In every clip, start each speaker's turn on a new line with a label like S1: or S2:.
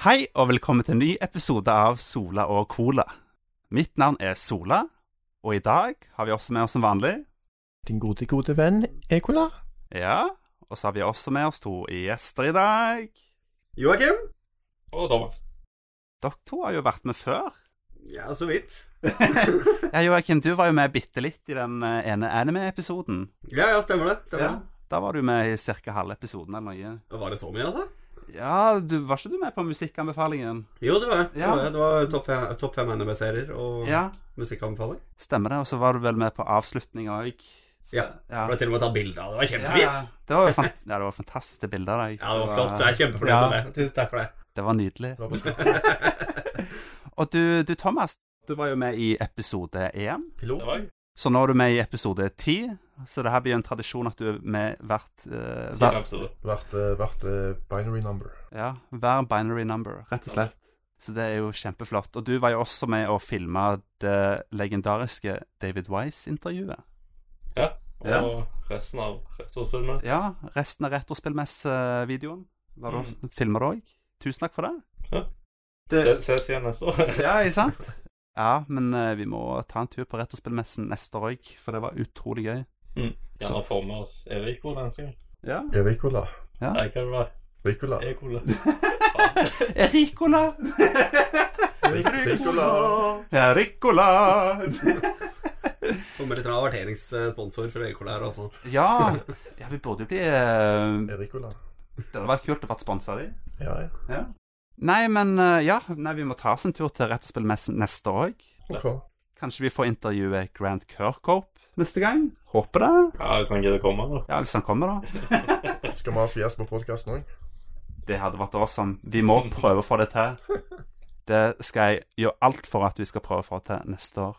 S1: Hei og velkommen til en ny episode av Sola og Cola. Mitt navn er Sola, og i dag har vi også med oss som vanlig
S2: Din gode, gode venn Ekola.
S1: Ja, og så har vi også med oss to gjester i dag.
S3: Joakim?
S4: Og Thomas.
S1: Dere to har jo vært med før.
S3: Ja, så vidt.
S1: Ja, Joakim, du var jo med bitte litt i den eh, ene anime-episoden.
S3: Ja, ja, stemmer det. Stemmer
S1: Ja. Da var du med i ca. halve episoden eller noe.
S3: det. Var det så mye, altså?
S1: Ja, du, var ikke du med på musikkanbefalingen?
S3: Jo, det var jeg. det.
S1: Ja.
S3: Var, jeg. det var topp fem, topp fem NMB-serier og
S1: Ja,
S3: musikkanbefaling.
S1: stemmer det. Og så var du vel med på avslutninga òg.
S3: Ja.
S1: ja.
S3: Ble til og med tatt bilde av det. Det var
S1: Ja,
S3: kjempefint.
S1: ja. Det var jo fant ja, det var fantastiske bilder av deg.
S3: Ja, det var flott. Jeg er
S1: Ja.
S3: kjempefornøyd med det. Tusen takk for det.
S1: Det var nydelig. Og du, du Thomas, du var jo med i episode 1,
S4: Det
S3: Pilot?
S4: var jeg.
S1: så nå er du med i episode 10. Så det her blir jo en tradisjon at du er med hvert eh,
S4: Tidligere
S1: hver,
S4: episode.
S2: Vært, eh, vært eh, binary number.
S1: ja, hver binary number, rett og slett. Så det er jo kjempeflott. Og du var jo også med å filme det legendariske David Wise-intervjuet.
S4: Og
S1: Ja.
S4: resten av rektorfilmen.
S1: Ja, resten av Retrospillmess-videoen var du mm. filmer òg. Tusen takk for det.
S4: Se, ses igjen neste år.
S1: Ja, ikke sant? Ja, men eh, vi må ta en tur på Retrospillmessen neste år òg, for det var utrolig gøy.
S4: Gjerne få med oss Eriko denne gangen.
S1: Ja.
S2: Erikola.
S4: Nei, hva det var
S2: Ricola.
S4: Ekola.
S1: Ericola! Ja, Ricola!
S3: Kommer litt av averteringssponsor fra Øykola her altså. også.
S1: Ja, ja, vi burde jo bli eh,
S2: Erikola.
S1: Det hadde vært kult å vært sponsa av de.
S2: Ja, ja.
S1: Nei, men eh, ja, nei, vi må ta oss en tur til Rett og Spillmessen neste år.
S2: Ok.
S1: Kanskje vi får intervjue Grant Kirkhope neste gang? Håper det.
S4: Ja, hvis han gidder å komme, da.
S1: Ja, hvis han kommer, da.
S2: Skal vi ha fjes på podkasten òg?
S1: Det hadde vært awesome. Vi må prøve å få det til. Det skal jeg gjøre alt for at vi skal prøve å få til neste år.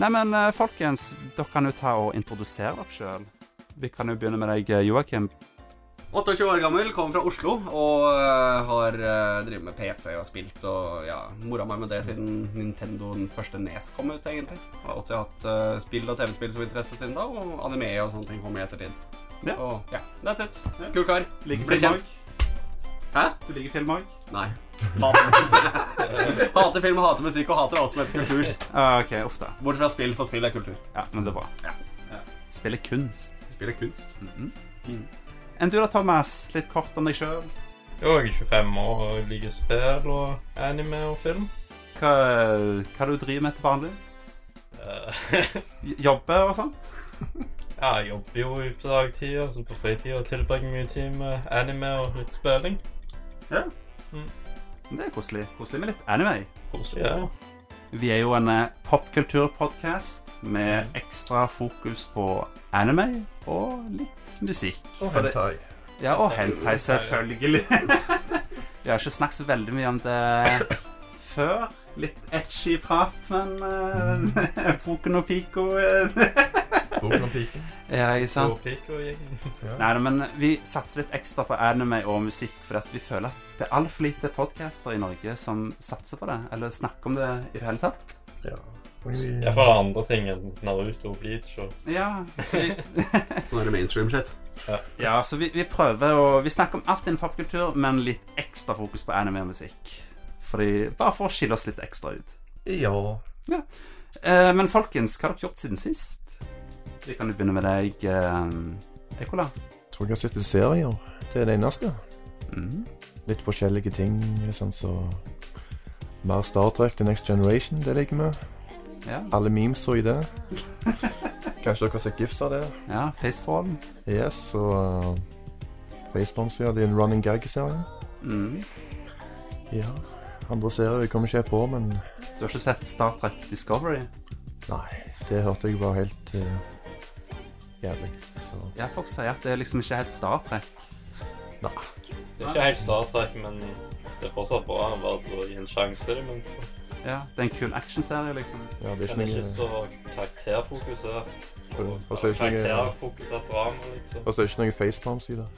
S1: Nei, men eh, folkens, dere kan jo ta og introdusere dere sjøl. Vi kan jo begynne med deg, eh, Joakim.
S3: 28 år gammel, kommer fra Oslo og eh, har eh, drevet med PC og spilt og ja, mora meg med det siden Nintendo den første NES kom ut, egentlig. Jeg har alltid hatt eh, spill og TV-spill som interesse siden da, og anime og sånne ting kom i ettertid.
S1: Ja.
S3: Og ja, that's it. Kul kar.
S1: Liker
S3: Blir
S1: film
S3: kjent.
S1: òg?
S3: Hæ?
S1: Du liker film òg?
S3: Nei. hater film, hater musikk og hater alt som heter kultur.
S1: Ah, ok, ofte.
S3: Bort fra spill, for spill er kultur.
S1: Ja, men det er bra. Spiller kunst. Mhm.
S3: Spill er kunst.
S1: Enn du da, Thomas? Litt kort om deg sjøl.
S4: Jo, jeg er 25 år og liker spill og anime og film.
S1: Hva, hva du driver med til vanlig?
S4: Eh,
S1: J- Jobber og sånt?
S4: ja, jeg jobber jo i dagtida, så på fritida tilbringer jeg mye tid med anime og litt spilling.
S1: Det er koselig. Koselig med litt anime.
S4: Koselig, ja.
S1: Vi er jo en eh, popkulturpodkast med ekstra fokus på anime og litt musikk.
S2: Og
S1: For det-
S2: hentai.
S1: Ja, og hentai, selvfølgelig. Vi har ikke snakket så veldig mye om det før. Litt etchy prat, men uh, Poken og Pico eh.
S2: Boken om piken.
S1: Ja, ikke sant?
S4: Og Pico-gjengen.
S2: Ja.
S1: Nei, men vi satser litt ekstra på anime og musikk, fordi at vi føler at det er altfor lite podcaster i Norge som satser på det, eller snakker om det i det hele tatt.
S2: ja. Og vi-
S4: Iallfall andre ting enn Naruto og Bleach og
S1: Ja, så vi,
S3: Nå er det mainstream shit.
S1: ja, så vi, vi prøver å Vi snakker om alt innen popkultur, men litt ekstra fokus på anime og musikk. Fordi, bare for å skille oss litt ekstra ut.
S2: Ja.
S1: Eh, men folkens, hva har dere gjort siden sist? Vi kan jo begynne med deg, eh, Ekola.
S2: Tror jeg har sett litt serier. Det er det eneste.
S1: Mhm.
S2: Litt forskjellige ting, sånn så Mer Star Trek, The Next Generation, det liker vi.
S1: Ja,
S2: Alle memes og i det. Kanskje dere har sett gifts av det?
S1: ja Facefall.
S2: Yes, og uh, Facepalm-serien, det er en running gag-serie.
S1: Mm.
S2: Ja. Andre serier jeg kommer ikke helt på, men
S1: Du har ikke sett Star Trek Discovery?
S2: nei, det hørte jeg var helt eh, jævlig. Så
S1: Ja, folk sier at det er liksom ikke helt Star Trek.
S2: nei.
S4: Det er ikke helt Star Trek, men det er fortsatt bra verdt å gi en sjanse, i det minste.
S1: Ja, det er en kul actionserie, liksom.
S2: Ja, det er ikke
S4: Den er ikke
S2: noe,
S4: så karakterfokusert.
S2: Mm,
S4: Og
S2: og så er det ikke-
S4: karakterfokusert drama, liksom.
S2: altså, det er ikke noe facepalm-side.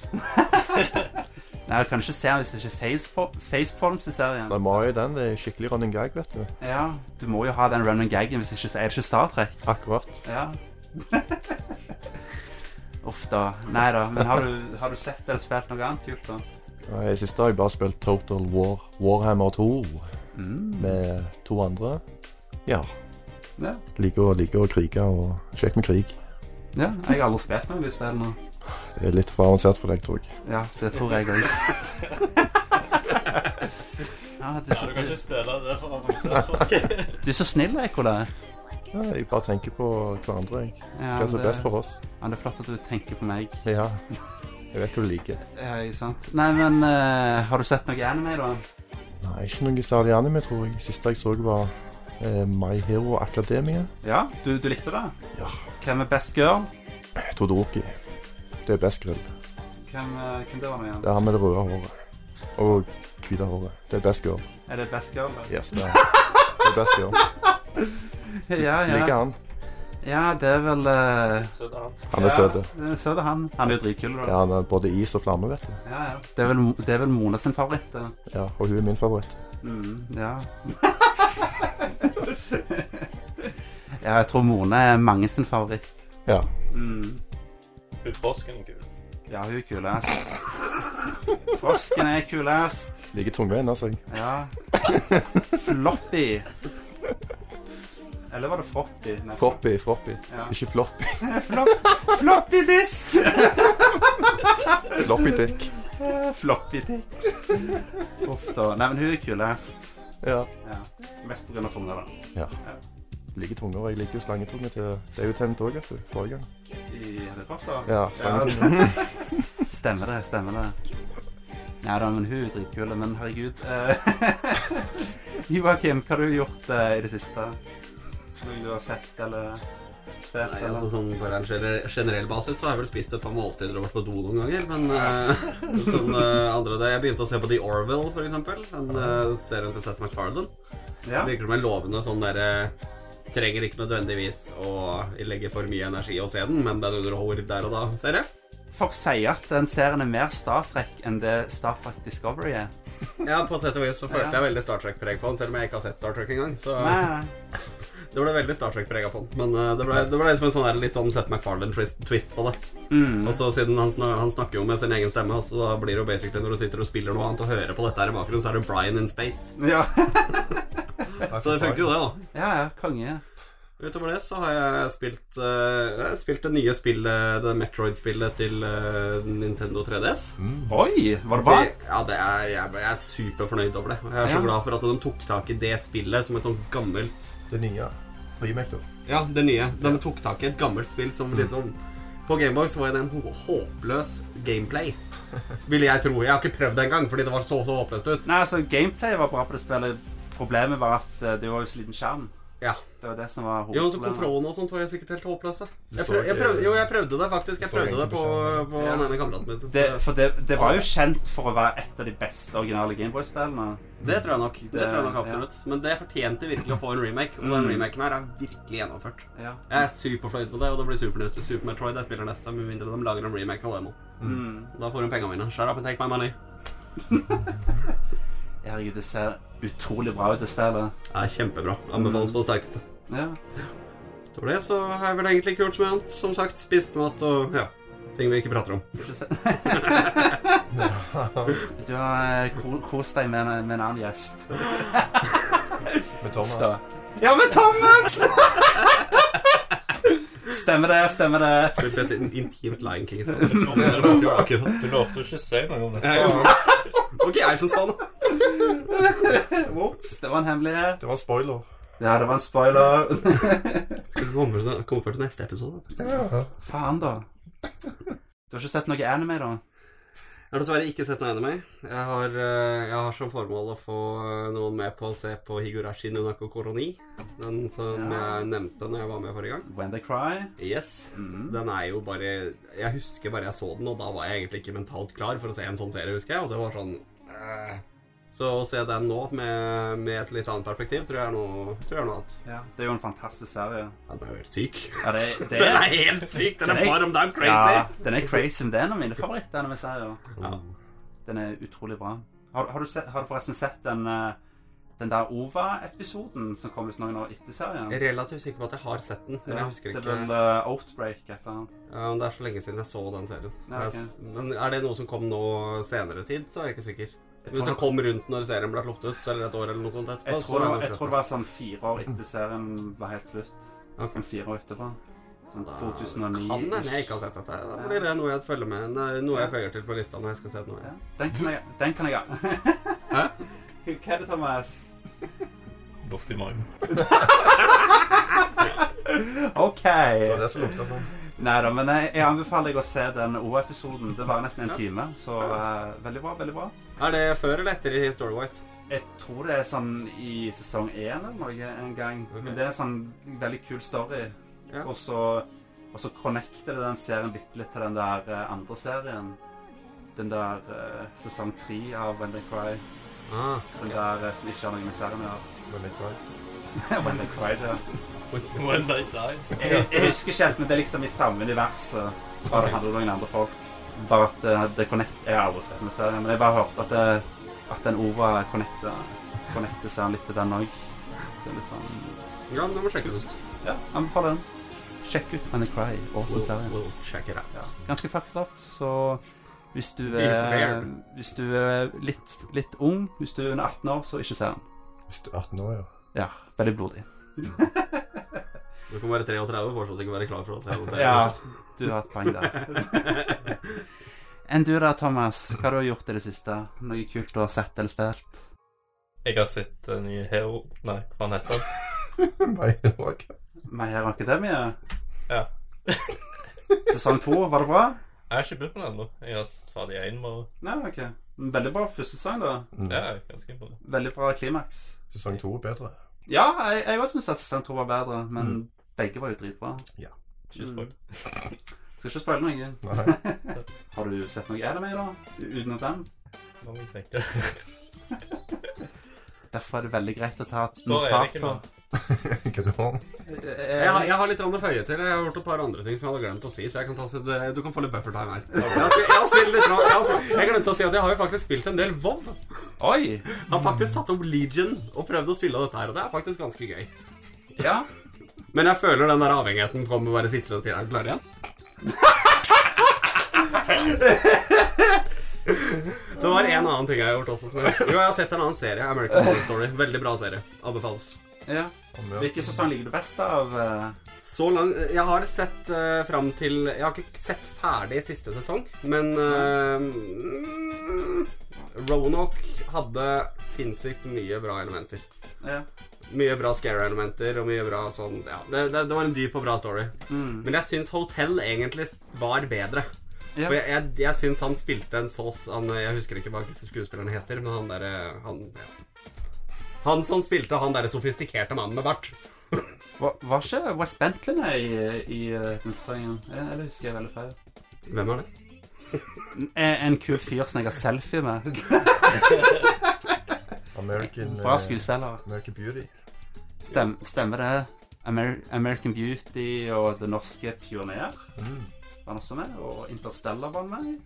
S1: Nei, du kan ikke se den hvis det ikke er facepo- facepalms i serien.
S2: Nei, Mario den det er skikkelig running gag, vet du.
S1: Ja, du må jo ha den running gaggen, hvis ikke så er det ikke Star Trek.
S2: Akkurat.
S1: Ja. Uff da. Nei da. Men har du, har du sett eller spilt noe annet kult, da?
S2: Nei, I det siste har jeg bare spilt Total War Warhammer 2
S1: Mm.
S2: med to andre. Ja.
S1: Ja.
S2: Liker å, liker å krige og Kjekt med krig.
S1: ja. Jeg har aldri spilt noen av de spillene.
S2: Det er litt for avansert for deg, tror jeg.
S1: Ja, det tror jeg òg. Ja, du, er
S4: Du
S1: så-
S4: kan ikke
S1: du,
S4: spille det for avansert.
S1: du er så snill, Eikola.
S2: Ja, jeg bare tenker på hverandre, jeg.
S1: Ja,
S2: Hva som
S1: det-
S2: er best for oss.
S1: ja, det er flott at du tenker på meg.
S2: Ja. Jeg vet hva du liker.
S1: Ja, ikke sant? Nei, men eh, har du sett noe anime, da?
S2: Nei, ikke noe særlig anime, tror jeg. Siste jeg så, var eh, My Hero Academia.
S1: Ja, du, du likte det?
S2: Ja.
S1: Hvem er best girl?
S2: Todoroki. Det er best grill.
S1: Hvem, eh, hvem det var nå igjen?
S2: Det er han med det røde håret. Og hvite håret. Det er best girl.
S1: Er det best girl? da?
S2: Yes, det er han. Det er best girl.
S1: Ja,
S2: Liker
S1: ja.
S2: han.
S1: ja det er vel eh,
S4: Søt han.
S2: Han er søt.
S1: Ja, så er det han. Han er jo dritkul, da.
S2: Ja, han er både is og flamme, vet du.
S1: Ja, ja. Det, er vel, det er vel Mona sin favoritt. det.
S2: Ja, og hun er min favoritt.
S1: Mm, ja. ja, jeg tror Mona er mange sin favoritt.
S2: Ja.
S1: Mm.
S4: Hun Frosken er kul.
S1: Ja, hun er kulest. Frosken er kulest.
S2: Liker tungveien, altså.
S1: Ja. Floppy. Eller var det Froppy? Nei,
S2: Froppy, froppy.
S1: Ja.
S2: Ikke floppy.
S1: Flopp- floppy disk!
S2: Floppy dick.
S1: floppy disk. Uff da. Nei, men hun er kulest.
S2: Ja.
S1: Ja. Mest på grunn av tunga, da.
S2: ja. Liker tunger, og jeg liker slangetunge til Det er jo tent òg, vet du. Forrige gang.
S1: I Harry Potter?
S2: Ja, slangetunge.
S1: Stemmer det, stemmer det. Nei da, men hun er dritkul, men herregud. eh, Joakim, hva har du gjort eh, i det siste? Noe du har sett eller spilt?
S3: Nei,
S1: eller?
S3: altså sånn På en gener- generell basis så har jeg vel spist et par måltider og vært på do noen ganger. Men eh, som eh, andre det, Jeg begynte å se på The Orville, for eksempel. Den eh, serien til Seth MacFarlane.
S1: ja.
S3: Virker som en lovende sånn derre Trenger ikke nødvendigvis å legge for mye energi i å se den, men den underholder der og da, ser jeg.
S1: Folk sier at den serien er mer Star Trek enn det Star Trek Discovery er.
S3: Ja, på et sett og vis så følte
S1: Ja.
S3: jeg veldig Star Trek-preg på den, selv om jeg ikke har sett Star Trek engang. Så
S1: Nei,
S3: det ble veldig Star Trek-prega på den. Men eh, det ble, det ble liksom en sånn der, litt sånn Seth MacFarlane-twist på det.
S1: mm.
S3: Og så siden han, snak, han snakker jo med sin egen stemme, og så da blir det jo basically når du sitter og spiller noe annet og hører på dette her i bakgrunnen, så er det Brian in space.
S1: ja.
S3: Så det funker jo det, da.
S1: ja, ja, konge.
S3: Utover det så har jeg spilt eh, Jeg har spilt det nye spillet, det Metroid-spillet til eh, Nintendo 3DS.
S1: Oi, var det bra?
S3: Det, ja, det er, jeg, jeg er superfornøyd over det. Og Jeg er så
S1: Ja.
S3: glad for at de tok tak i det spillet som et sånt gammelt
S2: Det nye. Remake, da.
S3: Ja, det nye. De tok tak i et gammelt spill som liksom På Gameboy så var det en hå- håpløs gameplay. Vil jeg tro. Jeg har ikke prøvd det engang, fordi det var så så håpløst ut.
S1: Nei, altså, gameplay var bra på det spillet. Problemet var at eh, det var jo så liten skjerm.
S3: Ja.
S1: Det var det som var
S3: Jo, så
S1: hovedproblemet.
S3: kontrollen og sånt var jo sikkert helt håpløse. Jeg
S2: så
S3: prøv, jeg
S2: ikke-
S3: prøvde, jo, jeg prøvde det faktisk. Jeg
S2: så
S3: prøvde
S2: egentlig
S3: det på,
S2: på
S3: på den ene kameraten min.
S1: Det, for det, det var jo kjent for å være et av de beste originale Gameboy-spillene.
S3: Det tror jeg nok. Det Mm.
S1: Det-
S3: tror jeg nok absolutt. Men det fortjente virkelig å få en remake, og den remaken her er virkelig gjennomført.
S1: Ja.
S3: Jeg er superfornøyd med det, og det blir Super, super Metroid jeg spiller neste, med mindre de lager en remake av det nå.
S1: Mm.
S3: Da får hun pengene mine. Shut up and take my money.
S1: Herregud, det ser utrolig bra ut, det spillet.
S3: Det er kjempebra. Anbefales på det sterkeste.
S1: Ja.
S3: Utover Mm. det så har jeg vel egentlig ikke gjort som annet. Som sagt, spist mat og ja, ting vi ikke prater om.
S1: Ikke se- Du har eh, ko- kost deg med, en- med en annen gjest.
S2: Med Thomas.
S1: Da. Ja, men Thomas! stemmer det, stemmer det.
S3: Spilt et in- intimt Lion King. sånn.
S4: Du, du lovte jo ikke å si noe om det.
S3: Ok, jeg som sa det.
S1: Ops, det var en hemmelighet.
S2: Det var spoiler.
S1: Ja, det var en spoiler.
S3: Skal vi komme til- komme før til neste episode? vet du.
S1: Faen, da. Du har ikke sett noe anime, da?
S3: Jeg har dessverre ikke sett noe anime. Jeg har, eh, jeg har som formål å få eh, noen med på å se på Higurashi Nunako Koroni. Den som jeg nevnte når jeg var med forrige gang.
S1: When They Cry?
S3: Yes.
S1: Mhm.
S3: Den er jo bare Jeg husker bare jeg så den, og da var jeg egentlig ikke mentalt klar for å se en sånn serie, husker jeg. Og det var sånn øh. Så å se den nå med, med et litt annet perspektiv, tror jeg er noe, tror jeg er noe annet.
S1: Ja. Det er jo en fantastisk serie.
S3: Ja, den er jo helt syk.
S1: Ja, det, det
S3: Den
S1: er
S3: er helt syk! Den er
S1: Nei.
S3: varm, den er
S1: ja,
S3: crazy!
S1: den er crazy, men det er en av mine favorittanime-serier.
S3: Ja.
S1: Den er utrolig bra. Har, har, du, sett, har du forresten sett den, eh, den der Ova-episoden som kom ut noen år etter serien.
S3: Jeg er relativt sikker på at jeg har sett den, men jeg husker
S1: Det
S3: ikke.
S1: er vel eh, Outbreak etter den.
S3: Ja, men Det er så lenge siden jeg så den serien.
S1: Ja, ok.
S3: Jeg s- Men er det noe som kom nå senere tid, så er jeg ikke sikker.
S1: Jeg
S3: Hvis
S1: tror,
S3: det kom rundt når serien ble sluppet ut, eller et år eller noe sånt etterpå,
S1: jeg
S3: så
S1: tror, det,
S3: har
S1: var, jeg
S3: nok
S1: tror det var sånn fire år etter serien var helt slutt.
S3: Ok.
S1: Sånn fire år etterpå. Sånn
S3: Da
S1: 2009.
S3: Kan hende jeg ikke har sett dette. Da blir det noe jeg følger med nei, Noe jeg føyer til på lista når jeg skal se det nå.
S1: Ja.
S3: Ja.
S1: Den kan jeg Den kan jeg Hæ? Hva er det, Thomas?
S4: Luft i magen.
S1: OK.
S2: Det var det som lukta sånn.
S1: Nei da, men jeg, jeg anbefaler deg å se den O-episoden. Det var nesten en
S3: Ja.
S1: time, så eh, veldig bra. Veldig bra.
S3: Er det før eller etter i Storywise?
S1: Jeg tror det er sånn i sesong én eller noe en gang.
S3: Ok.
S1: Men det er sånn veldig kul story.
S3: Ja.
S1: Og så og så connecter det den serien bitte litt til den der eh, andre serien. Den der eh, sesong tre av When They Cry.
S3: Ah,
S1: Den der eh, som ikke har noe med serien å gjøre.
S2: Men jeg cried.
S1: When They Cry, ja.
S4: When they died.
S1: Jeg, jeg husker ikke helt, men det er liksom i samme universet. Bare det handler om noen andre folk. Bare at det, det connect... Jeg har aldri sett den serien, men jeg bare hørte at, det, at den Ova connecter, connecter seg litt til den òg. Så litt sånn
S3: ja, men det må sjekke det ut.
S1: Ja, anbefaler den. Sjekk ut When I Cry. Awesome
S3: We'll,
S1: serie.
S3: we'll check it out.
S1: Ja. Ganske fucked up, så hvis du
S3: Be
S1: er,
S3: prepared.
S1: hvis du er litt, litt ung, hvis du er under 18 år, så ikke se den.
S2: Hvis du er 18 år, ja.
S1: Ja, veldig blodig.
S3: Mm. Du kan være 33 og fortsatt ikke være klar for å se den
S1: Ja,
S3: serien.
S1: du har et poeng der. Enn du da, Thomas? Hva har du gjort i det siste? Noe kult du har sett eller spilt?
S4: Jeg har sett en ny Hero Nei, hva han heter han?
S2: Nei, det var ikke
S1: My Hero Academia?
S4: Ja.
S1: Sesong to, var det bra?
S4: Jeg har ikke begynt på den ennå. Jeg har sett ferdig én bare.
S1: Nei, ok. Veldig bra første sesong, da.
S4: Det er ganske imponerende.
S1: Veldig bra klimaks.
S2: Mm. Sesong to er bedre.
S1: Ja, jeg, jeg også syns at sesong to var bedre, men begge var jo dritbra.
S4: Ikke
S2: Mm.
S4: spoil.
S1: Skal ikke spoile noe.
S2: Nei.
S1: Har du sett noe anime, da? Uten at den?
S4: Nå må jeg tenke.
S1: Derfor er det veldig greit å ta et
S4: Nå er det ikke
S1: notat. Eh,
S4: noe.
S2: Hva du har?
S3: Jeg har,
S1: Jeg,
S3: jeg har litt grann å føye til. Jeg har gjort et par andre ting som jeg hadde glemt å si. Så jeg kan ta, så du, du kan få litt buffer time her. Jeg, har spilt- jeg, har spilt litt grann, jeg, har, spilt- jeg glemte å si at jeg har jo faktisk spilt en del WoW.
S1: Oi!
S3: Jeg har faktisk tatt opp Legion og prøvd å spille dette her, og det er faktisk ganske gøy.
S1: Ja.
S3: Men jeg føler den der avhengigheten kommer bare sitrende til er du klar igjen. Det var en annen ting jeg har gjort også. Som jeg, jo, jeg har sett en annen serie. American Horror Story. Veldig bra serie. Anbefales.
S1: ja. Hvilken sesong liker du best av? eh,
S3: Så lang Jeg har sett uh, fram til Jeg har ikke sett ferdig siste sesong, men eh, mm, Roanoke hadde sinnssykt mye bra elementer.
S1: Ja.
S3: Mye bra scare-elementer og mye bra sånn Ja, det, det, det var en dyp og bra story.
S1: Mm.
S3: Men jeg syns Hotel egentlig var bedre.
S1: Ja.
S3: For jeg, jeg, jeg syns han spilte en sås han, Jeg husker ikke hva skuespilleren heter, men han derre han, ja. han som spilte han derre sofistikerte mannen med bart.
S1: Var, var ikke West Bentley med i, i eh, den sesongen? Eh, Eller husker jeg veldig feil?
S3: Hvem er det?
S1: En, en kul fyr som jeg har selfie med.
S2: American,
S1: Bra
S2: eh,
S1: skuespiller.
S2: American Beauty.
S1: Stem, stemmer det? Amer American Beauty og Det norske Pioner
S2: Mm.
S1: var han også med. Og Interstellar var han med. i.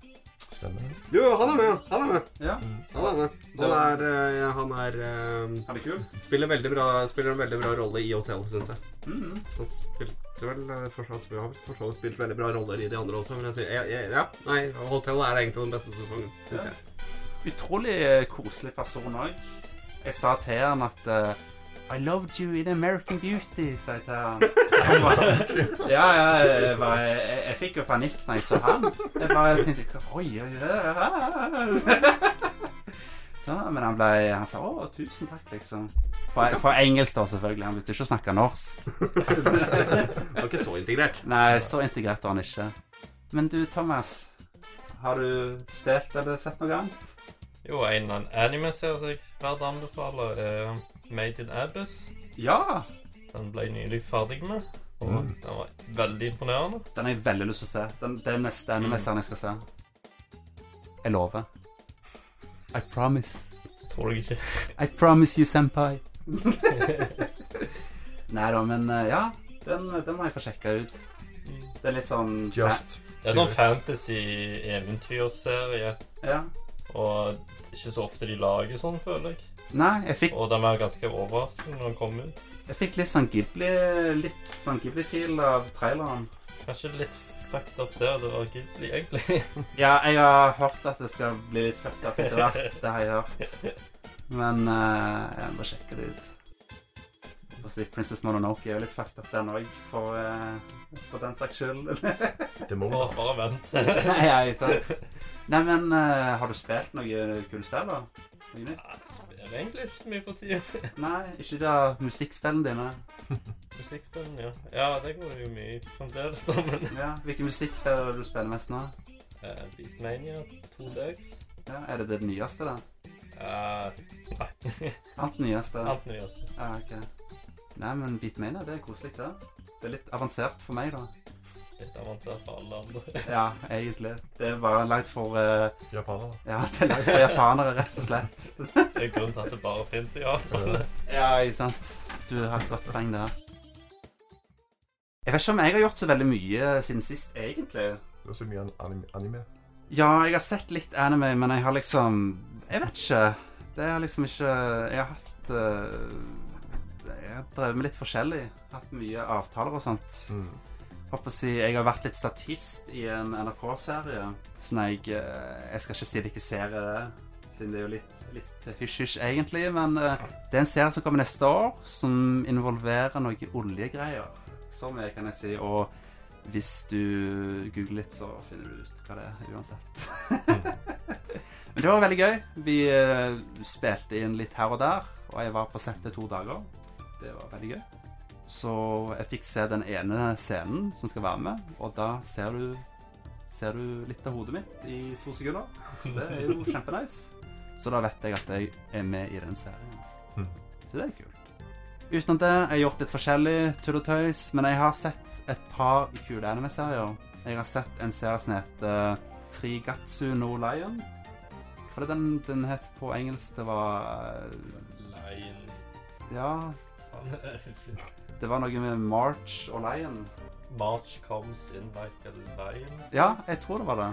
S2: Stemmer det?
S3: Jo, han er med! Han er med.
S1: Ja,
S2: Mm.
S3: Han er med. Han er, eh, han er eh,
S1: er det kul?
S3: spiller, veldig bra, spiller en veldig bra rolle i Hotel, syns jeg.
S1: Mm.
S3: Han spilte vel eh, for så han har for så vidt spilt veldig bra roller i de andre også, men jeg sier jeg, jeg, Ja, nei, Hotel er egentlig den beste sesongen, syns
S1: Ja.
S3: jeg.
S1: Utrolig eh, koselig person òg. Jeg sa til han at eh, I loved you in American Beauty, sa jeg til han. Han var- Ja, ja, jeg, var, jeg, jeg fikk jo panikk når jeg så han. Jeg bare tenkte "Hva- Oi, oi, oi. Ja, men han, ble, han sa å, tusen takk, liksom. For, for engelsk, da, selvfølgelig. Han begynte ikke å snakke norsk.
S3: Han er ikke så integrert.
S1: Nei, så integrert var han ikke. Men du, Thomas. Har du spilt eller sett noe annet?
S4: Jo, en annen anime-serie som jeg hvert anbefaler, er Made in Abyss.
S1: Ja!
S4: Den ble jeg nylig ferdig med, og den var veldig imponerende.
S1: Den har jeg veldig lyst til å se. Den, det er neste anime-serien jeg skal se. Jeg lover. I promise.
S4: Tror jeg ikke.
S1: I promise you, senpai. Nei da, men eh, ja. Den, den må jeg få sjekka ut. Det er litt sånn
S2: Just.
S4: Det er sånn fantasy-eventyrserie,
S1: Ja.
S4: og det er ikke så ofte de lager sånn, føler jeg.
S1: Nei, jeg fikk,
S4: Og den var ganske overraskende når den kom ut.
S1: jeg fikk litt sånn Ghibli Litt sånn Ghibli-feel av traileren.
S4: Kanskje litt fucked up ser det var Ghibli, egentlig.
S1: Ja, jeg har hørt at det skal bli litt fucked up etter hvert. Det har jeg hørt. Men eh, jeg må bare sjekke det ut. Få si Princess Mononoke er jo litt fucked up, den òg, for, eh, for den saks skyld.
S2: Det må
S4: Bare, bare vent.
S1: Nei, jeg, sant. Nei, men eh, har du spilt noe kult spill, da? Noe nytt?
S4: Ja, det spiller egentlig ikke så mye for tida.
S1: Nei, ikke det musikkspillene dine.
S4: Musikkspillene, ja. Ja, det går jo mye i fremdeles, da, men
S1: Ja, Hvilke musikkspill er det du spiller mest nå?
S4: Eh, Beatmania 2DX
S1: Ja, Er det det nyeste, da?
S4: Eh, Nei.
S1: Alt nyeste?
S4: Alt nye, altså.
S1: Ja, ok. Nei, men Beatmania, det er koselig, det. Det er litt avansert for meg, da.
S4: Litt avansert for alle andre.
S1: Ja, egentlig. Det er bare lagd for eh,
S2: Japanere.
S1: Ja, det er lagd for japanere, rett og slett.
S4: Det er grunnen til at det bare fins i Japan.
S2: Eh,
S1: Ja, ikke sant. Du har et godt poeng der. Jeg vet ikke om jeg har gjort så veldig mye siden sist, egentlig.
S2: Det er så mye anime. anime.
S1: Ja, jeg har sett litt anime, men jeg har liksom Jeg vet ikke. Det er liksom ikke Jeg har hatt eh, Jeg har drevet med litt forskjellig. Hatt mye avtaler og sånt.
S2: Mm.
S1: Håper å si, jeg har vært litt statist i en NRK-serie. Sånn jeg, eh, jeg skal ikke si hvilken serie det er, siden det er jo litt, litt hysj-hysj egentlig. Men eh, det er en serie som kommer neste år, som involverer noen oljegreier. Som jeg kan jeg si. Og hvis du googler litt, så finner du ut hva det er, uansett. men det var veldig gøy. Vi eh, spilte inn litt her og der, og jeg var på settet to dager. Det var veldig gøy. Så jeg fikk se den ene scenen som skal være med, og da ser du, ser du litt av hodet mitt i to sekunder. Så det er jo kjempenice. Så da vet jeg at jeg er med i den serien.
S2: Mm.
S1: Så det er kult. Utenom det, jeg har gjort litt forskjellig, tull og tøys, men jeg har sett et par kule anime-serier. Jeg har sett en serie som heter eh, Trigatsu no Lion. Hva var det den, den het på engelsk? Det var eh,
S4: Lion
S1: Ja,
S4: Faen.
S1: det var noe med March og Lion.
S4: March comes in like a lion.
S1: Ja, jeg tror det var det.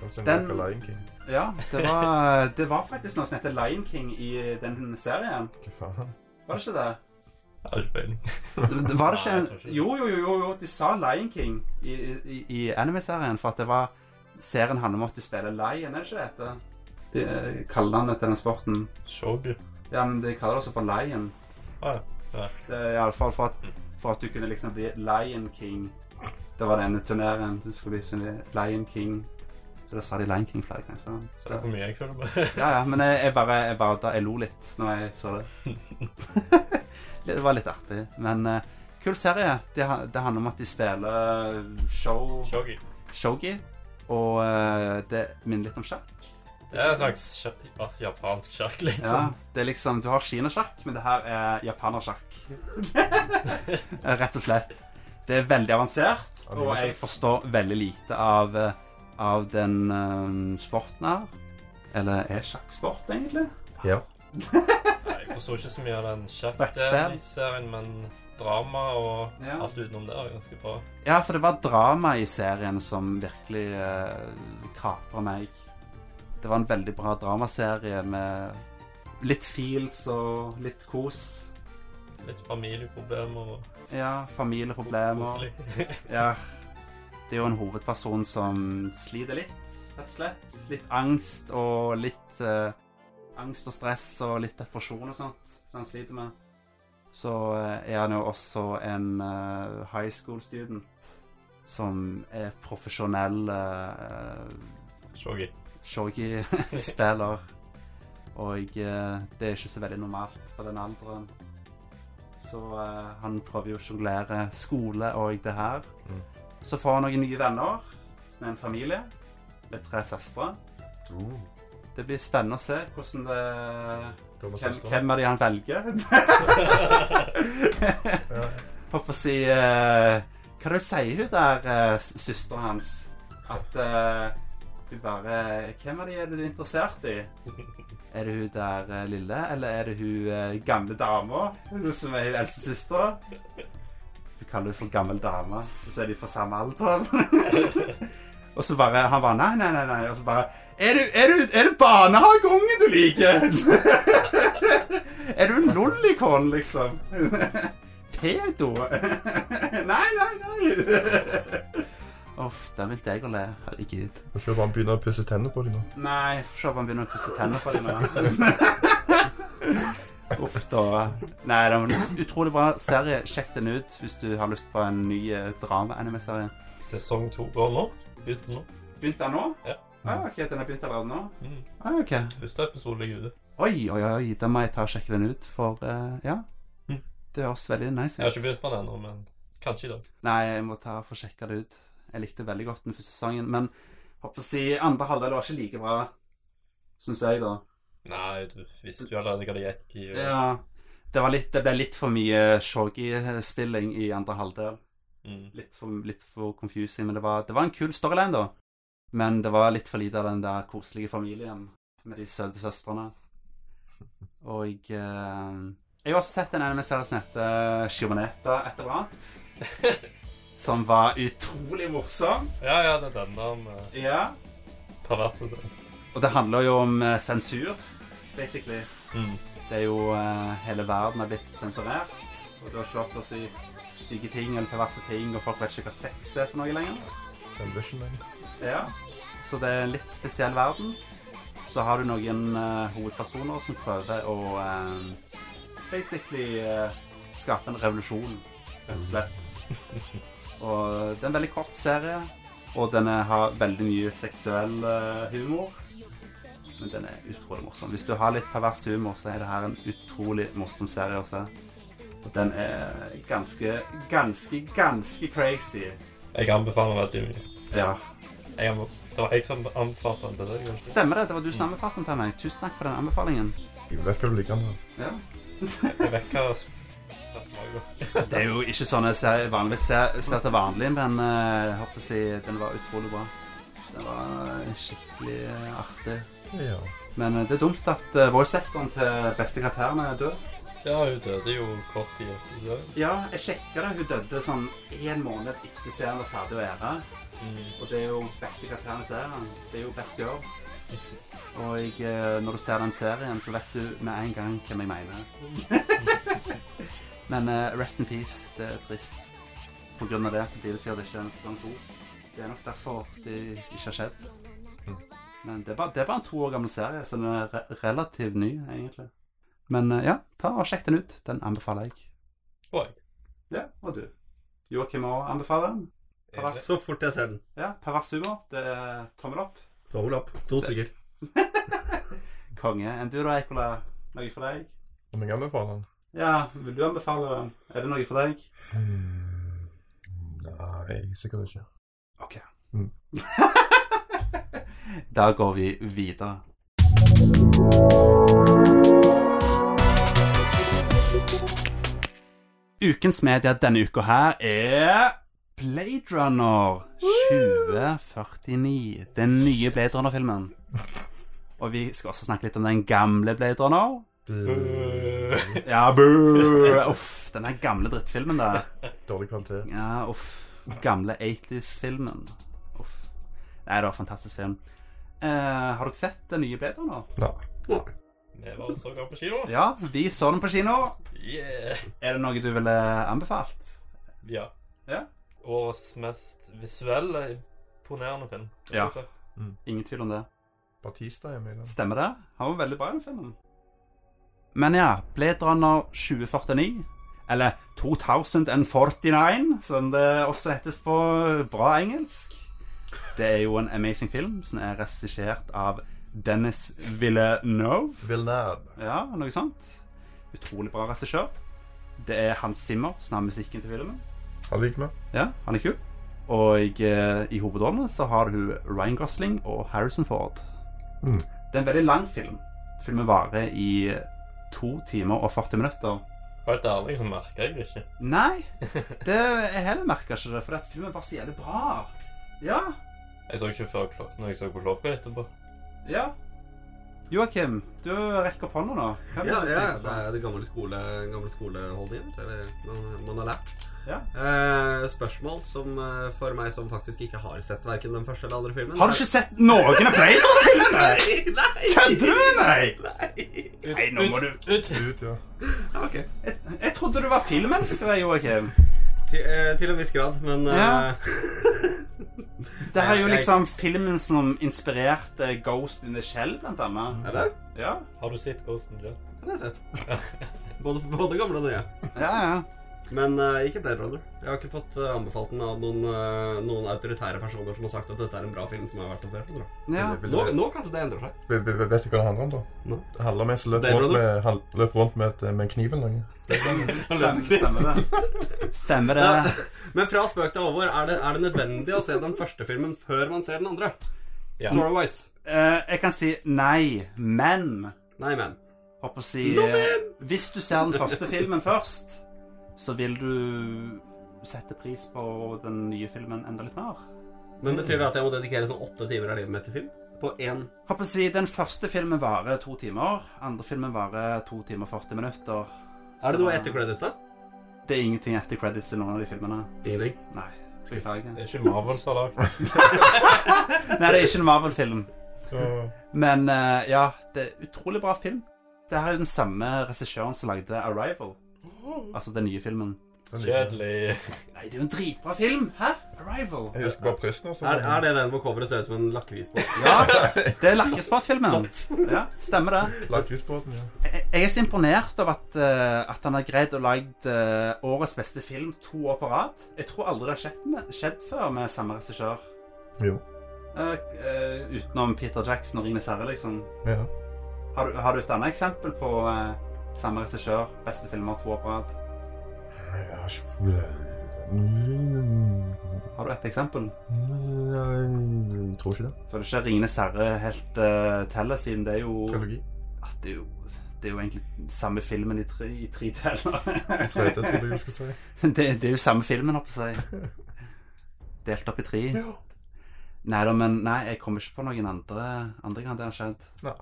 S2: Kom til
S1: Den-
S2: Naka Lion King.
S1: Ja, det var, det var faktisk noe som heter Lion King i den serien.
S2: Hva faen?
S1: Var det ikke det?
S4: Har du peiling?
S1: Det- det Var det
S4: Nei, jeg
S1: ikke
S4: tror ikke
S1: en
S4: det.
S1: Jo, jo, jo, jo, jo, de sa Lion King i, i, i anime-serien, for at det var Serien handler om at de spiller lion, er det ikke det heter? De eh, kaller han det til den sporten.
S4: Shogu.
S1: Ja, men de kaller det også for lion.
S4: Ah, ja. Ja.
S1: Det er Iallfall for, at- for at du kunne liksom bli Lion King. Det var denne turneringen du skulle bli som Lion King. Så da sa de Lion King flere ganger. så-
S4: Så det er hvor mye jeg føler med.
S1: Ja, ja, men jeg, jeg bare, jeg bare da, jeg lo litt når jeg så det. det var litt artig. Men eh, kul serie. Det, ha- det handler om at de spiller eh, show,
S4: Shogi.
S1: shogi, og eh, det minner litt om sjakk.
S4: Det er en slags sjakk- ja, japansk sjakk,
S1: Ja,
S4: liksom.
S1: det er liksom, Du har kinasjakk, men det her er japanersjakk. Rett og slett. Det er veldig avansert, og jeg forstår veldig lite av, eh, av den eh, sporten her. Eller er sjakk sport, egentlig?
S2: Ja.
S4: Nei, Jeg forstår ikke så mye av den
S1: Brettspill.
S4: sjakkdelen i serien, men drama og
S1: Ja.
S4: alt utenom det er ganske bra.
S1: Ja, for det var drama i serien som virkelig eh, kapra meg. Det var en veldig bra dramaserie med litt feels og litt kos.
S4: Litt familieproblemer og
S1: Ja, familieproblemer.
S4: koselig.
S1: Ja. Det er jo en hovedperson som sliter litt, rett og slett. Litt angst og litt eh, Angst og stress og litt depresjon og sånt som han sliter med. Så eh, er han jo også en eh, high school student som er profesjonell eh,
S4: Shogi.
S1: shogi-spiller. Og eh, det er ikke så veldig normalt på den alderen. Så eh, han prøver jo å sjonglere skole og det her.
S2: Mm.
S1: Så får han noen nye venner, sånn en familie med tre søstre.
S2: Uh,
S1: Det blir spennende å se hvordan det hvem,
S2: kommer søsteren.
S1: hvem er det han velger? Håper å si eh, Hva er det hun sier hun der, eh, s- søsteren hans? At eh, hun bare Hvem er det er du er interessert i? Er det hun der eh, lille, eller er det hun eh, gamle dama som er hun eldste søstera? Hun kaller henne for gammel dame, og så er de fra samme alder. Og så bare Han bare Nei, nei, nei. nei. Og så bare Er du, er du, er du barnehageungen du liker? Er du en lollikon, liksom? Pedo? nei, nei, nei. Uff, da begynte jeg å le. Herregud.
S2: Må ikke bare begynne å pusse tennene på dem nå.
S1: Nei, få se om han begynner å pusse tennene på dine. Uff da. Nei, det var en utrolig bra serie. Sjekk den ut hvis du har lyst på en ny eh, drama-anime-serie.
S4: Sesong to går nå. Begynte nå.
S1: Begynte den nå?
S4: Ja.
S1: Ah, ok, Den har begynt allerede nå?
S4: Mm.
S1: Ah, ok.
S4: Første episode ligger ute.
S1: Oi, oi, oi, da må jeg ta og sjekke den ut, for eh, ja.
S4: Mm.
S1: Det høres veldig nice
S4: Jeg har ikke
S1: ut.
S4: begynt på den ennå, men kanskje i dag.
S1: Nei, jeg må ta og få sjekka det ut. Jeg likte veldig godt den første sesongen, men håper å si andre halvdel var ikke like bra, syns jeg, da.
S4: Nei, du visste jo allerede hva det gikk i. og-
S1: Ja. Det, var litt, det ble litt for mye shogi-spilling i andre halvdel.
S4: Mm.
S1: Litt for, litt for confusing, men det var, det var en kul storyline, da. Men det var litt for lite av den der koselige familien med de søte søstrene. Og eh, Jeg har også sett en anime-serie som heter Shimoneta et eller annet. Som var utrolig morsom.
S4: Ja, ja, det er den der med
S1: Ja.
S4: perverse
S1: Og det handler jo om eh, sensur, basically.
S4: mm.
S1: Det er jo eh, Hele verden er blitt sensurert. Og du har ikke lov til å si stygge ting eller perverse ting, og folk vet ikke hva sex er for noe lenger.
S2: Television, men.
S1: Ja. Så det er en litt spesiell verden. Så har du noen eh, hovedpersoner som prøver å eh, basically eh, skape en revolusjon, rett og slett. Og det er en veldig kort serie, og den er- har veldig mye seksuell eh, humor. Men den er utrolig morsom. Hvis du har litt pervers humor, så er det her en utrolig morsom serie å se. Og den er ganske, ganske, ganske crazy.
S4: Jeg anbefaler veldig mye.
S1: Ja.
S4: Jeg anbe- det var jeg som anbefalte den til deg. altså.
S1: Stemmer det. Det var du som anbefalte den til meg. Tusen takk for den anbefalingen.
S2: Jeg vet hva du liker med.
S1: Ja.
S4: Jeg vet hva sm- hva smaker.
S1: Det er jo ikke sånn jeg ser, vanligvis ser, ser til vanlig, men eh, jeg håper å si den var utrolig bra. Den var skikkelig eh, artig.
S2: Ja.
S1: Men eh, det er dumt at uh, voice-sektoren til beste karakteren er død.
S4: Ja, hun døde jo kort tid etter serien.
S1: Ja, jeg sjekka det. Hun døde sånn én måned etter serien var ferdig å ære.
S4: Mm.
S1: Og det er jo beste karakteren i serien. Det er jo best girl. Og eh, når du ser den serien, så vet du med en gang hvem jeg mener. Men eh, rest in peace, det er trist. På grunn av det så blir det sikkert ikke en sesong to. Det er nok derfor det ikke har skjedd. Men det er bare, det er bare en to år gammel serie, så den er re relativt ny, egentlig. Men eh, ja, ta og sjekk den ut. Den anbefaler jeg.
S4: Og jeg.
S1: Ja, og du? Joakim òg anbefaler den. Pervers-
S3: Så fort jeg ser den.
S1: Ja, pervers humor. Det er tommel opp.
S3: Tommel opp. To stykker.
S1: Konge. Enn du da, Ekola? Noe for deg?
S2: Om jeg anbefaler den?
S1: Ja, vil du anbefale den? Er det noe for deg?
S2: Hmm. Nei, sikkert ikke.
S1: Ok.
S2: Mm.
S1: da går vi videre. Ukens media denne uka her er Blade Runner 2049. Den nye Blade Runner-filmen. Og vi skal også snakke litt om den gamle Blade Runner.
S2: Buh.
S1: Ja, buh! Uff, den der gamle drittfilmen der.
S2: Dårlig kvalitet.
S1: Ja, uff. Gamle 80s-filmen. Uff. Nei, det var en fantastisk film. Eh, har dere sett den nye Blade Runner?
S2: Nei.
S4: Vi var også gang på kino.
S1: Ja, vi så den på kino.
S4: Yeah!
S1: Er det noe du ville anbefalt?
S4: Ja.
S1: Ja.
S4: Årets mest visuelle imponerende film. har
S1: Ja.
S4: jeg sagt.
S1: Ingen tvil om det.
S2: Batista er med i den.
S1: Stemmer det? Han var veldig bra i den filmen. Men ja, Blade Runner 2049, eller 2049, som det også hettes på bra engelsk. Det er jo en amazing film som er regissert av Dennis Villeneuve.
S2: Villeneuve.
S1: Ja, noe sånt. Utrolig bra regissør. Det er Hans Zimmer som har musikken til filmen.
S2: Han liker meg.
S1: Ja, han er kul. Og eh, i hovedrollene så har hun Ryan Gosling og Harrison Ford.
S2: Mm.
S1: Det er en veldig lang film. Filmen varer i eh, to timer og 40 minutter.
S4: For Helt ærlig så liksom, merker jeg det ikke.
S1: Nei, det, jeg heller merka ikke det, for at filmen var så jævlig bra. Ja.
S4: Jeg så ikke før klokken, og jeg så på klokka etterpå.
S1: ja. Joakim, du rekker opp hånda nå. Hva vil
S3: Ja,
S1: du
S3: ja,
S1: tenke
S3: det
S1: på?
S3: er det gamle, skole, gamle skoleholdningen. vet du, eller Man, man har lært.
S1: Ja.
S3: Eh, spørsmål som eh, for meg som faktisk ikke har sett verken den første eller andre filmen
S1: Har du ikke sett noen av Blade Runner-filmene?
S3: Nei, nei!
S1: Kødder du med meg?
S3: Nei!
S1: Nei, nå må du
S4: Ut!
S2: Ut, ja.
S3: Ja, ok.
S1: Jeg trodde du var filmelsker, jeg, Joakim.
S3: Til, eh, til en viss grad, men eh,
S1: Ja. Det her er jo
S3: Jeg-
S1: liksom filmen som inspirerte Ghost in the Shell, blant annet.
S3: Er det?
S1: Ja,
S4: Har du sett Ghost in the Shell?
S3: Den har jeg sett. Både, både gamle og nye.
S1: ja. ja.
S3: Men eh, ikke Blade Runner. Jeg har ikke fått eh, anbefalt den av noen, eh, noen autoritære personer som har sagt at dette er en bra film som er verdt å se på. Da.
S1: ja.
S2: Vil-
S3: Nå,
S2: vil-
S3: nå kanskje det endrer seg.
S2: vil- vil- Vet du hva det handler om, da?
S3: Nå.
S2: Det handler om en som løp
S3: Det er
S2: rundt
S3: bra,
S2: med, han løp rundt med, et, med en kniv eller noe.
S1: Stemmer, stemmer det. Stemmer det.
S3: Men fra spøk til alvor, er det, er det nødvendig å se den første filmen før man ser den andre?
S4: Ja.
S3: Storywise.
S1: Eh, jeg kan si nei, men
S3: Nei, men.
S1: Håper å si eh, Hvis du ser den første filmen først, så vil du sette pris på den nye filmen enda litt mer.
S3: Men betyr det at jeg må dedikere sånn åtte timer av livet mitt til film? På én
S1: Håper å si Den første filmen varer to timer. Andre filmen varer to timer og 40 minutter.
S3: Er det
S1: Så
S3: noe etter credits, da?
S1: Det er ingenting etter credits i noen av de filmene.
S3: Ingenting.
S1: Nei. Beklager.
S4: Det er ikke Marvel som har lagd den.
S1: Nei, det er ikke en Marvel-film.
S2: Så
S1: Men eh, ja, det er utrolig bra film. Det her er den samme regissøren som lagde 'Arrival'. Altså den nye filmen.
S2: den liker jeg.
S4: Kjedelig.
S1: Nei, det er jo en dritbra film! Hæ? 'Arrival'.
S2: Jeg husker bare prisen, altså.
S3: Er, er det den hvor coveret ser ut som en lakrisbåt?
S1: Ja, det er lakrisbåtfilmen. Ja, stemmer det.
S2: Lagt husbåten, ja.
S1: Jeg jeg er så imponert over at, eh, at han har greid å lage eh, årets beste film to år på rad. Jeg tror aldri det har skjedd, med, skjedd før med samme regissør.
S2: Jo.
S1: Eh, eh, utenom Peter Jackson og Ringnes Herre, liksom.
S2: Ja.
S1: Har du, har du et annet eksempel på eh, samme regissør, beste filmer to år på rad?
S2: Jeg har ikke-
S1: Har du et eksempel?
S2: Nei, Jeg tror ikke det.
S1: Føler ikke Ringenes herre helt eh, teller, siden det er jo
S2: Trilogi.
S1: at det, er jo det er jo egentlig samme filmen i tre, i tre deler.
S2: Tredje, trodde jeg du skulle si.
S1: det, det er jo samme filmen, holdt jeg på å si. Delt opp i tre.
S2: Ja.
S1: Nei da, men nei, jeg kommer ikke på noen andre, andre gang det har skjedd.
S2: Nei.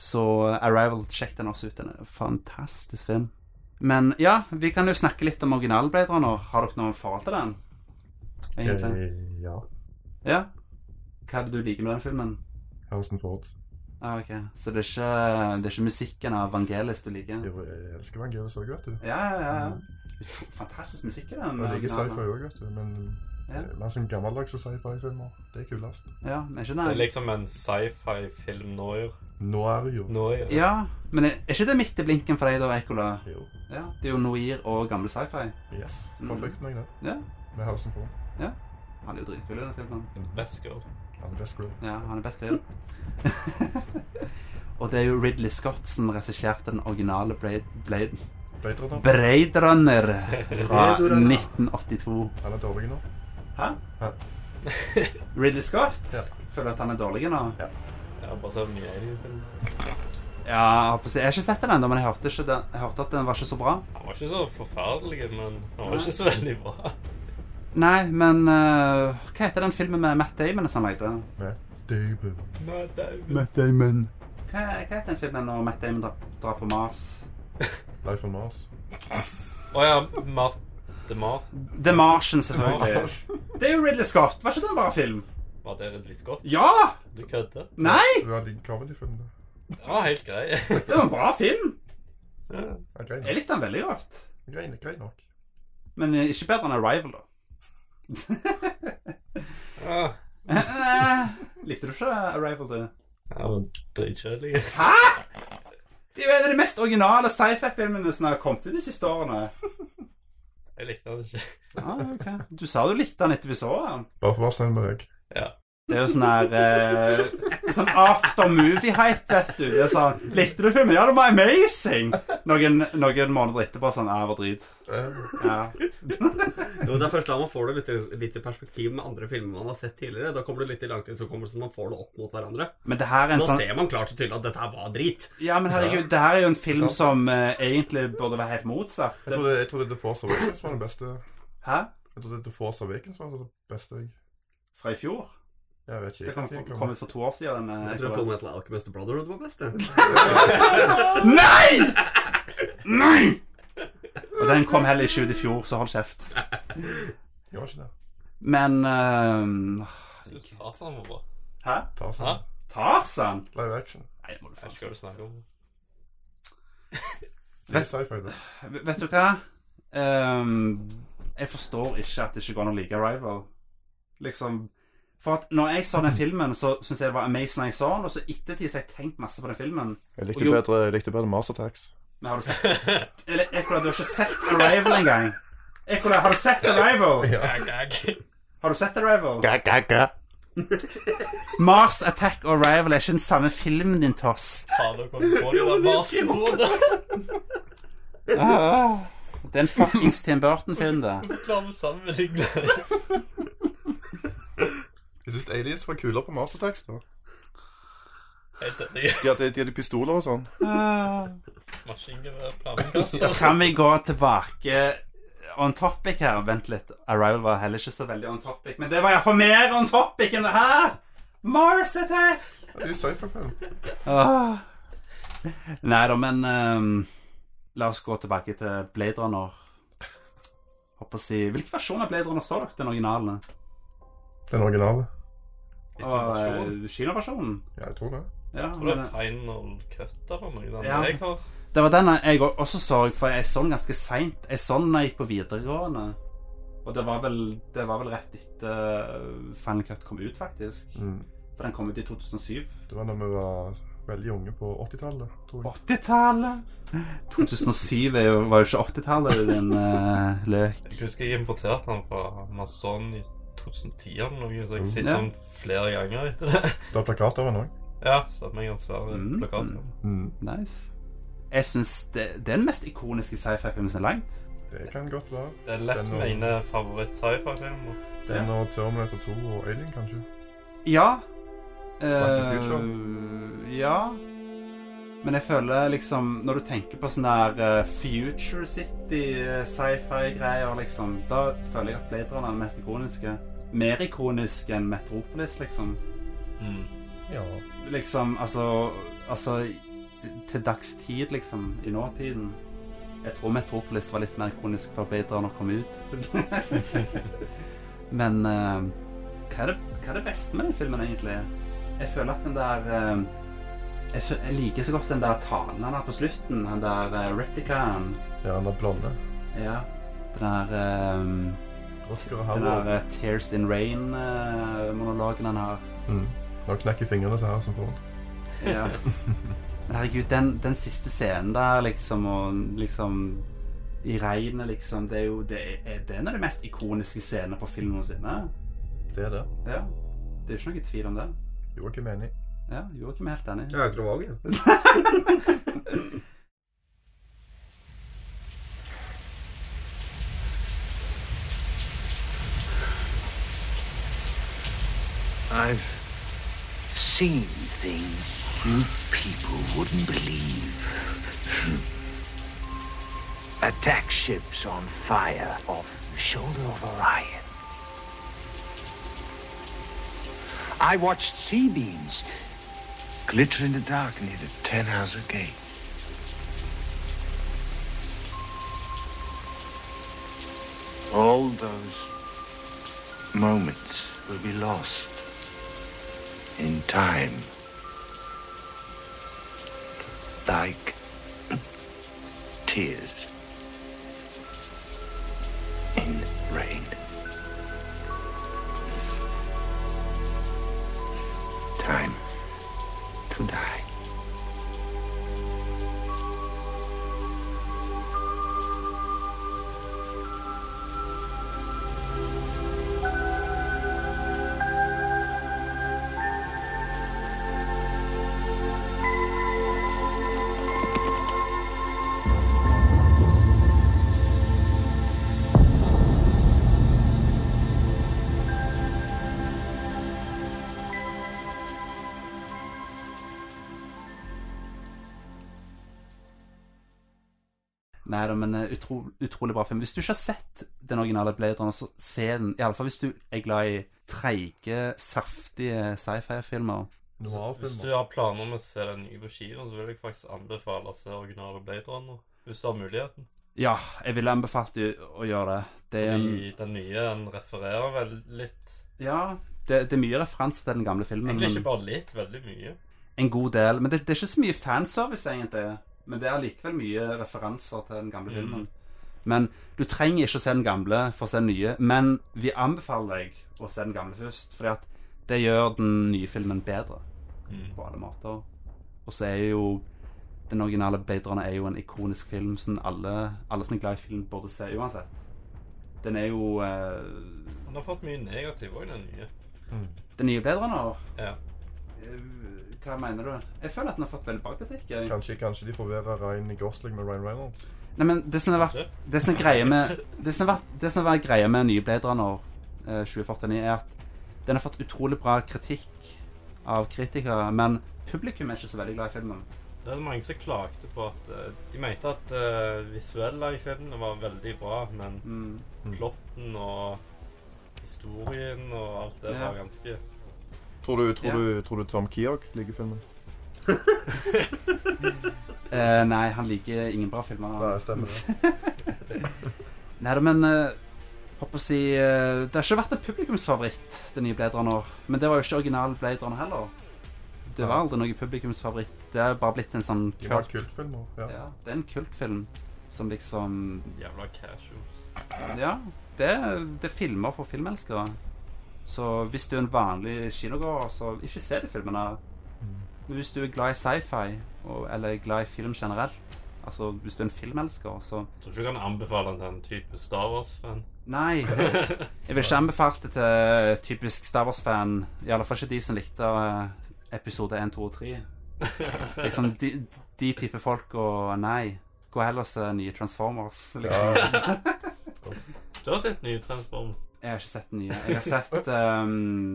S1: Så eh, Arrival, sjekk den også ut. Den er en fantastisk film. Men ja, vi kan jo snakke litt om original Blade Runner. Har dere noe forhold til den? Egentlig.
S2: Eh, Ja.
S1: Ja. Hva er det du liker med den filmen?
S2: Harrison Ford.
S1: Ah, ok. Så det er, ikke, det er ikke musikken av Vangelis du liker?
S2: Jo, Jeg elsker Vangelis òg, vet du.
S1: Ja, ja, ja. ja. Utro- Fantastisk musikk i den.
S2: Jeg liker
S1: originalen.
S2: sci-fi òg, vet du. Men
S1: Ja.
S2: eh, mer sånn gammeldags sci-fi-filmer. Det er kulest.
S1: Ja, men er ikke
S4: Det
S1: den
S4: er liksom en sci-fi-film noir.
S2: Nå er det jo
S4: Noir.
S1: Ja, men er er ikke det midt i blinken for deg da, Ekola?
S2: Jo.
S1: Ja, det er jo Noir og gammel sci-fi.
S2: Yes.
S1: Mm.
S2: Perfekt meg, det.
S1: Ja.
S2: Med Harrison Ford.
S1: Han er jo dritkul i den filmen.
S4: Best girl.
S2: Han er best girl.
S1: Ja, han er best grill. og det er jo Ridley Scott som regisserte den originale Blade, Blade,
S2: Blade Runner.
S1: Blade Runner fra
S3: Blade Runner.
S1: 1982.
S2: Han er dårlig nå.
S1: Hæ?
S2: Hæ?
S1: Ridley Scott?
S2: Ja.
S1: Føler at han er dårlig nå?
S4: Jeg har bare sett den nye Alien-filmen.
S1: Ja, jeg har på å si- jeg har ikke sett den ennå, men jeg hørte, ikke den, jeg hørte at den var ikke så bra.
S4: Han var ikke så forferdelig, men han var ikke så veldig bra.
S1: Nei, men eh, hva heter den filmen med Matt Damon som han lagde?
S2: David.
S4: Nei, det er jo-
S1: Matt Damon. Hva, hva heter den filmen når Matt Damon drar, drar på Mars?
S2: Life on Mars.
S4: Å ja, Marte Mart
S1: The Martian, selvfølgelig. Det er jo Ridley Scott. Var ikke det en bra film?
S4: Var det Ridley Scott?
S1: Ja!
S4: Du kødder?
S1: Nei!
S2: Du har din comedyfilm, da.
S4: Det var helt grei.
S1: Det var en bra film.
S2: Ja, grei nok.
S1: Jeg likte den veldig godt.
S2: Grei, grei nok.
S1: Men eh, ikke bedre enn Arrival, da.
S4: Ja,
S1: Eh, Likte du ikke Arrival, du?
S4: ja men dritkjedelig.
S1: Det er jo en av de mest originale sci-fi-filmene som har kommet ut de siste årene.
S4: Jeg likte han ikke.
S1: Ja, ok. Du sa du likte den etter vi så den.
S2: Bare for å være snill med deg.
S1: Det er jo sånn her eh, det er Sånn after movie-hype, vet du. Det er sånn, Likte du filmen? Ja, det var amazing! Noen, noen måneder etterpå sånn Ja, det var drit.
S2: Eh,
S1: Ja.
S3: Jo, det er først da man får det litt, litt i perspektiv med andre filmer man har sett tidligere. Da kommer det litt i langtidshukommelsen, man får det opp mot hverandre.
S1: Men det her er en
S3: Nå
S1: sånn
S3: ser man klart og tydelig at dette her var drit.
S1: Ja, men herregud, det her er jo en film som eh, egentlig burde være helt motsatt.
S2: jeg, trodde, jeg trodde The Force Awakens var den beste.
S1: Hæ?
S2: Jeg trodde The Force Awakens var den beste. Jeg,
S1: Fra i fjor?
S2: jeg vet
S1: Det
S2: ikke.
S1: kom,
S2: jeg kan ikke
S1: kom ut for to år siden. den, eh,
S3: Jeg tror Full Metal Alchemist Brotherhood var best. jeg.
S1: Nei! Nei! Og den kom heller ikke ut i fjor, så hold kjeft.
S2: Gjør ikke det.
S1: Men eh,
S4: Syns Tarzan var bra.
S1: Hæ?
S4: Hæ?
S2: Tarzan.
S1: Tarzan?
S2: altså. Live action.
S1: Nei, det må du
S4: Jeg vet
S1: faen
S4: ikke hva du snakker om.
S2: Det er sci-fi, det.
S1: V- Vet du hva? Ehm, jeg forstår ikke at det ikke går an å like Arrival. Liksom For at når jeg så den filmen, så syntes jeg det var amazing jeg så den, og så ettertid så har jeg tenkt masse på den filmen.
S2: Jeg
S1: Og
S2: likte
S1: jo-
S2: bedre, jeg likte bedre Mars Attacks.
S1: Men har du sett Eller Ekola, du har ikke sett Arrival engang. Ekola, har du sett Arrival?
S4: Gag, gag.
S1: Har du sett Arrival?
S2: Ga-ga-ga.
S1: Mars Attack og Arrival er ikke den samme filmen din, Toss.
S4: Faen, nå kom jeg på det. Det var snodig.
S1: Det er en fuckings Tim Burton-film, det.
S4: Så klarer vi å sammenligne.
S2: Jeg syns aliens var kulere på Mars Attacks. da.
S4: Helt enig.
S2: De hadde, de hadde pistoler og sånn.
S4: Maskingevær, flammekaster.
S1: Kan vi gå tilbake on topic her? Vent litt. Arrival var heller ikke så veldig on topic. Men det var iallfall mer on topic enn det her! Mars Attack!
S2: Ja, Det er sci-fi-film.
S1: Ah. Nei da, men ehm, la oss gå tilbake til Blade Runner. Håper å si Hvilken versjon av Blade Runner står dere? Den originale?
S2: Den originale.
S1: Og, eh, Kinoversjonen?
S2: Ja, jeg tror det.
S1: Ja,
S4: Tror du det
S1: men,
S4: er final cut eller noe annet?
S1: Ja.
S4: Jeg har
S1: det var den jeg også så, for jeg så den ganske seint. Jeg så den da jeg gikk på videregående. Og det var vel, det var vel rett etter eh, Final Cut kom ut, faktisk.
S2: Mm.
S1: For den kom ut i 2007.
S2: Det var da vi var veldig unge på 80-tallet, tror jeg.
S1: 80-tallet! 2007 er jo, var jo ikke 80-tallet, din eh, løk.
S4: Jeg husker jeg importerte han fra Amazon i 2010 eller noe, så jeg har sett
S1: Mm. Ja.
S4: han flere ganger etter det.
S2: Det var plakat av den òg.
S4: Ja, stemmer. Jeg har en svær
S1: Mm.
S4: plakat. om.
S1: Nice. Jeg syns det, det er den mest ikoniske sci-fi-filmen som er langt.
S2: Det kan godt være.
S4: Det er lett
S2: Den og-
S4: mine favoritt-sci-fi-filmer.
S2: Den og Terminator 2 og Alien, kanskje.
S1: Ja.
S2: Back to the
S1: Eh, ja. Men jeg føler liksom Når du tenker på sånne der eh, Future City, eh, sci-fi-greier, liksom, da føler jeg at Blade Runner er den mest ikoniske. Mer ikonisk enn Metropolis, liksom.
S4: Mm.
S2: Ja.
S1: Liksom, altså Altså Til dags tid, liksom. I nåtiden. Jeg tror Metropolis var litt mer ikonisk før Blade Runner kom ut. Men eh, hva, er det, hva er det beste med den filmen, egentlig? Jeg føler at den der eh, jeg, fø- jeg liker så godt den der talen han har på slutten. Den der uh, replicaen.
S2: Ja, han der blonde.
S1: Ja. Den der eh,
S2: Rosker og
S1: Den
S2: Howard.
S1: der eh, Tears in Rain-monologen han har.
S2: Mm. Nå knekker fingrene til Harrison Ford.
S1: Ja. Men herregud, den, den siste scenen der, liksom, og liksom I regnet, liksom. Det er jo det er, det er en av de mest ikoniske scenene på film noensinne.
S2: Det er det.
S1: Ja. Det er jo ikke noe tvil om det.
S2: Joakim er enig.
S1: Ja, Joakim er helt enig.
S3: Jeg tror òg, jeg.
S5: I've seen things you people wouldn't believe. Attack ships on fire off the shoulder of Orion. I watched sea beams glitter in the dark near the Ten Hauser Gate. All those moments will be lost in time. Like tears in rain. Time to die.
S1: Nei da, men eh, utro, utrolig bra film. Hvis du ikke har sett den originale Blade Runner, så se den. Iallfall hvis du er glad i treige, saftige sci-fi-filmer.
S4: Hvis du
S2: Noir-filmer.
S4: har planer om å se den nye på kino, så vil jeg faktisk anbefale å se originale Blade Runner. Hvis du har muligheten.
S1: Ja, jeg ville anbefalt de å gjøre det. Det er, en-
S4: I den nye den refererer vel litt
S1: ja, det, det er mye referanse til den gamle filmen.
S4: Egentlig
S1: Men
S4: ikke bare litt, veldig mye.
S1: en god del. Men det, det er ikke så mye fanservice, egentlig. Men det er likevel mye referanser til den gamle filmen. Men du trenger ikke å se den gamle for å se den nye. Men vi anbefaler deg å se den gamle først, fordi at det gjør den nye filmen bedre på alle måter. Og så er jo den originale Beidrene er jo en ikonisk film som alle, alle som er glad i film, burde se uansett. Den er jo eh,
S4: Han har fått mye negativ òg, den nye.
S1: Den nye Beidrene.
S4: Ja.
S1: Hva mener du? Jeg føler at den har fått veldig bra kritikk. jeg.
S2: Kanskje, kanskje de forvirrer Ryan Gosling med Ryan Reynolds?
S1: Nei, men det som har vært Det som er greia med Det som har vært, det som har vært greia med nye Blade Runner eh, 2049, er at den har fått utrolig bra kritikk av kritikere, men publikum er ikke så veldig glad i filmen.
S4: Det er mange som klagde på at eh, De mente at uh, visuelle i filmene var veldig bra, men
S1: Mm.
S4: plotten og historien og alt det
S1: Ja.
S4: var ganske
S2: Tror du, tror,
S1: Ja.
S2: du, tror du Tom Keogh liker filmen?
S1: Eh, nei, han liker ingen bra filmer.
S2: Nei, stemmer det.
S1: Nei da, men eh, Håper å si eh, Det har ikke vært en publikumsfavoritt, den nye Blade Runner. Men det var jo ikke original Blade Runner heller. Det var aldri noe publikumsfavoritt. Det er bare blitt en sånn
S2: De var
S1: kult,
S2: kultfilmer. Ja.
S1: ja, det er en kultfilm som liksom
S4: jævla casuals.
S1: Ja, det, det er filmer for filmelskere. Så hvis du er en vanlig kinogåer, så ikke se de filmene. Men hvis du er glad i sci-fi, og- eller glad i film generelt Altså, hvis du er en filmelsker, så
S4: Jeg tror ikke du kan anbefale den til en type Star Wars-fan.
S1: Nei! Jeg vil ikke anbefale det til typisk Star Wars-fan. I alle fall ikke de som likte eh, episode 1, 2 og 3. Liksom, de, de type folk og Nei. Gå heller og se nye Transformers. Liksom.
S4: Du har sett nye Transformers.
S1: Jeg har ikke sett den nye. Jeg har sett ehm,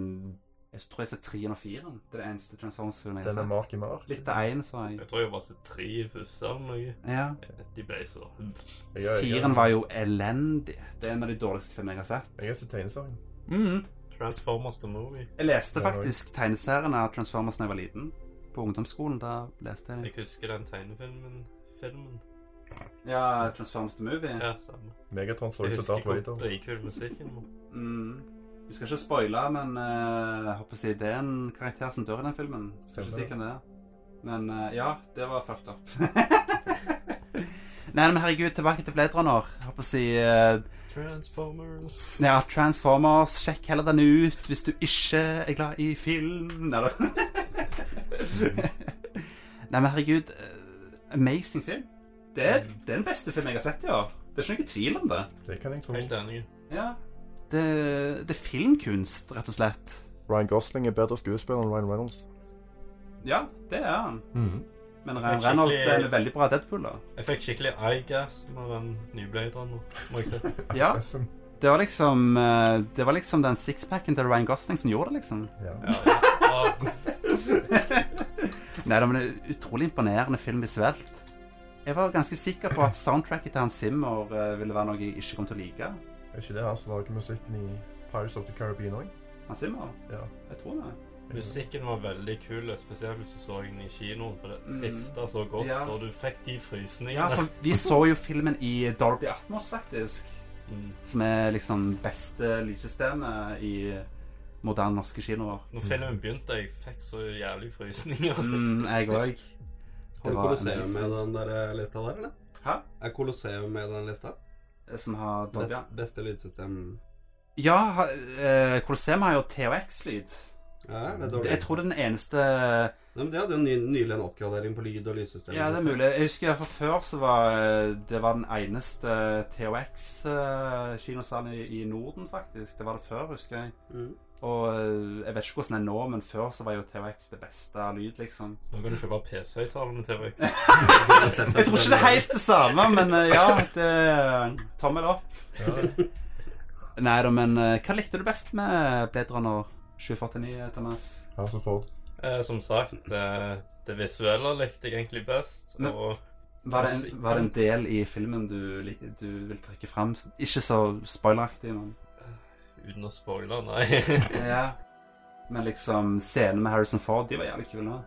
S1: Jeg tror jeg har sett 3 og 4. Det er det eneste Transformers-filmen jeg
S2: Den er
S1: har sett.
S2: Marky Mark.
S1: Litt av én, så jeg.
S4: Jeg tror jeg bare har sett tre i første eller noe.
S1: Ja.
S4: De ble så
S2: Jeg er- jeg er-
S1: Firen var jo elendig. Det er en av de dårligste filmene jeg har sett.
S2: Jeg har sett tegneserien.
S1: Mhm.
S4: Transformers the movie.
S1: Jeg leste
S2: Ja,
S1: faktisk tegneseriene av Transformers da jeg var liten. På ungdomsskolen. Da leste jeg
S4: Jeg husker den tegnefilmen. Filmen.
S1: Ja, Transformers the Movie.
S4: Ja, samme.
S2: Megatron så
S4: Jeg
S2: ut som
S4: husker
S2: Darth
S4: hvor
S2: Vader.
S4: dritkul musikken var.
S1: Mm. Vi skal ikke spoile, men eh, jeg håper å si det er en karakter som dør i den filmen. Skal ikke si hvem det er. Men eh, ja, det var fucked up. Nei, men herregud, tilbake til Blade Runner. Jeg håper å si eh,
S4: Transformers.
S1: Ja, Transformers, sjekk heller den ut hvis du ikke er glad i film. Nei da. Nei, men herregud. eh, amazing film. Det er, det er den beste filmen jeg har sett i år. Det er ikke noe tvil om det.
S2: Det kan jeg tro.
S4: Helt enig.
S1: Ja. Det, det er filmkunst, rett og slett.
S2: Ryan Gosling er bedre skuespiller enn Ryan Reynolds.
S1: Ja, det er han.
S2: Mm.
S1: Men
S4: Jeg
S1: Ryan
S4: fikk
S1: Reynolds er
S4: skikkelig-
S1: en veldig bra Deadpool, da.
S4: Jeg fikk skikkelig eyegas med den nye Blade Runner, må jeg si.
S1: Ja,
S2: Det er som-
S1: det var liksom eh, Det var liksom den sixpacken til Ryan Gosling som gjorde det, liksom.
S2: Ja.
S4: Og
S1: Nei, da, men det er utrolig imponerende film visuelt. Jeg var ganske sikker på at soundtracket til Hans Zimmer eh, ville være noe jeg ikke kom til å like.
S2: Er ikke det han som lager musikken i Pirates of the Caribbean òg?
S1: Hans Zimmer?
S2: Ja.
S1: Jeg tror det.
S4: musikken var veldig kul, spesielt hvis du så den i kinoen, for det rista så godt,
S1: Mm. Ja.
S4: og du fikk de
S1: Ja,
S4: frysningene.
S1: for vi så jo filmen i Dolby Atmos, faktisk.
S4: Mm.
S1: Som er liksom beste lydsystemet i moderne norske kinoer.
S4: Når filmen begynte, jeg fikk så jævlig frysninger.
S1: Mm, jeg òg.
S3: Har du
S1: var
S3: Colosseum
S1: amazing.
S3: med den der eh, lista der, eller?
S1: Hæ?
S3: Er Colosseum med den lista?
S1: Som har
S3: Best,
S1: Dolby
S3: Beste lydsystem
S1: Ja, ha- eh, Colosseum har jo THX-lyd.
S3: Ja, det er dårlig.
S1: Jeg tror det er den eneste
S3: Nei, men det hadde jo ny, nylig en oppgradering på lyd og lydsystem.
S1: Ja, det er mulig. Jeg husker i hvert fall før så var eh, det var den eneste THX-kinosalen eh, i, i Norden, faktisk. Det var det før, husker jeg.
S3: Mm.
S1: Og eh, jeg vet ikke hvordan det er nå, men før så var jo THX det beste av lyd, liksom.
S4: Nå kan du kjøpe PC-høyttaler med TVX.
S1: Jeg tror ikke det er helt det samme, men eh, ja, det Tommel opp. Nei da, men eh, hva likte du best med Blade Runner 2049, Thomas?
S2: Han som får
S4: Eh, som sagt, eh, det visuelle likte jeg egentlig best,
S1: Men-
S4: og
S1: Var det, en, var det en del i filmen du, lik- du vil trekke fram? Ikke så spoileraktig, men
S4: uten å spoile, nei.
S1: Ja. Men liksom, scenene med Harrison Ford, de var jævlig kule.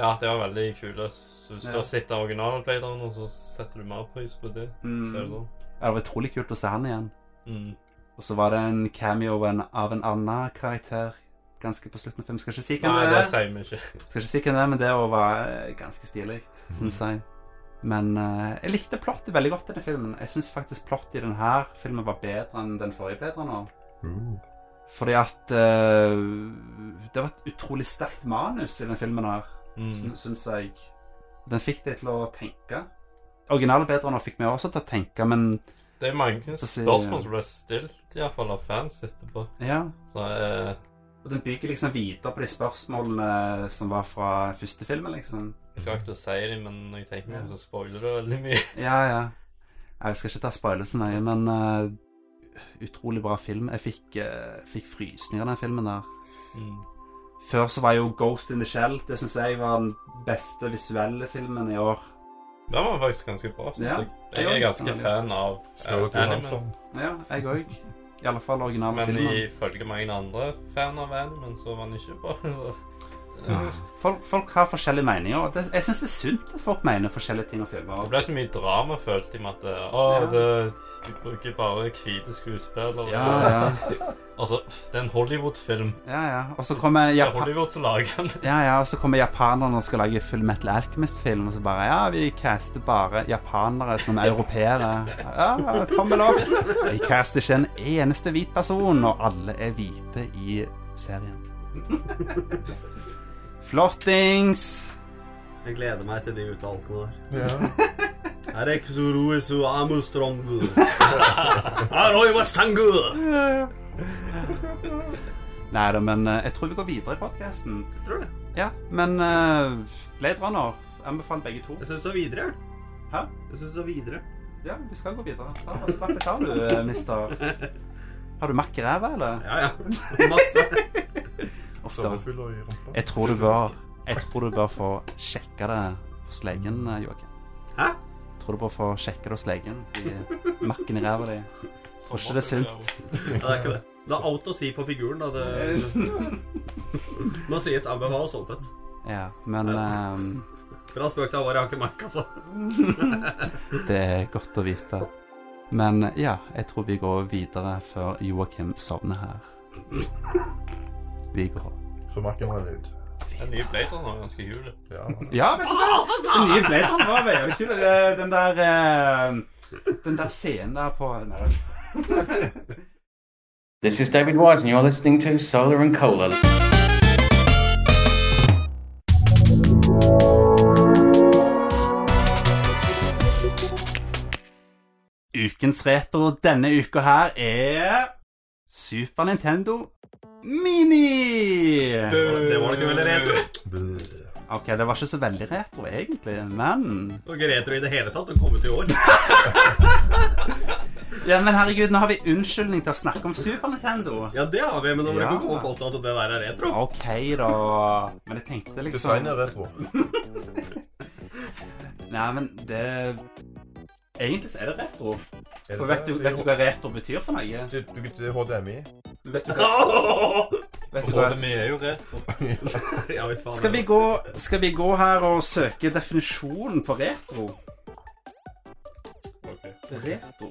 S4: Ja, det var veldig kule. Så Hvis
S1: Ja.
S4: du har sett den originale Playdown, og så setter du mer pris på det.
S1: Mm.
S4: Ser du da?
S1: Ja, Det var utrolig kult å se han igjen.
S4: Mm.
S1: Og så var det en cameo av en, av en annen karakter ganske på slutten av filmen. Skal ikke si hvem
S4: Nei,
S1: det
S4: det
S1: er.
S4: sier vi ikke.
S1: Skal ikke si hvem det er, men det også var eh, ganske stilig, syns jeg. Men eh, jeg likte plottet veldig godt i den filmen. Jeg syns faktisk plottet i denne filmen var bedre enn den forrige ble nå.
S2: Uh,
S1: Fordi at eh, Det var et utrolig sterkt manus i den filmen her,
S4: Mm.
S1: mm. syns jeg. Den fikk deg til å tenke. Originalen bedre nå fikk meg også til å tenke, men
S4: Det er mange
S1: Så sier-
S4: spørsmål som ble stilt, i hvert fall av fans etterpå.
S1: ja.
S4: Så eh,
S1: Og den bygger liksom videre på de spørsmålene som var fra første filmen, liksom.
S4: jeg skal ikke si det, men når jeg tenker meg om, så spoiler det veldig mye.
S1: Ja, ja. Jeg skal ikke ta spoiler så nøye, men eh, utrolig bra film. Jeg fikk, eh, fikk frysninger av den filmen der.
S4: Mm.
S1: Før så var jo Ghost in the Shell. Det syns jeg var den beste visuelle filmen i år.
S4: Den var faktisk ganske bra. synes
S1: Ja,
S4: jeg.
S1: det
S4: jeg
S1: var
S4: er ganske
S1: litt
S4: fan av
S2: Scarlett
S4: eh, anime,
S2: Johansson.
S1: Ja, jeg òg. I alle fall originale
S4: men
S1: filmen.
S4: ifølge mange andre fan av anime, så var den ikke bra. så.
S1: Ja. Folk, folk har forskjellige meninger. og Det, jeg syns det er sunt at folk mener forskjellige ting og
S4: Det
S1: filmer.
S4: ble så mye drama, følte jeg, med at eh, Å,
S1: Ja.
S4: det, de bruker bare hvite skuespillere.
S1: Ja, ja.
S4: Altså, det er en Hollywood-film.
S1: ja, ja. Og så kommer
S4: Det er
S1: Japan...
S4: Hollywood som lager den.
S1: Ja, ja, og så kommer japanerne og skal lage Full Metal Alchemist-film, og så bare Ja, vi caster bare japanere som europeere. Ja, tommel opp! Vi caster ikke en eneste hvit person, og alle er hvite i serien. Flottings!
S3: Jeg gleder meg til de uttalelsene der.
S2: Ja.
S3: Areksuruesu amustrongu. Aroi wastangu.
S1: Nei da, men eh, jeg tror vi går videre i podkasten.
S3: Tror du?
S1: Ja, men uh, Blade Runner anbefaler begge to.
S3: Jeg syns så videre.
S1: Hæ?
S3: Jeg synes så videre.
S1: Ja, vi skal gå videre. Ta- Snakk litt av du, eh, mister. Har du makk i ræva, eller?
S3: Ja, ja. Masse.
S1: Ofte.
S2: Sommerfugler i rumpa.
S1: Jeg tror du bør Jeg tror du bør få sjekke det hos legen, eh, Joakim.
S3: Hæ?
S1: Tror du bør få sjekke det hos legen. De makken i ræva di. Tror ikke det er sunt.
S3: Ja, det er ikke det. Det er out å si på figuren, da. Det må sies anbefale sånn sett.
S1: Ja, men ehm,
S3: Fra spøk til alvor, jeg har ikke merka altså.
S1: det er godt å vite. Men ja, jeg tror vi går videre før Joakim sovner her. Vi går.
S2: Så merker man det ut.
S4: Den nye Blade Runner er ganske kul.
S2: Ja.
S1: Ja, vet du hva? Den nye Blade Runner var veldig kul. Det- Den der eh, Den der scenen der på Nei, vet du.
S6: This is David Wise, and you're listening to Solar and Cola.
S1: Ukens retro denne uka her er Super Nintendo Mini!
S3: Det var det ikke veldig retro.
S2: Bleh.
S1: Ok, det var ikke så veldig retro egentlig, men
S3: Det var ikke retro i det hele tatt. Den kom ut i år.
S1: Ja, men herregud, nå har vi unnskyldning til å snakke om Super Nintendo.
S3: Ja, det har vi, men nå må du
S1: Ja.
S3: ikke komme og påstå at det der er retro.
S1: Ok, da. Men jeg tenkte liksom
S2: Designet er retro.
S1: Nei, men det Egentlig så er det retro.
S2: Er
S1: For vet du, vet du hva retro betyr for noe?
S2: Det, det, det er HDMI.
S1: Vet du hva, vet du hva?
S4: vi er jo retro.
S3: Ja, hvis faen.
S1: Skal vi, gå, skal vi gå her og søke definisjonen på retro?
S4: Okay.
S1: Retro?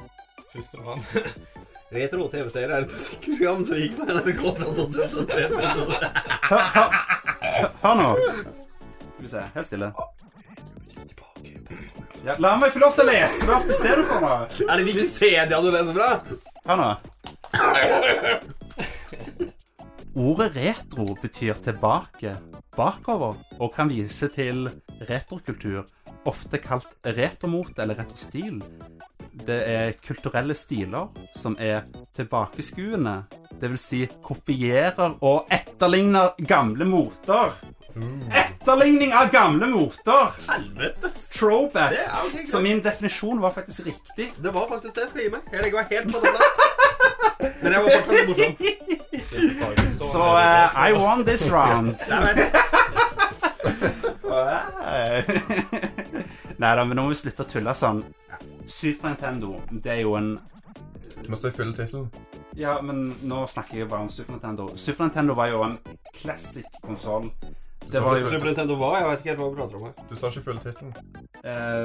S4: Førstemann.
S3: Retro TV-serier er et musikkprogram som gikk på NRK fra 2003 til 2003.
S1: Hør nå. Skal vi se. Helt stille. Ja, la meg få lov til å lese det opp i stedet for nå.
S3: Er det Wikipedia du leser fra?
S1: Hør nå. Ordet retro betyr tilbake, bakover, og kan vise til retrokultur, ofte kalt retromot eller retrostil. Det er kulturelle stiler som er tilbakeskuende, det vil si kopierer og etterligner gamle moter. Etterligning av gamle moter!
S3: Helvetes!
S1: Throwback.
S3: Det er ok, greit.
S1: så min definisjon var faktisk riktig.
S3: Det var faktisk det jeg skulle gi meg. Jeg legger meg helt på den plass. Men jeg var fortsatt morsom.
S1: Så eh, I won this round.
S3: Jeg vet.
S1: Nei da, men nå må vi slutte å tulle sånn. Super Nintendo, det er jo en
S2: Du må se fulle tittelen.
S1: Ja, men nå snakker jeg bare om Super Nintendo. Super Nintendo var jo en classic konsoll Det var jo
S3: Super Nintendo hva? Jeg vet ikke helt hva du prater om her.
S2: Du sa ikke full tittelen.
S1: eh,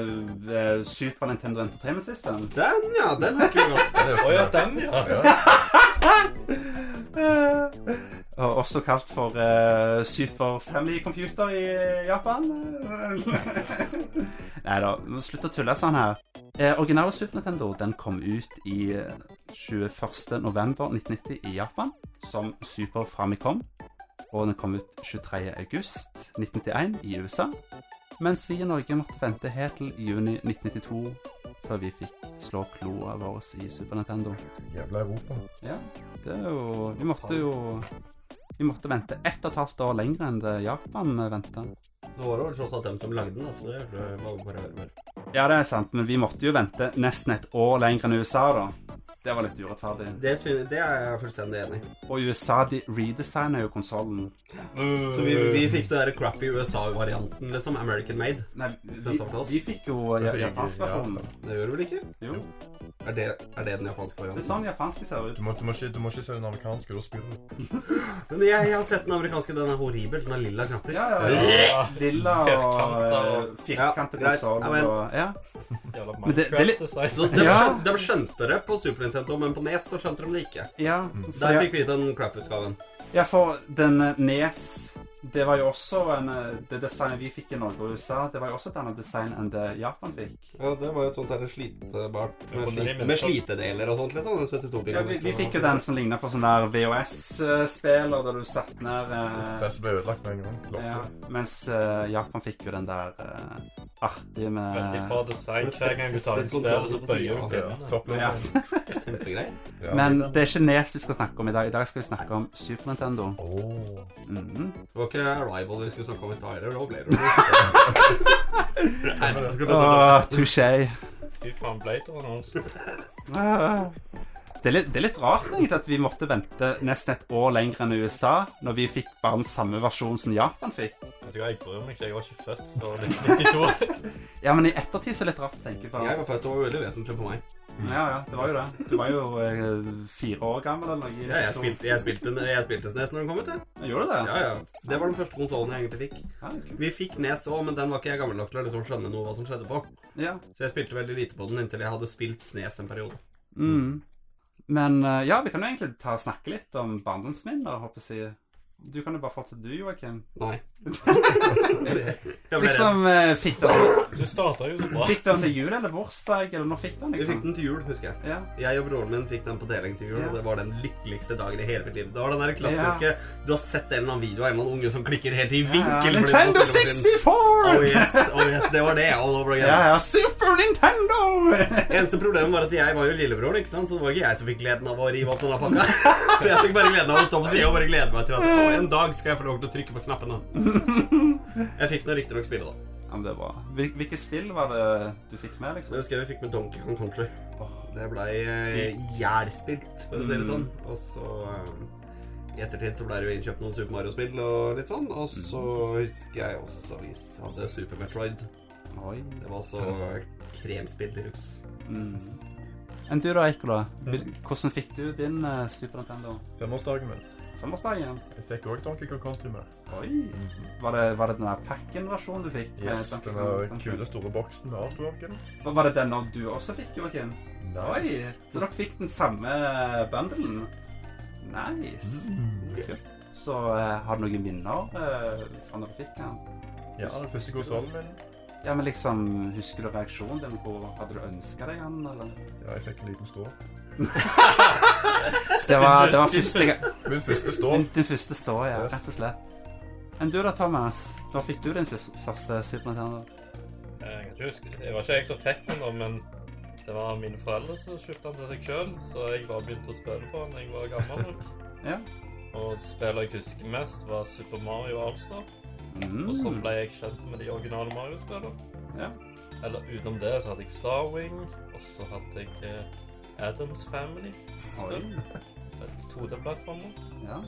S1: eh, Super Nintendo Entertainment System.
S3: Den, ja. Den husker vi godt.
S2: Å ja, den, sånn. ja.
S1: Og også kalt for eh, Super Family Computer i eh, Japan. Nei da, slutt å tulle sånn her. Eh, originale Super Nintendo den kom ut i eh, 21. november 1990 i Japan som Super Famicom. Og den kom ut 23. august 1991 i USA. Mens vi i Norge måtte vente helt til juni 1992 før vi fikk slå kloa vår i Super Nintendo.
S2: Jævla Europa.
S1: Ja, det er jo Vi måtte jo Vi måtte vente ett og et halvt år lenger enn det Japan venta.
S3: Det var vel tross alt dem som lagde den, altså. Det var jo bare bare-
S1: Ja, det er sant, men vi måtte jo vente nesten et år lenger enn USA, da. Det var litt urettferdig.
S3: Det, sy- det er jeg fullstendig enig i.
S1: Og USA de redesigner jo konsollen.
S3: Så vi, vi fikk det der crappy USA-varianten, liksom. American made.
S1: Nei, de,
S3: Sendte opp til oss.
S1: de fikk jo ja,
S2: fikk-
S1: japansk versjon.
S3: Det gjør du vel ikke?
S1: Jo,
S3: Er det, er det den japanske
S1: det er
S3: varianten?
S1: sånn japanske ser ut.
S2: Du må, du, må ikke, du må ikke se den amerikanske, da spyr du.
S3: Men jeg, jeg har sett den amerikanske. Den er horribel. Den har lilla knapper.
S1: Ja, ja, ja. Lilla og
S4: Firkanter og-
S1: eh, firkante
S3: Ja, greit.
S1: konsoll
S3: Ja, men-
S1: og Ja.
S4: Jævla
S1: Men det- det er litt-
S4: Minecraft-design.
S3: Så de,
S1: Ja.
S3: skjønte, de skjønte det på Super Nintendo, men på Nes så skjønte de det ikke.
S1: ja.
S3: Der
S1: for-
S3: fikk vi den crap-utgaven.
S1: Ja, for den eh, Nes Det var jo også en, eh, det designet vi fikk i Norge og USA. Det var jo også et annet design enn det Japan fikk.
S3: Ja, det var jo et sånt der slitbart
S4: med slit-
S3: Med slitedeler og sånt, liksom. Den 72
S1: Ja, vi, vi fikk jo den som ligna på sånn der VHS-spill, og der du satt ned eh,
S2: Det som ble ødelagt med en gang.
S1: ja,
S2: Lortet.
S1: Mens eh, Japan fikk jo den der eh, artige
S4: Veldig
S1: med
S4: bra design. Hver gang du tar et spill, så bøyer du
S2: Ja,
S1: ja.
S4: pinnene.
S2: Topplinjen.
S3: kjempegrei.
S2: Ja.
S1: Men det er ikke Nes vi skal snakke om i dag. I dag skal vi snakke om Super Nintendo.
S2: Åh.
S1: Mhm.
S3: Det var ikke Arrival vi skulle snakke om i stad heller. Da ble det jo Nei, jeg skulle prate om det.
S1: Åh, touché.
S4: Fy faen, Blader nå. altså.
S1: Ah. Det er, litt, det er litt rart egentlig at vi måtte vente nesten et år lenger enn USA, når vi fikk bare den samme versjonen som Japan fikk.
S4: Vet du hva, jeg bryr meg ikke. Jeg var ikke født før 1992.
S1: Ja, men i ettertid så er det litt rart å tenke på.
S3: Jeg var født, det var veldig vesentlig for meg.
S1: Ja, ja, det var jo det. Du var jo eh, fire år gammel eller noe. i
S3: Ja, jeg,
S1: to-
S3: spilte, jeg, spilte, jeg spilte SNES når den kom ut. jeg.
S1: Gjorde du det?
S3: Ja, ja. Det var den første konsollen jeg egentlig fikk.
S1: Ja, det er kult.
S3: Vi fikk Nes òg, men den var ikke jeg gammel nok til å liksom skjønne noe hva som skjedde på.
S1: ja.
S3: Så jeg spilte veldig lite på den inntil jeg hadde spilt Snes en periode.
S1: Mm. Men eh, ja, vi kan jo egentlig ta og snakke litt om barndomsminner, håper jeg. Du kan jo bare fortsette du, Joakim.
S3: Nei. jeg ble redd.
S1: Liksom, eh, fikk du den
S4: Du starta jo så bra.
S1: fikk du den til jul eller bursdag, eller når fikk du den,
S3: Vi fikk
S1: liksom?
S3: den til jul, husker jeg.
S1: Ja.
S3: Jeg og broren min fikk den på deling til jul,
S1: Ja.
S3: og det var den lykkeligste dagen i hele mitt liv. Det var den der klassiske Du har sett en eller annen video av en eller annen unge som klikker helt i vinkel. sånn fordi den
S1: Nintendo
S3: spiller på sin-
S1: 64!
S3: Oh yes, oh yes, det var det all over again.
S1: Ja, ja, Super Nintendo!
S3: Eneste problemet var at jeg var jo lillebroren, ikke sant? så det var ikke jeg som fikk gleden av å rive opp denne pakka. Jeg fikk bare gleden av å stå på sida og bare glede meg til at å, en dag skal jeg få lov til å trykke på knappene. Jeg fikk nå riktignok spille, da.
S1: ja, men det er bra. Hvil- Hvilke spill var det du fikk med,
S3: Det
S1: liksom?
S3: husker jeg vi fikk med Donkey Kong Country. Det blei eh, jævlspilt, for å si det sånn. Og så eh, i ettertid så blei det jo innkjøpt noen Super Mario-spill og litt sånn. Og så husker jeg også vi hadde Super Metroid.
S1: Oi.
S3: Det var også kremspill i luks.
S1: Mm. Enn du da, Eikola? Hvordan fikk du din eh, Super Nintendo?
S2: Femårsdagen min.
S1: Femårsdagen?
S2: Jeg fikk òg Donkey Kong Country med.
S1: Oi. Var det, var det den der packen-versjonen du fikk? med
S2: Yes,
S1: Donkey
S2: den
S1: Kong?
S2: der kule, store boksen med artworken.
S1: Hva- Var det den når du også fikk, Joakim? Oi,
S2: Nice.
S1: så dere fikk den samme eh, bundlen? Nice. Kult. Så eh, har du noen minner eh, fra når du fikk den?
S2: Ja, den første konsollen min.
S1: Ja, men liksom, Husker du reaksjonen din? Hvor hadde du ønska deg den? eller?
S2: Ja, jeg fikk en liten stå.
S1: Det var, det var første gang.
S2: Min første stå.
S1: Din, din første så, ja. Rett og slett. Enn du da, Thomas? Når fikk du din fyr- første Super Nintendo?
S4: Eh, Jeg kan ikke huske. Det var ikke jeg som fikk den, da, men det var mine foreldre som kjøpte den til seg sjøl, så jeg bare begynte å spille på den da jeg var gammel nok.
S1: Ja.
S4: Og spillet jeg husker mest, var Super Mario Allstar.
S1: Mm.
S4: Og så ble jeg kjent med de originale Mario-spillene.
S1: Ja.
S4: Eller utenom det så hadde jeg Star Wing, og så hadde jeg eh, Adams Family.
S1: Oi.
S4: Et 2D-plattformer.
S1: Ja.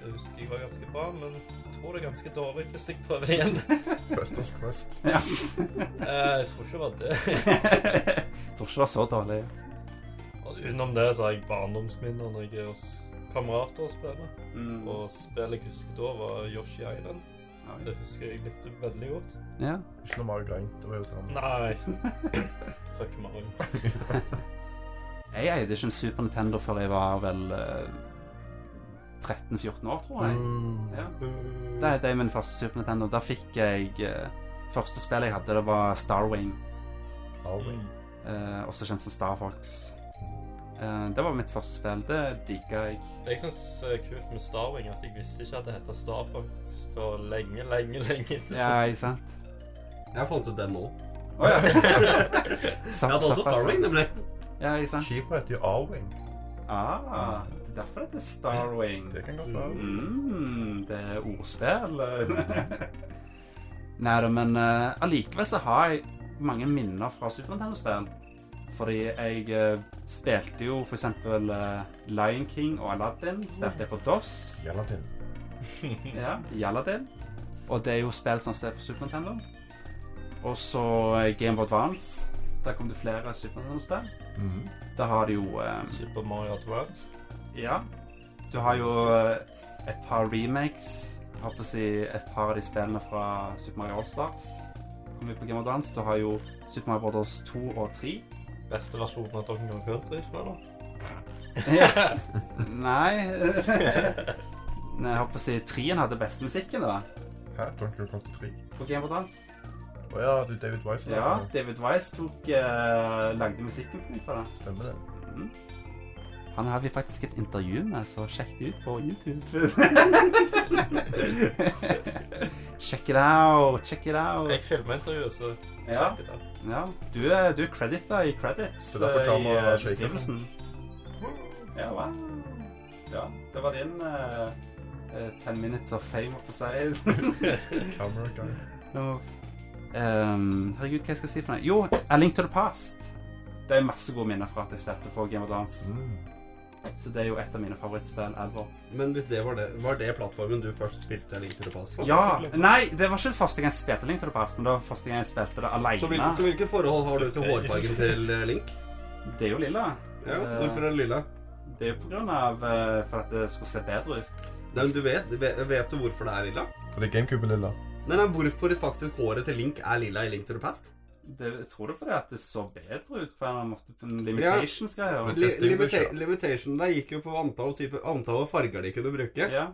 S4: Det husker jeg var ganske bra, men jeg tror det er ganske dårlig hvis jeg prøver det igjen.
S2: Busters Quest.
S1: ja.
S4: Eh, jeg tror ikke det var det.
S1: Jeg tror ikke det var så dårlig.
S4: Og utenom det så har jeg barndomsminner når jeg er hos kamerater og spiller.
S1: Mm.
S4: Og spillet jeg husker da, var Yoshi Island. Det husker jeg likte veldig godt.
S1: Ja.
S2: Ikke noe Mario Grind. Det var jo sånn til
S4: Nei. Fuck Mario.
S1: Jeg eide ikke en Super Nintendo før jeg var vel eh, 13-14 år, tror jeg.
S4: Mm.
S1: Ja. Da hadde jeg min første Super Nintendo. Da fikk jeg eh, Første spillet jeg hadde, det var Starwing.
S2: Mario.
S1: eh, også kjent som Star Fox. Eh, det var mitt første spill. Det digga jeg.
S4: Jeg syns det er kult med Starwing at jeg visste ikke at det heter Star Fox for lenge, lenge, lenge til.
S1: Ja, ikke sant?
S3: Jeg fant ut det nå.
S1: Å ja.
S3: Jeg hadde også Starwing, nemlig.
S1: Ja, ikke sant?
S2: Skipet heter jo Arwing.
S1: Ah, det er derfor det heter Starwing.
S2: Det kan godt være.
S1: Mm, det er ordspill. Nei da, men eh, allikevel så har jeg mange minner fra Super Nintendo-spill. Fordi jeg eh, spilte jo for eksempel eh, Lion King og Aladdin. Spilte jeg på DOS.
S2: Gelatin.
S1: Ja, i Aladdin. Og det er jo spill som ser på Super Nintendo. Og så eh, Game of Advance. Der kom det flere Super Nintendo-spill.
S2: Mhm.
S1: Da har de jo eh,
S4: Super Mario Advance.
S1: ja. Du har jo eh, et par remakes. Jeg Holdt på å si et par av de spillene fra Super Mario Allstars. Kom ut på Game of Dance. Du har jo Super Mario Brothers 2 og 3.
S4: Beste versjonen av Donkey Kong Country. spiller.
S1: Nei Nei, Jeg holdt på å si 3-en hadde best musikken, da.
S2: Hæ? Donkey Kong Country 3.
S1: På Game of Dance.
S2: Å ja, du David Wise.
S1: Ja, David Wise tok eh, lagde musikken for meg på det.
S2: Stemmer det.
S1: Mhm. Han har vi faktisk et intervju med, så sjekk det ut på YouTube. check it out, check it out.
S4: Jeg filmer intervjuet, så
S1: Ja.
S4: sjekk det ut.
S1: Ja, du er, du er credita i credits.
S2: Det er derfor
S1: eh, i,
S2: kameraet
S1: eh,
S2: shaker.
S1: beskrivelsen. Ja, wow. Ja, det var din eh, eh, 10 minutes of fame, holdt på å si.
S2: Camera guy.
S1: Ehm, herregud, hva jeg skal jeg si for noe? Jo, A Link to the Past. Det er masse gode minner fra at jeg spilte på Game of Dance.
S2: Mm.
S1: Så det er jo et av mine favorittspill ever.
S3: Men hvis det var det, var det plattformen du først spilte Link to the Past? på?
S1: Ja, nei, det var ikke det første gang jeg spilte Link to the Past, men det var første gang jeg spilte det
S3: Så hvilket, så
S1: alene.
S3: hvilket forhold har du til hårfargen til eh, Link?
S1: Det er jo lilla.
S3: Ja,
S1: Eh,
S3: Hvorfor er det lilla?
S1: Det er jo på grunn av eh, for at det skulle se bedre ut.
S3: Nei, men du vet, vet, vet du hvorfor det er lilla?
S2: For det er GameCube lilla.
S3: Nei, nei, Hvorfor faktisk håret til Link er lilla i Link to the Past?
S1: Det, jeg tror det er fordi at det så bedre ut på en eller annen måte. på en Limitations-greier.
S3: Li limita
S2: distinguisher.
S3: limitation der gikk jo på antall, type, antall farger de kunne bruke.
S1: Ja.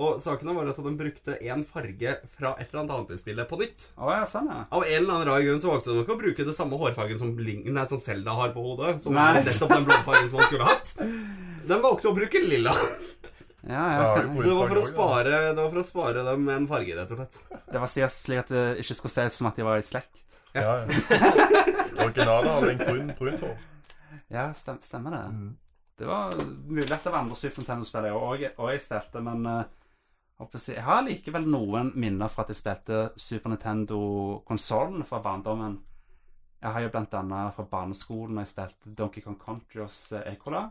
S3: Og saken var at de brukte én farge fra et eller annet annet i spillet på nytt.
S1: Å ja, sånn ja.
S3: Av en eller annen rar grunn så valgte de ikke å bruke det samme hårfargen som, Link, nei, som Zelda har på hodet. Som
S1: Nei.
S3: var nettopp den blåfargen som han skulle hatt. De valgte å bruke lilla.
S1: Ja,
S2: Det
S1: ja,
S2: har
S1: ok.
S2: jo
S3: Det var for å
S2: også, da.
S3: spare, det var for å spare dem med en farge, rett og slett.
S1: Det var sikkert slik at det ikke skulle se ut som at de var i slekt.
S2: Ja, ja. Originalet har en brun, brunt hår.
S1: Ja, stem, stemmer det. Det var mulig at det var andre Super Nintendo-spill jeg også- og jeg spilte, men eh, holdt på å si, jeg har likevel noen minner fra at jeg spilte Super Nintendo-konsollen fra barndommen. Jeg har jo blant annet fra barneskolen når jeg spilte Donkey Kong Country hos eh, Ecola.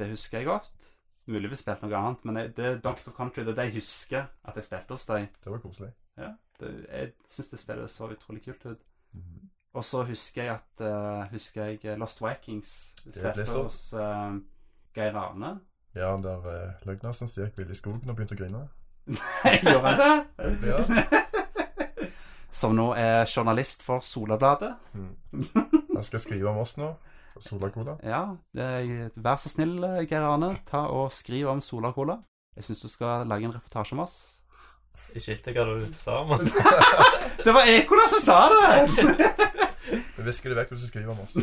S1: Det husker jeg godt. Mulig vi spilte noe annet, men jeg, det er Donkey Kong Country det er det jeg husker at jeg spilte hos deg.
S2: Det var koselig.
S1: Ja, det, jeg syns det spillet så utrolig kult ut.
S2: Mhm.
S1: Og så husker jeg at eh, Husker jeg Lost Vikings Vi spilte
S2: Blizzard.
S1: hos eh, Geir Arne.
S2: Ja, han der eh, løgnasen stjekk ville i skogen og begynte å grine.
S1: Gjorde han det?
S2: Ja.
S1: Som nå er journalist for Solabladet.
S2: Han skal skrive om oss nå. Solacola.
S1: Ja, eh, vær så snill, eh, Geir Arne, ta og skriv om Sola Cola. Jeg syns du skal lage en reportasje om oss.
S4: Ikke etter hva du sa, men
S1: Det var Ekola som sa det!
S2: Vi visker det vekk hvis du skriver om oss.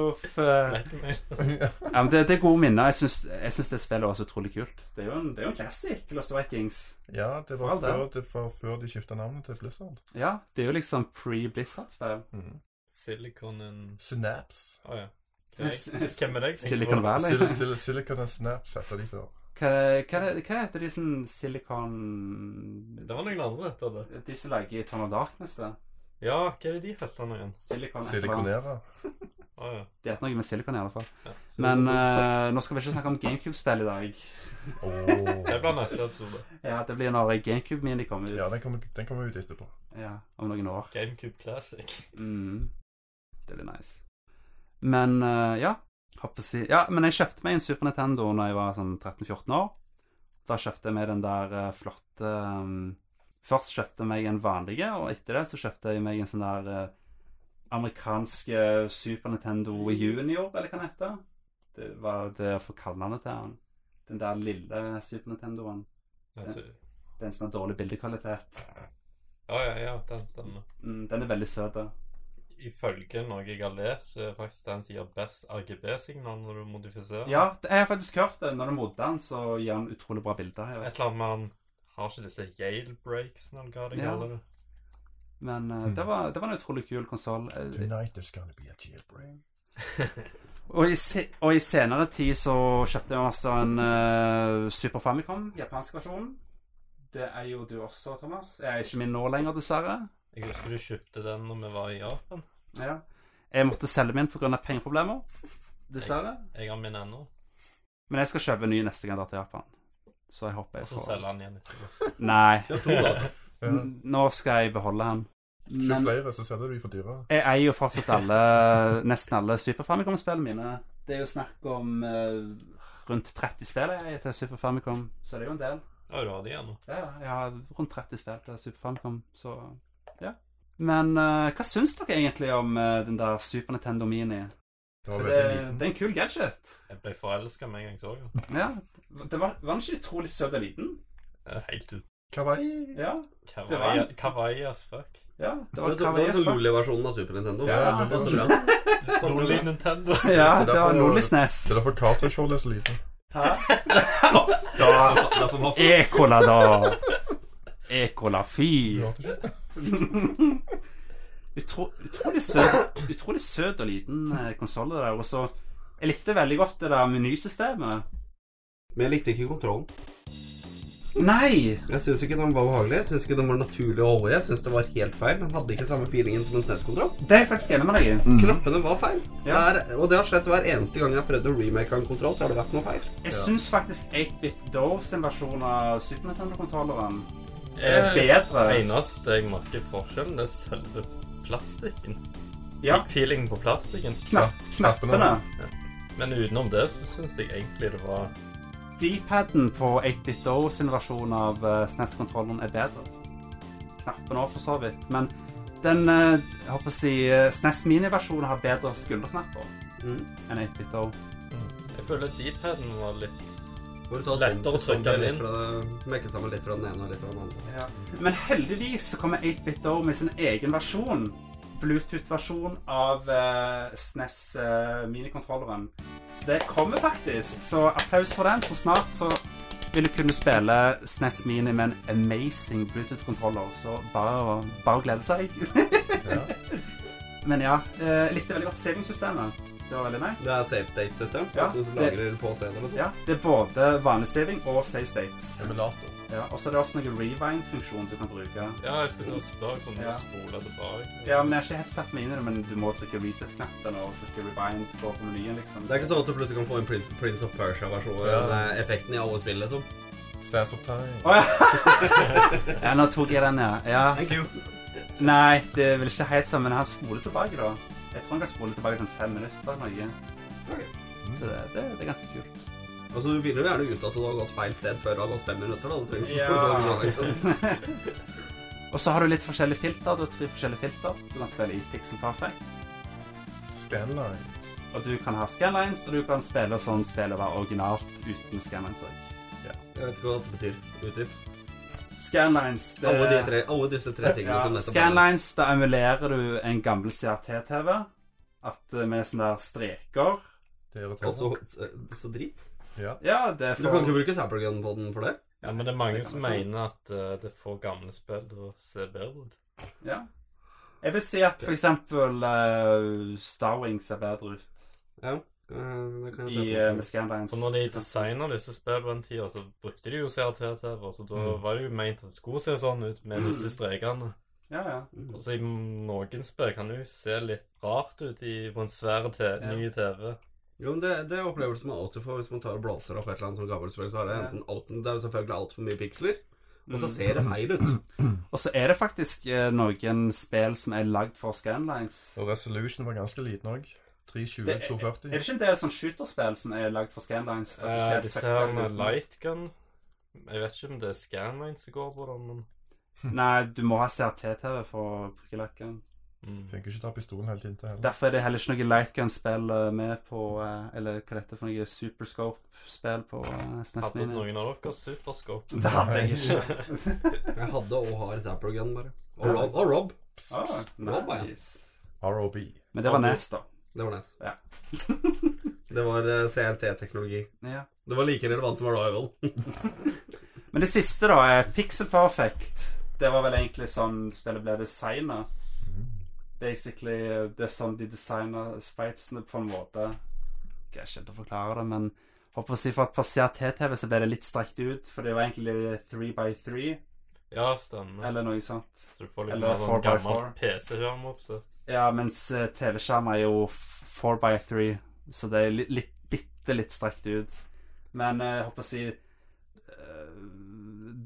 S1: Uff. eh. Ja, men det, det er gode minner. Jeg syns, jeg syns det spillet var så utrolig kult. Det er jo en, det er jo en classic, Lost Vikings.
S2: Ja, det var
S1: Faen, det.
S2: før, det var før de skifta navnet til Blizzard.
S1: Ja, det er jo liksom pre-Blizzard-spill.
S2: Mhm.
S4: Silicon and
S2: Synapse.
S4: Å ja. Hva er- Hvem er det? jeg tenker
S1: Silicon
S4: på?
S1: Valley.
S2: Sil sil Silicon and Snaps heter de før.
S1: Hva, hva, hva heter de sånn Silicon
S4: Det var noen andre etter det.
S1: De som lager Tone of Darkness, det.
S4: Ja, hva er det de heter nå igjen?
S1: Silicon et eller annet.
S2: Siliconera.
S4: Å ja.
S1: Det heter noe med Silicon, i alle fall.
S4: Ja.
S1: Men eh, nå skal vi ikke snakke om GameCube-spill i dag.
S2: Åh.
S4: Det blir neste episode.
S1: Ja, Det blir når GameCube Mini kommer ut.
S2: Ja, den kommer, den kommer ut etterpå.
S1: Ja, om noen år.
S4: Gamecube Classic.
S1: Mm. Det blir nice. Men eh, ja, håper si. ja, men jeg kjøpte meg en Super Nintendo Når jeg var sånn 13-14 år. Da kjøpte jeg meg den der eh, flotte um, Først kjøpte jeg meg en vanlig, og etter det så kjøpte jeg meg en sånn der eh, amerikansk eh, Super Nintendo Junior, eller hva den heter. Det var det jeg får kalle den til han. Den der lille Super Nintendoen.
S4: Altså,
S1: Den som har sånn dårlig bildekvalitet.
S4: ja, ja, ja, den stemmer.
S1: Mm, den er veldig søt. da.
S4: Ifølge noe jeg har lest, så er faktisk den som gir best RGB-signal når du modifiserer.
S1: Ja, det- jeg har faktisk hørt det. Når du modder den, så gir den utrolig bra bilder. Jeg
S4: Et
S1: vet.
S4: eller annet med han har ikke disse Yale breaks, eller hva det
S1: Ja.
S4: kaller det.
S1: Men
S4: Mm.
S1: eh, det, var, det var en utrolig kul Eh, konsoll.
S2: Tonight there's gonna be a jailbreak.
S1: Og i, se og i senere tid så kjøpte jeg altså en eh, Super Famicom, japansk versjon. Det er jo du også, Thomas. Jeg er ikke min nå lenger, dessverre.
S4: Jeg husker du kjøpte den når vi var i Japan.
S1: Ja. Jeg måtte selge min pga. pengeproblemer. Dessverre.
S4: Jeg har min ennå.
S1: Men jeg skal kjøpe en ny neste gang jeg drar til Japan. Så jeg håper
S4: Og
S1: jeg
S4: så
S1: får
S4: selger han igjen etterpå.
S1: Nei.
S2: Ja.
S1: N- Nå skal jeg beholde han.
S2: Ikke
S1: Men
S2: flere, så selger du de for dyrere.
S1: jeg eier jo fortsatt alle, nesten alle Super Famicom-spillene mine. Det er jo snakk om eh, rundt 30 spill jeg eier til Super Famicom, så det er jo en del.
S4: Ja, du har det igjen nå.
S1: Ja, jeg har rundt 30 spill til Super Famicom, så ja. Men eh, hva syns dere egentlig om eh, den der Super Nintendo Mini?
S2: Det var
S1: Det,
S2: veldig
S1: det er en kul gadget.
S4: Jeg ble forelska med en gang jeg så den.
S1: Ja, det var, var den ikke utrolig søt og liten?
S4: Eh, Helt ut.
S2: Kawaii!
S1: Ja, Det var
S4: Kawaii
S1: en-
S4: kawaii as fuck.
S1: ja det var
S3: Det var
S1: kawaii
S3: den
S1: as fuck.
S3: Loli-versjonen av Super Nintendo.
S2: Ja,
S3: Ja,
S2: det var
S3: passer
S2: sånn.
S3: bra. Passer
S4: Rolig
S3: bra.
S4: Nintendo.
S1: Ja,
S2: Det er
S1: det var
S2: derfor-
S1: Lollisnes.
S2: Det er derfor Carter-skjoldet er så lite.
S3: Derfor var
S1: Ekola, da! Ekola, fy! Utro, utrolig, søt, utrolig søt og liten konsoll der, og så Jeg likte veldig godt det der menysystemet.
S3: Men jeg likte ikke kontrollen.
S1: Nei!
S3: Jeg syns ikke den var behagelig. Jeg syns ikke den var naturlig å holde i. Jeg syns det var helt feil. Den hadde ikke samme feelingen som en SNES-kontroll.
S1: Det er jeg faktisk enig med deg
S3: Mhm.
S1: i.
S3: Knappene var feil.
S1: Ja.
S3: Det er, og det har skjedd hver eneste gang jeg har prøvd å remake av en kontroll, så har det vært noe feil.
S1: Jeg syns faktisk 8-bit Dove sin versjon av Super Nintendo-kontrolleren er
S4: Det
S1: Eh, bedre.
S4: eneste jeg merker forskjellen, det er selve plastikken.
S1: Ja,
S4: Feelingen på plastikken.
S1: knapp, knappene.
S4: Men utenom det så syns jeg egentlig det var
S1: D-paden på 8-bit Dove sin versjon av eh, SNES-kontrolleren er bedre. Knappene òg, for så vidt. Men den eh, jeg håper å si, eh, SNES Mini-versjonen har bedre skulderknapper
S3: Mhm.
S1: enn 8-bit Dove.
S4: Jeg føler deep-paden var litt
S3: Får du ta sånn-
S4: Lettere å
S3: sånn
S4: søke den
S3: litt
S4: inn.
S3: fra- Mekke sammen litt fra den ene og litt fra den andre.
S1: Men heldigvis så kommer 8-bit Dove med sin egen versjon. Bluetooth-versjon av eh, SNES eh, minikontrolleren. Så det kommer faktisk. Så applaus for den. Så snart så vil du kunne spille SNES Mini med en amazing Bluetooth-kontroller. Så bare, bare glede seg.
S2: Ja.
S1: Men ja, eh, jeg likte veldig godt savingsystemet. Det var veldig nice.
S3: Det er save state-system.
S1: Ja,
S3: at du
S1: det-
S3: lagrer på stedet og sånn.
S1: Ja, det er både vanlig saving og save states.
S2: Emulator.
S1: Ja, og så er det også noen rewind-funksjon du kan bruke.
S4: Ja, jeg skulle til å spørre om du
S1: Ja.
S4: spoler tilbake.
S1: Ja, men jeg har ikke helt satt meg inn i det, men du må trykke reset-knappen og trykke rewind for å på menyen, liksom.
S3: Det er ikke sånn at du plutselig kan få en Prince, Prince of Persia-versjon.
S2: Ja.
S3: eh, Effekten i alle spill, liksom.
S2: Sass of Time.
S1: Å ja! ja, nå tok jeg den, ja. ja. Nei, det er vel ikke helt sånn, men han spoler tilbake, da. Jeg tror han kan spole tilbake sånn fem minutter eller noe.
S3: Ok.
S1: Så det, det, det er ganske kult.
S3: Altså, Du finner jo gjerne ut at du har gått feil sted før du har gått fem minutter. da. Du trenger ikke
S1: Ja.
S3: spole tilbake. liksom.
S1: Og så har du litt forskjellige filter. Du har tre forskjellige filter. Du kan spille i Pixel Perfect.
S2: Scanline.
S1: Og du kan ha scanlines, og du kan spille sånn spillet var originalt uten scanlines òg.
S3: Jeg vet ikke hva dette betyr. Utdyp.
S1: Scanlines det,
S3: Alle, de tre, alle disse tre tingene
S1: ja,
S3: som nettopp
S1: Scanlines, da emulerer du en gammel CRT-TV. At eh, Med sånne der streker.
S2: Det er
S3: Og så,
S2: irriterende.
S3: så, så drit.
S2: Ja.
S1: Ja, det er
S3: Du kan
S1: for
S3: ikke bruke Zappergun på den for det.
S4: Ja, men det er mange
S1: det kan
S4: som
S1: jeg.
S4: mener at eh, det får gamle spill til å se bedre ut.
S1: ja. Jeg vil si at for eksempel eh, Star Wings ser bedre ut
S3: Ja, eh, det kan jeg
S1: i,
S3: se
S1: eh,
S3: på.
S1: med scanlines.
S4: For når de designa disse spillene på den tida, så brukte de jo CRT-TV, så da
S2: Mm.
S4: var det jo meint at det skulle se sånn ut med disse strekene.
S1: Ja, ja.
S3: Mm.
S4: Og så Altså, i noen spill kan det jo se litt rart ut i, på en svær te
S1: Ja.
S4: ny TV.
S3: Jo, men det, det er opplevelsen man alltid får hvis man tar og blåser opp et eller annet sånt gammelt spill. Så er det
S1: Ja. Mm.
S3: enten alt, Det er jo selvfølgelig altfor mye piksler, og så ser det feil ut.
S1: Og så er det faktisk eh, noen spill som er lagd for scanlines.
S2: Og resolution var ganske liten òg. 320,
S1: Det- Er det
S2: 240.
S1: ikke en del sånn shooterspill som er lagd for scanlines? At de
S4: Eh,
S1: ser
S4: disse
S1: fucka
S4: her
S1: ut?
S4: med lightgun Jeg vet ikke om det er Scanline som går på den, men
S1: Nei, du må ha CRT-TV for prikkelakken.
S4: mm.
S2: Funker ikke å ta pistolen helt inntil heller.
S1: Derfor er det heller ikke noe lightgun-spill eh, med på eh, Eller hva er dette for noe superscope-spill på eh, SNES
S4: Hadde
S1: Mini?
S4: noen av dere Superscope?
S1: Det hadde jeg ikke.
S3: Jeg hadde og har Zapper Gun, bare. Og Rob. Og Rob.
S1: Ah,
S3: Rob, ja.
S1: nice.
S2: ROB.
S1: Men det var NES, da.
S3: Det var nice.
S1: Ja.
S3: det var eh, CRT-teknologi.
S1: Ja.
S3: Det var like relevant som Arrival.
S1: Men det siste, da, er Pixel Perfect. Det var vel egentlig sånn spillet ble designa. Basically, det er sånn de designer spritesene på en måte Jeg er ikke å forklare det, men håper å si for at på CRT-TV så ble det litt strekt ut, for det var egentlig three by three,
S4: Ja, stemmer.
S1: eller noe sånt.
S4: Så du får litt
S1: eller
S4: mer sånn
S1: 4x4.
S4: gammel PC-skjerm opp, så
S1: Ja, mens eh, TV-skjermer er jo f- four by three, så det er litt, litt bitte litt strekt ut. Men eh, jeg håper å si eh,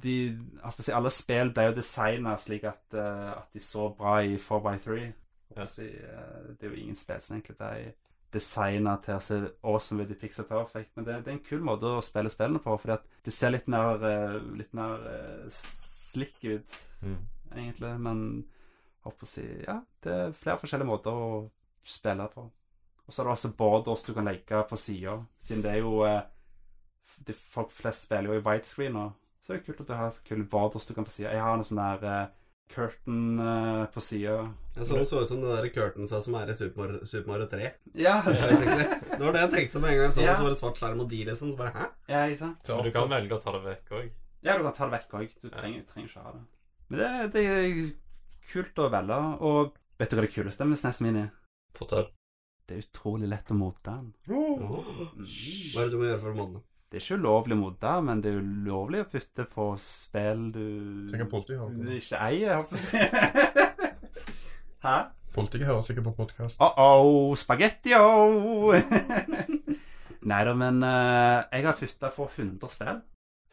S1: de, jeg håper å si Alle spill ble jo designa slik at, eh, at de så bra i four by three. Jeg håper
S4: Ja.
S1: å Si, eh, det er jo ingen spill som egentlig er designa til å se awesome ut i Pixar Perfect, men det, det er en kul måte å spille spillene på, fordi at det ser litt mer, eh, litt mer eh, slick ut
S2: Mm.
S1: egentlig, men jeg håper å si Ja, det er flere forskjellige måter å spille på. Og så er det også borders du kan legge på sida, siden det er jo eh, de Folk flest spiller jo i widescreen nå, så det er kult at du har så kule borders du kan på sida. Jeg har en sånn der eh, curtain eh, på sida.
S3: Jeg så det så ut som den der curtainsa som er i Super Mario, Super Mario 3.
S1: Ja,
S3: Basically. Det var det jeg tenkte med en gang jeg så det.
S1: Ja.
S3: Så var det svart skjerm og de, liksom. Så bare hæ?
S1: ja, ikke sant?
S4: Men du kan velge å ta det vekk òg.
S1: Ja, du kan ta det vekk òg. Du trenger, trenger ikke ha det. Men det, det er kult å velge, og vet du hva det kuleste med SNES Mini? er?
S4: Fortell.
S1: Det er utrolig lett å modde den.
S3: Hva er det du må gjøre for å manne?
S1: Det er ikke ulovlig mot det, men det er ulovlig å putte på spill du
S2: Tenk om politiet hører på.
S1: ikke eier, holdt jeg på å si. Hæ?
S2: Politiet hører sikkert på podkast.
S1: Oh-oh, spagettio! Nei da, oh! men eh, jeg har putta på 100 spill.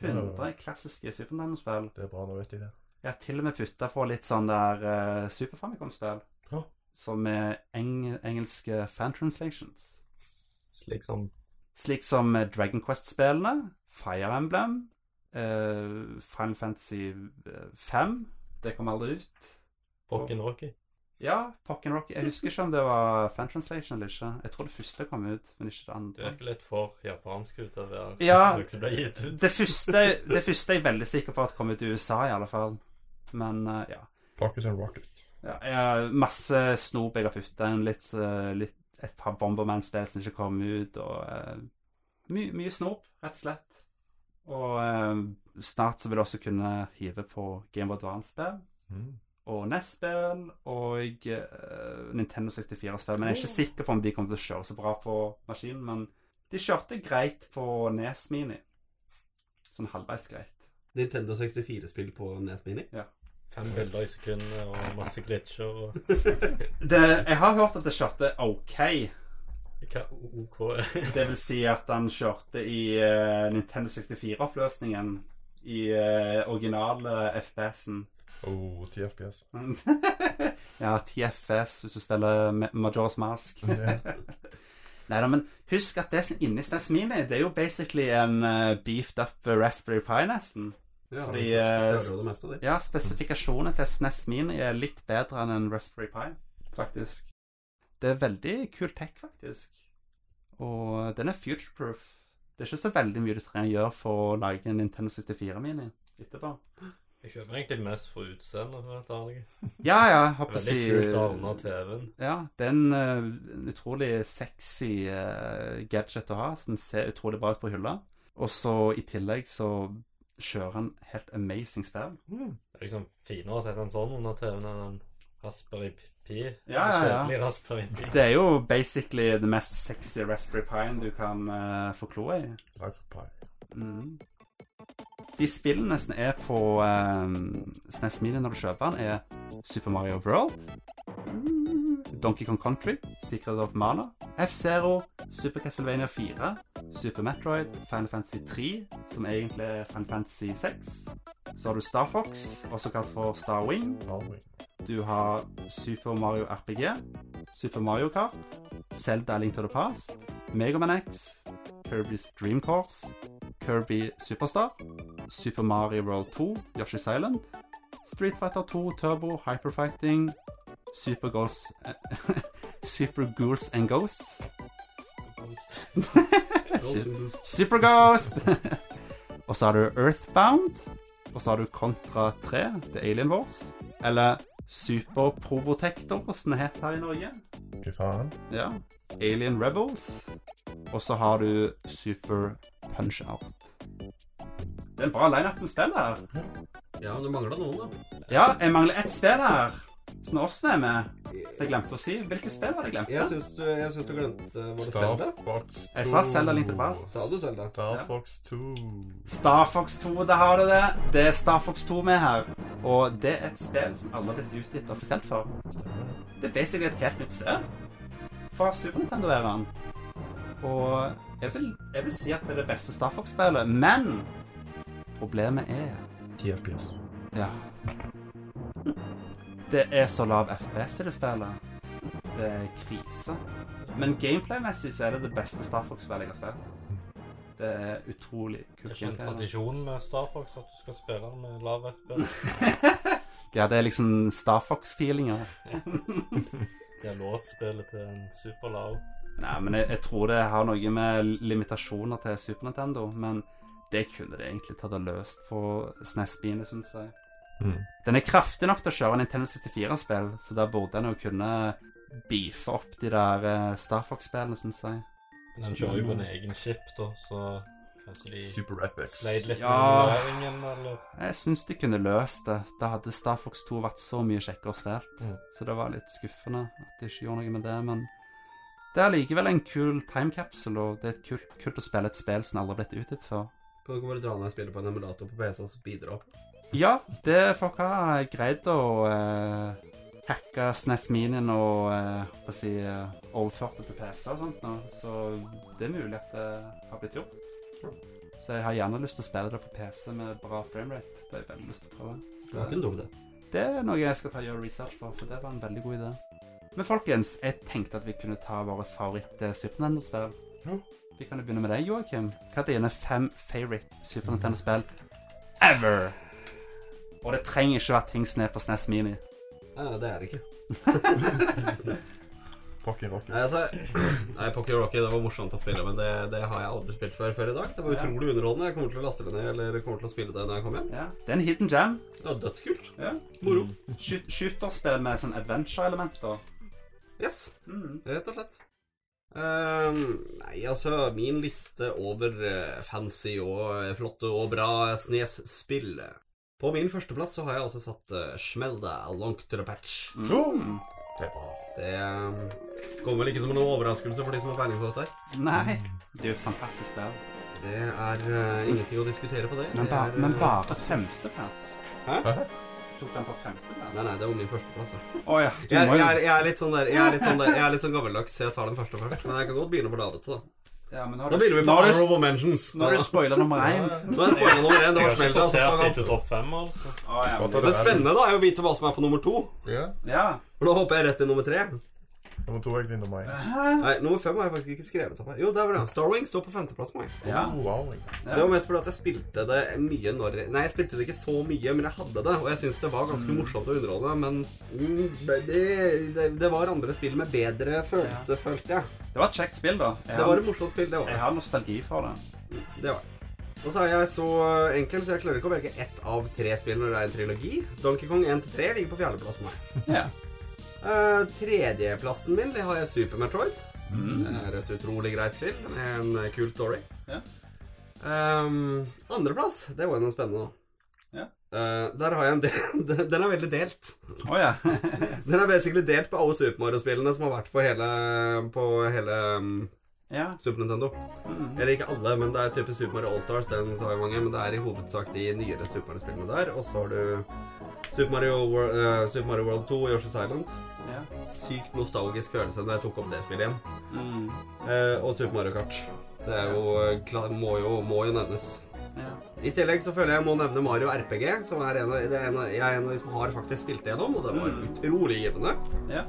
S1: 100 klassiske Super Nintendo-spill.
S2: Det er bra, nå vet de det.
S1: Jeg har til og med putta på litt sånn der eh, Super Famicom-spill.
S2: Ja.
S1: Som er eng engelske fan-translations.
S4: Slik som
S1: liksom. Slik som eh, Dragon Quest-spillene, Fire Emblem, eh, Final Fantasy 5 Det kom aldri ut.
S4: Pokken Rocky.
S1: Ja, Pokken Rock. Jeg husker ikke om det var fan translation eller ikke. Jeg tror det første kom ut, men ikke det
S4: Du
S1: andre.
S4: virker litt for japansk ut av det her.
S1: Ja.
S4: Det ble gitt ut.
S1: Det første, det første er jeg veldig sikker på at kom ut i USA, i alle fall. Men eh, ja.
S2: Pocket and Rocket.
S1: ja jeg har masse snop jeg har putta inn. Litt, eh, litt, et par Bomberman-spill som ikke kom ut, og eh, my, mye snop, rett og slett. Og eh, snart så vil jeg også kunne hive på Game of Advance-spill
S2: Mm.
S1: og NES-spill og eh, Nintendo 64-spill. Men jeg er ikke sikker på om de kommer til å kjøre så bra på maskinen. Men de kjørte greit på Nes Mini. Sånn halvveis greit.
S3: Nintendo 64-spill på Nes Mini?
S4: Fem bilder i sekundet og masse glitcher og
S1: Det, jeg har hørt at det kjørte OK.
S4: Hva OK
S1: Det vil si at han kjørte i eh, Nintendo 64-oppløsningen i eh, original eh, FPS-en.
S2: Oh, 10 FPS.
S1: ja, TFS hvis du spiller Ma- Majora's Mask.
S2: Det-
S1: Neida, men husk at det som er inni SNES Mini, det er jo basically en eh, beefed up Raspberry Pi nesten.
S3: Ja,
S1: Fordi,
S3: det
S1: eh,
S3: klarer jo det meste, det.
S1: Ja, spesifikasjonen til SNES Mini er litt bedre enn en Raspberry Pi, faktisk. Det er veldig kul tech, faktisk. Og den er future-proof. Det er ikke så veldig mye du trenger å gjøre for å lage en Nintendo 64 Mini etterpå.
S4: Jeg kjøper egentlig mest for utseendet. for å være helt ærlig.
S1: Ja, ja, jeg håper å si
S4: Veldig kult å ha under TV-en.
S1: Ja, det er en, eh, en utrolig sexy eh, gadget å ha, som ser utrolig bra ut på hylla. Og så i tillegg så kjører han helt amazing spill.
S4: Det er liksom finere å sette en sånn under TV-en enn en Raspberry Pi.
S1: Ja, ja, ja.
S4: Kjedelig Raspberry Pi.
S1: Det er jo basically det mest sexy Raspberry Pien du kan eh, få kloa i.
S2: Life Pie.
S1: Mm. De spillene som er på eh, SNES Mini når du kjøper den, er Super Mario World, Donkey Kong Country, Secret of Mana, F-Zero, Super Castlevania 4, Super Metroid, Final Fantasy 3, som egentlig er Final Fantasy 6. Så har du Star Fox, også kalt for Star Wing.
S2: Harvey.
S1: Du har Super Mario RPG, Super Mario Kart, Zelda A Link to the Past, Mega Man X, Kirby's Dream Course, Kirby Superstar, Super Mario World 2, Yoshi's Island, Street Fighter 2 Turbo, Hyperfighting, Super Ghosts Super Ghouls and Ghosts. Super Ghost! og så har du Earthbound. Og så har du Contra 3, The Alien Wars. Eller Super Probotector, som det heter her i Norge.
S2: Hva faen?
S1: Ja. Alien Rebels. Og så har du Super Punch Out. Det er en bra lineup med spill her.
S3: Ja, men du mangla noen, da.
S1: Ja, jeg mangler ett spill her. Så når Åsne er med, så jeg glemte å si. Hvilket spill var det jeg
S3: Jeg
S1: glemte?
S3: syns du, jeg syns du glemte eh, Var det
S4: Star
S3: Selda?
S4: Fox 2.
S1: Jeg sa Zelda Link to the Past.
S3: Sa du Selda?
S4: Star
S1: Ja.
S4: Fox 2.
S1: Star Fox 2, det har du det. Det er Star Fox 2 med her. Og det er et spill som aldri har blitt utgitt offisielt før. Det er basically et helt nytt spill. Fra Super Nintendo-æraen. Og jeg vil, jeg vil si at det er det beste Star Fox-spillet, men problemet er
S2: 10 FPS.
S1: Ja. Det er så lav FPS i det spillet. Det er krise. Men gameplay-messig så er det det beste Star Fox-spillet jeg har spilt. Det er utrolig
S4: Det
S1: kult
S4: er ikke en
S1: gameplay.
S4: tradisjon med Star Fox at du skal spille den med lav FPS.
S1: Ja, det er liksom Star Fox-feelinger.
S4: De har låst spillet til en super lav.
S1: Nei, men jeg, jeg tror det har noe med limitasjoner til Super Nintendo, men det kunne de egentlig tatt og løst på SNES-biene, syns jeg.
S2: Mm.
S1: Den er kraftig nok til å kjøre Nintendo 64-spill, så der burde en jo kunne beefe opp de der eh, Star Fox-spillene, syns jeg.
S4: Men den kjører jo på en egen chip, da, så kanskje de
S2: Super Epics.
S4: sleit litt
S1: Ja.
S4: med modelleringen, eller
S1: Jeg syns de kunne løst det. Da hadde Star Fox 2 vært så mye kjekkere spilt.
S4: Mm.
S1: Så det var litt skuffende at de ikke gjorde noe med det, men det er likevel en kul time capsule, og det er kult, kult å spille et spill som aldri har blitt utgitt før.
S3: Kan du ikke bare dra ned spillet på en emulator på PC og så bidra opp?
S1: Ja, det folk har greid å eh, hacke SNES Minien og eh, hva skal jeg si, eh, overført det til PC og sånt nå, så det er mulig at det har blitt gjort. Så jeg har gjerne lyst til å spille det på PC med bra framerate. Det har jeg veldig lyst til å prøve. Så
S3: Det var ikke en dum idé.
S1: det er noe jeg skal ta og gjøre research på, for det var en veldig god idé. Men folkens, jeg tenkte at vi kunne ta våre favoritt eh, Super Nintendo-spill.
S2: Ja.
S1: Vi kan jo begynne med deg, Joakim. Hva er dine fem favorite Super Nintendo-spill ever? Og det trenger ikke å være ting som er på SNES Mini.
S3: Nei, det er det ikke.
S2: Rocky Rocky.
S3: Nei, altså, nei Pocky Rocky det var morsomt å spille, men det, det har jeg aldri spilt før før i dag. Det var utrolig underholdende. Jeg kommer til å laste det ned, eller jeg kommer til å spille det når jeg kommer hjem.
S1: Ja. Det er en hidden jam.
S3: Det var dødskult.
S1: Ja.
S3: Moro.
S1: Shoot- Shooterspill med sånn adventure-elementer.
S3: Yes.
S1: Mm.
S3: Rett og slett. Ehm, nei, altså Min liste over eh, fancy og eh, flotte og bra Snes-spill På min førsteplass så har jeg også satt uh, Schmelda Long to the Patch.
S1: Mm.
S2: Det er bra.
S3: Det eh, kommer vel ikke som noen overraskelse for de som har peiling på dette. her.
S1: Nei. Det er jo et fantastisk spill.
S3: Det er eh, ingenting å diskutere på det.
S1: Men,
S3: Det
S1: ba
S3: er,
S1: men
S3: eh,
S1: bare femteplass.
S3: Hæ?
S1: Tok den på femteplass?
S3: Nei, nei, det var min førsteplass. da.
S1: Å ja. Du
S3: Jeg,
S1: må
S3: jeg,
S1: jo
S3: er, jeg er litt sånn der, jeg er litt sånn der, jeg er litt sånn gammeldags, så jeg tar den første først. Men jeg kan godt begynne på det andre. Da
S1: Ja, men nå
S3: Da begynner vi
S1: nå
S3: med
S1: har du-
S3: honorable mentions.
S1: Nå har du spoila nummer én.
S3: Nå er spoiler nummer én. Det
S4: Jeg
S3: var
S4: har ikke
S3: Schmelda. altså,
S4: sortert
S3: faen,
S4: etter topp fem, altså.
S1: Å, ja, men-
S3: Men spennende da er jo å vite hva som er på nummer to.
S2: Ja.
S1: Ja.
S3: For da hopper jeg rett til nummer tre.
S2: Nummer to er egentlig nummer én.
S3: Nei, nummer fem har jeg faktisk ikke skrevet opp her. Jo, der var det. Starwing står på femteplass på meg.
S1: ja.
S2: Oh, wow.
S3: Det var mest fordi at jeg spilte det mye når Nei, jeg spilte det ikke så mye, men jeg hadde det. Og jeg syns det var ganske morsomt å underholde, men mm, det, det, det var andre spill med bedre følelse, følte jeg.
S1: Det var et kjekt spill, da. Jeg
S3: Det var
S1: har,
S3: et morsomt spill, det var
S1: jeg
S3: det.
S1: har nostalgi for det.
S3: Det var det. Og så er jeg så enkel, så jeg klarer ikke å velge ett av tre spill når det er en trilogi. Donkey Kong 1-3 ligger på fjerdeplass på meg.
S1: Ja.
S3: Eh, Tredjeplassen min det har jeg Super Metroid. Det er et utrolig greit spill med en eh, kul story.
S1: Mm. Ja.
S3: Ehm, Andreplass, det var jo noe spennende, da.
S1: Ja.
S3: Eh, der har jeg en del Den er veldig delt.
S1: Å ja.
S3: Den er basically delt på alle Super Mario-spillene som har vært på hele, på hele mm,
S1: ja.
S3: Super Nintendo.
S1: Mm.
S3: Eller ikke alle, men det er type Super Mario All-Stars, den så har jo mange, men det er i hovedsak de nyere Super Mario-spillene der. Og så har du Super Mario, Wor- eh, Super Mario World 2 og Yoshi's Island
S1: ja.
S3: sykt nostalgisk følelse da jeg tok opp det spillet igjen.
S1: Mm.
S3: Eh, og Super Mario Kart. Det er jo, eh, klar, må, jo, må jo nevnes.
S1: ja.
S3: I tillegg så føler jeg jeg må nevne Mario RPG, som er en av, det er en av, jeg er en av de som har faktisk spilt det gjennom, og det var utrolig givende.
S1: Ja.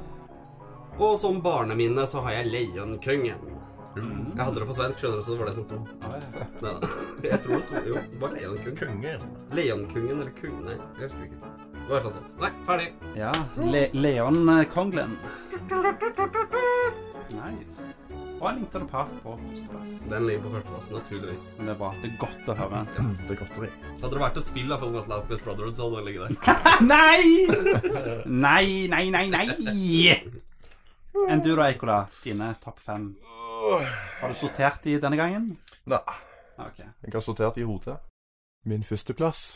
S3: Og som barneminne så har jeg Leonkungen. Jeg hadde det på svensk, skjønner du, så det var det som sto. Nei da. Jeg tror det sto Jo, det var Leonkungen.
S2: Konge.
S3: Leonkungen eller Kung... Nei, jeg husker ikke. Det var et eller annet sånt. Nei, ferdig.
S1: Ja. Le Leon eh, Konglen. Nice. Og han lignet det past på førsteplass.
S3: Den ligger på førsteplassen, naturligvis.
S1: Men det er bra. Det er godt å høre.
S2: Det er godt å vite.
S3: Hadde det vært et spill av Full Metal Alchemist Brotherhood, så hadde den ligget der.
S1: Nei! Nei, nei, nei, nei! Enn du da, Eikola? Dine topp fem. Har du sortert de denne gangen?
S2: Nei.
S1: Ok.
S2: Jeg har sortert i hodet. Min førsteplass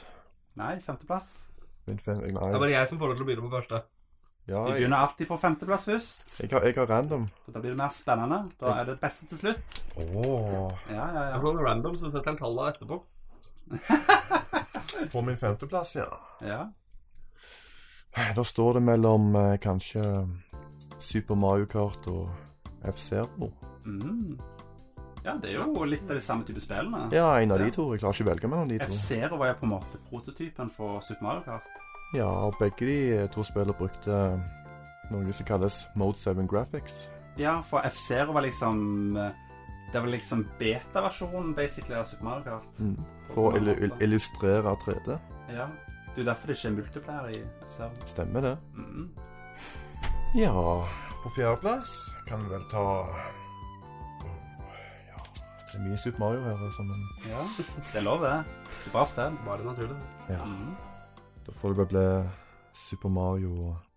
S1: Nei, femteplass.
S2: Min fem... Nei.
S3: Det er bare jeg som får lov til å begynne på første.
S2: Ja,
S1: Vi
S2: jeg,
S1: begynner alltid på femteplass først.
S2: jeg, har, jeg har random.
S1: For da blir det mer spennende. Da er det beste til slutt.
S2: Oh.
S1: Ja, ja, ja.
S3: Sånn random, så setter han tallene etterpå.
S2: På min femteplass, ja.
S1: ja.
S2: Da står det mellom eh, kanskje Super Mario Kart og F-Zero.
S1: Mm. ja det er jo litt av de samme type spillene.
S2: Ja, en av de to. Jeg klarer ikke å velge mellom de to.
S1: F-Zero var jo på en måte prototypen for Super Mario Kart.
S2: Ja, og begge de eh, to spillene brukte eh, noe som kalles Mode 7 Graphics.
S1: Ja, for F-Zero var liksom Det var liksom beta-versjonen, basically, av Super Mario Kart.
S2: Mm. For å illu- ill- illustrere 3D.
S1: Ja. Det er jo derfor det ikke er multiplier i F-Zero.
S2: Stemmer det?
S1: Mm.
S2: Ja På fjerdeplass kan vi vel ta Ja Det er mye Super Mario her, altså, men
S1: Ja. Det er lov, det. Det er bra spill.
S3: Bare naturlig.
S2: ja. Da får det vel bli Super Mario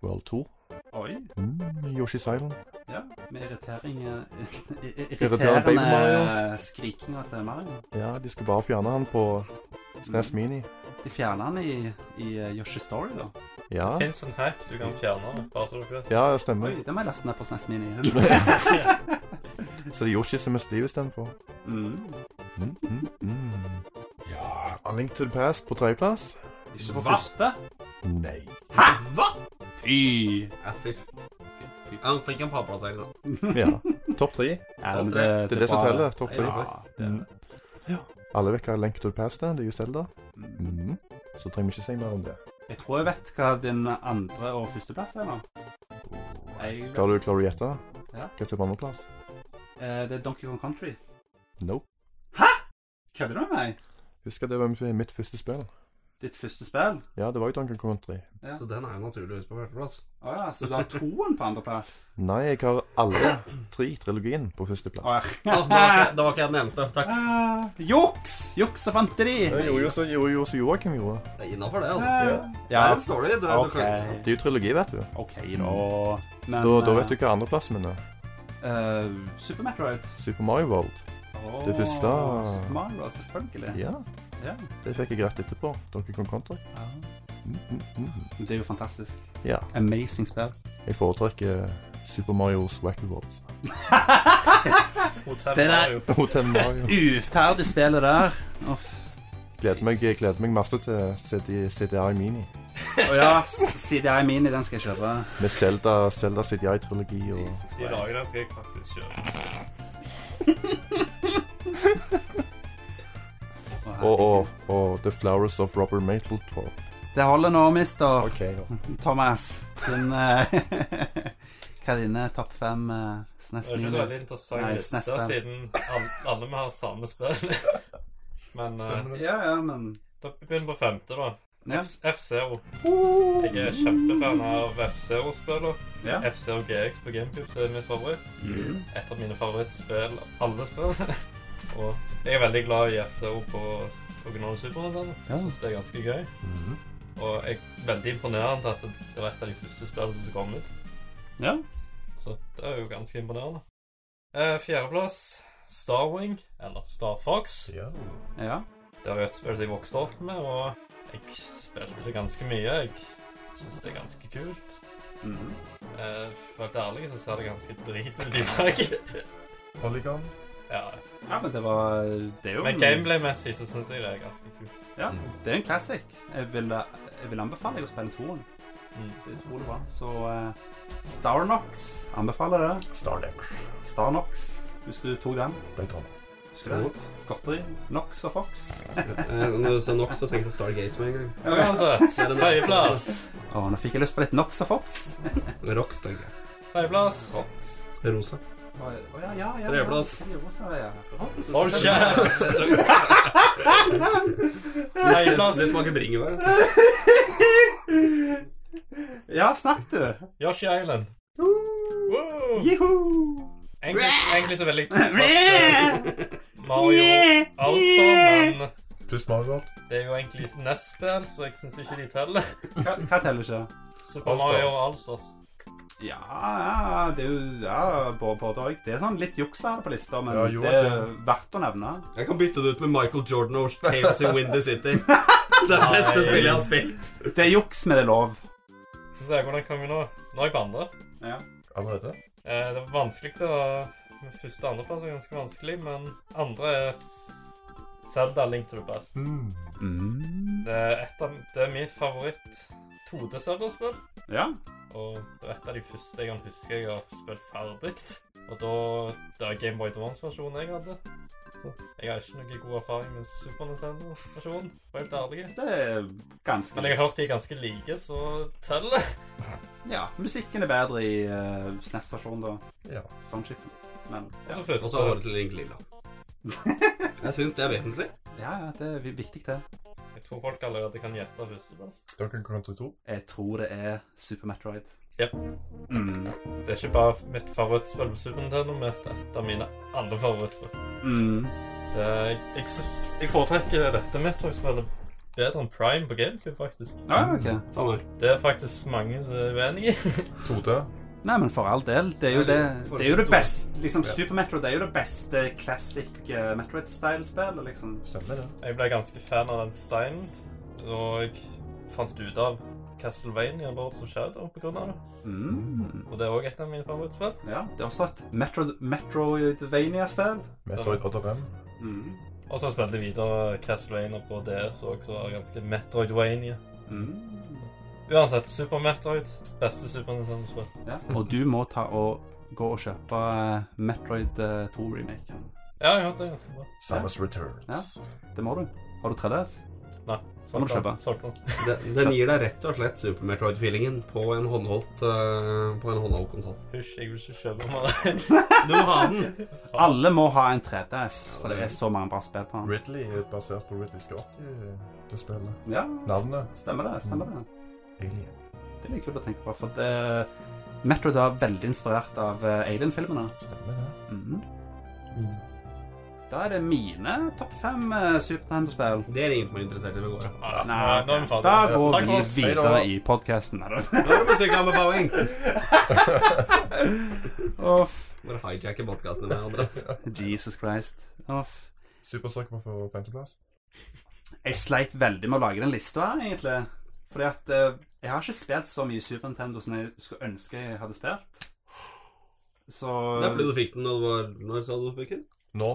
S2: World 2.
S1: Oi.
S2: Mm, Yoshi's Island.
S1: Ja. Med irritering eh, i- i-
S2: Irriterende Baby
S1: Irriterende
S2: Mario.
S1: skrikinga til Mario.
S2: Ja, de skal bare fjerne han på SNES Mini.
S1: De fjerner han i, i eh, Yoshi Story, da.
S2: Ja,
S4: Fins en sånn hack du kan fjerne, bare så dere vet.
S2: ja stemmer.
S1: Oi, det må jeg laste ned på SNES Mini.
S2: Så det er Yoshi som er stiv istedenfor.
S1: Mm.
S2: Mm, mm, mm. Ja A Link to the Past på tredjeplass?
S1: Ikke på første.
S2: Nei.
S1: Fy!
S3: Ja, fy. Fy, fy. Ja, Han fikk en papplassering, da.
S2: Ja. Topp tre.
S1: Ja, men
S3: Det
S2: Det er det som
S1: bra.
S2: teller. Topp tre.
S1: Ja, det er det.
S2: Alle vekker Link to the Past, det er jo Zelda. Mhm. Så trenger vi ikke si mer om det.
S1: Jeg tror jeg vet hva din andre- og førsteplass er nå. Jeg,
S2: Klarer du klarer du å gjette?
S1: Ja.
S2: Hva som er på andreplass?
S1: eh, det er Donkey Kong Country.
S2: Nope.
S1: Kødder du med meg?
S2: Husker det var mitt- mitt første spill.
S1: Ditt første spill?
S2: Ja, det var jo Donkey Kong Country.
S3: Så den er jo naturligvis på førsteplass.
S1: Å ja, så du har toen på andreplass?
S2: Nei, jeg har alle tre trilogien på førsteplass.
S1: Å
S3: Ja,
S1: ja.
S3: Ah, da, var ikke, da var ikke jeg den eneste. Takk.
S1: Ah, Juks! Juks og fanteri!
S2: Jeg gjorde jo så- jeg gjorde jo som Joakim gjorde.
S3: Det er innafor, det. altså.
S1: Ja,
S3: Den står det i. Du, du
S1: OK. Mm.
S3: kan-
S2: Det er jo trilogi, vet du.
S1: OK, da. Men
S2: Da, da vet du hva andreplassen min er.
S1: eh, Super Metroid.
S2: Super Mario World.
S1: Åh,
S2: Det første-
S1: Super Mario, selvfølgelig.
S2: Ja,
S1: Ja.
S2: det fikk jeg rett etterpå. Donkey Kong Country.
S1: Ah,
S2: Mm, mm, mm.
S1: men Det er jo fantastisk.
S2: Ja.
S1: Amazing spill.
S2: Jeg foretrekker Super Marios Wacky Worlds.
S4: Hotell
S1: Det der-
S4: Mario.
S2: Hotel Mario.
S1: Uferdig spillet der. Uff.
S2: Gleder meg, jeg gleder meg masse til CD, CDI Mini.
S1: Å ja, CDI Mini, den skal jeg kjøpe.
S2: Med Zelda, Zelda CDI-trilogi og
S4: De dagene skal jeg faktisk kjøpe.
S2: Og, og, og The Flowers of Robert Mapletorp.
S1: Det holder nå, mister
S2: Ok, ja.
S1: Hm. Thomas. Din, eh, hva er dine topp fem uh,
S4: Det er ikke så veldig
S1: SNES-miner? Nei,
S4: interessant liste,
S1: SNES-band.
S4: siden al- alle vi har samme spill. Men eh,
S1: Ja, ja, men
S4: da begynner vi på femte, da.
S1: ja.
S4: FZero. Jeg er kjempefan av FZero-spillene.
S1: Ja.
S4: FZero GX på GameCube så er det mitt favoritt. Et av mine favorittspill av alle spill. Og jeg er veldig glad i FZero på originale Super Nintendo.
S1: Ja. Mm-hmm.
S4: Jeg syns det er ganske gøy. Og jeg er veldig imponerende at det var et av de første spillene som kom ut.
S1: ja.
S4: Så det er jo ganske imponerende. Eh, Fjerdeplass Starwing, eller Star Fox.
S1: ja.
S4: Det var jo et spill jeg vokste opp med, og jeg spilte det ganske mye. Jeg syns det er ganske kult.
S1: Mhm.
S4: Eh, For å være ærlig så ser det ganske drit ut i dag.
S2: Polygon.
S4: ja.
S1: ja, men det var Det er jo
S4: Men gameplay-messig så syns jeg det er ganske kult.
S1: ja, det er en classic. Jeg vil, eh, jeg vil anbefale deg å spille toeren.
S4: Mm.
S1: Det er utrolig bra. Så eh, Starnox anbefaler det.
S2: Starlex.
S1: Starnox, hvis du tok den.
S2: Playton.
S1: Husker du det? Godteri. Nox og Fox.
S3: Eh, Når du sa nok, så tenkte jeg Stargate med en gang.
S4: Uansett, altså, tredjeplass.
S1: Å, nå fikk jeg lyst på litt Nox og Fox.
S3: Rocks, tenker jeg.
S4: Tredjeplass.
S1: Fox.
S3: Rosa.
S1: Å ja, ja, ja.
S3: Treblås.
S1: Treblås, ja, ja.
S4: Hold kjeft! Nei,
S3: Det,
S4: plass.
S3: det smaker bringebær.
S1: Ja, snakk, du.
S4: Yoshi Island. Wow.
S1: Juhu!
S4: Egentlig, egentlig så veldig kult at eh, Mario avstår, men
S2: Pluss Mario World.
S4: det er jo egentlig NES-spill, så jeg syns ikke de teller.
S1: Hva, hva teller ikke?
S4: Super Mario og Allstars.
S1: Ja, ja, det er jo ja, både, både og. Det er sånn litt juks her på lista, men
S2: Ja, jo,
S1: det er verdt å nevne.
S3: Jeg kan bytte det ut med Michael Jordan og Tales in Windy City. Det er det beste
S4: Nei.
S3: spillet jeg har spilt.
S1: Det er juks, men det er lov.
S4: Så ser jeg hvordan kan vi nå Nå er jeg på andre.
S1: Ja.
S2: Allerede?
S4: Eh, det var vanskelig til å Første og andreplass er ganske vanskelig, men andre er S- Zelda Link to the Past.
S2: Mm.
S1: Mm.
S4: Det er, et av, det er mitt favoritt 2D-Zelda-spill.
S1: ja.
S4: Og det var et av de første jeg kan huske jeg har spilt ferdig. Og da det var Game Boy Advance-versjonen jeg hadde. Så jeg har ikke noe god erfaring med Super Nintendo-versjonen, for helt ærlig.
S1: Det er ganske
S4: Men jeg har hørt de er ganske like, så teller.
S1: Ja, musikken er bedre i uh, SNES-versjonen, da.
S2: Ja.
S1: Soundchipen. Men
S4: Og så
S3: Og så har
S4: første.
S3: du til Link Lilla. Jeg syns det er vesentlig.
S1: ja, ja, det er vi- viktig, det.
S4: Jeg tror folk allerede kan gjette førsteplass.
S2: Duncan Country 2.
S1: Jeg tror det er Super Metroid.
S4: Ja.
S1: Mm.
S4: Det er ikke bare mitt favorittspill på Super Nintendo, men det er et av mine andre favorittspill.
S1: Mm.
S4: Det, jeg, synes- jeg foretrekker dette Metroid-spillet bedre enn Prime på GameCube, faktisk.
S1: Ja, ok.
S3: Samme.
S4: Det er faktisk mange som er uenig i.
S2: 2D.
S1: Nei, men for all del. Det er jo det, det, er jo det beste liksom,
S2: Ja.
S1: Super Metroid det er jo det beste classic eh, Metroid-style-spillet, liksom.
S2: Stemmer det.
S4: Jeg ble ganske fan av den steinen, og jeg fant ut av Castlevania Lords of Shadow på grunn av det.
S1: Mm.
S4: Og det er òg et av mine favorittspill.
S1: Ja, det er også et Metroid, Metroidvania-spill.
S2: Metroid 85.
S1: Mm.
S4: Og så spilte jeg videre Castlevania på DS òg, så var det ganske Metroidvania.
S1: Mm.
S4: Uansett, Super Metroid. Beste Super Nintendo-spill.
S1: Ja. Og du må ta og gå og kjøpe eh, Metroid 2-remaken.
S4: Ja, jeg har hørt det er ganske bra.
S2: Samus Returns.
S1: Ja. Det må du. Har du 3DS?
S4: Nei,
S1: må du
S4: solgt
S1: kjøpe.
S4: den. Solgt den.
S3: Den, den gir deg rett og slett Super Metroid-feelingen på en håndholdt eh, På en håndholdt konsoll.
S4: Hysj, jeg vil ikke kjøpe mer.
S3: Du må ha den!
S1: Alle må ha en 3DS, for det er så mange bra spill på den.
S2: Ridley er basert på Ridley Scott i det spillet.
S1: Ja,
S2: Navnet.
S1: s- Stemmer det. stemmer det.
S2: Alien.
S1: Det er litt kult å tenke på, for det, Metroid er veldig inspirert av eh, Alien-filmene.
S2: Stemmer det.
S1: Mhm.
S3: Mm.
S1: Da er det mine topp fem eh, Super Nintendo-spill.
S3: Det er ingen som er interessert i det går av.
S4: Nei,
S1: Nei,
S4: nå er vi ferdige.
S1: Da
S2: det.
S1: går
S4: Takk
S1: vi
S4: for oss.
S2: Hei da.
S1: videre i podkasten.
S3: Da er det musikkanbefaling!
S1: Uff.
S3: Bare hijacker podkastene med Andreas.
S1: Jesus Christ. Uff.
S2: Supersucker for femteplass.
S1: Jeg sleit veldig med å lage den lista her, egentlig. Fordi at eh, jeg har ikke spilt så mye Super Nintendo som jeg skulle ønske jeg hadde spilt. Så
S3: Det er fordi du fikk den når du var Når sa du du fikk den?
S2: Nå.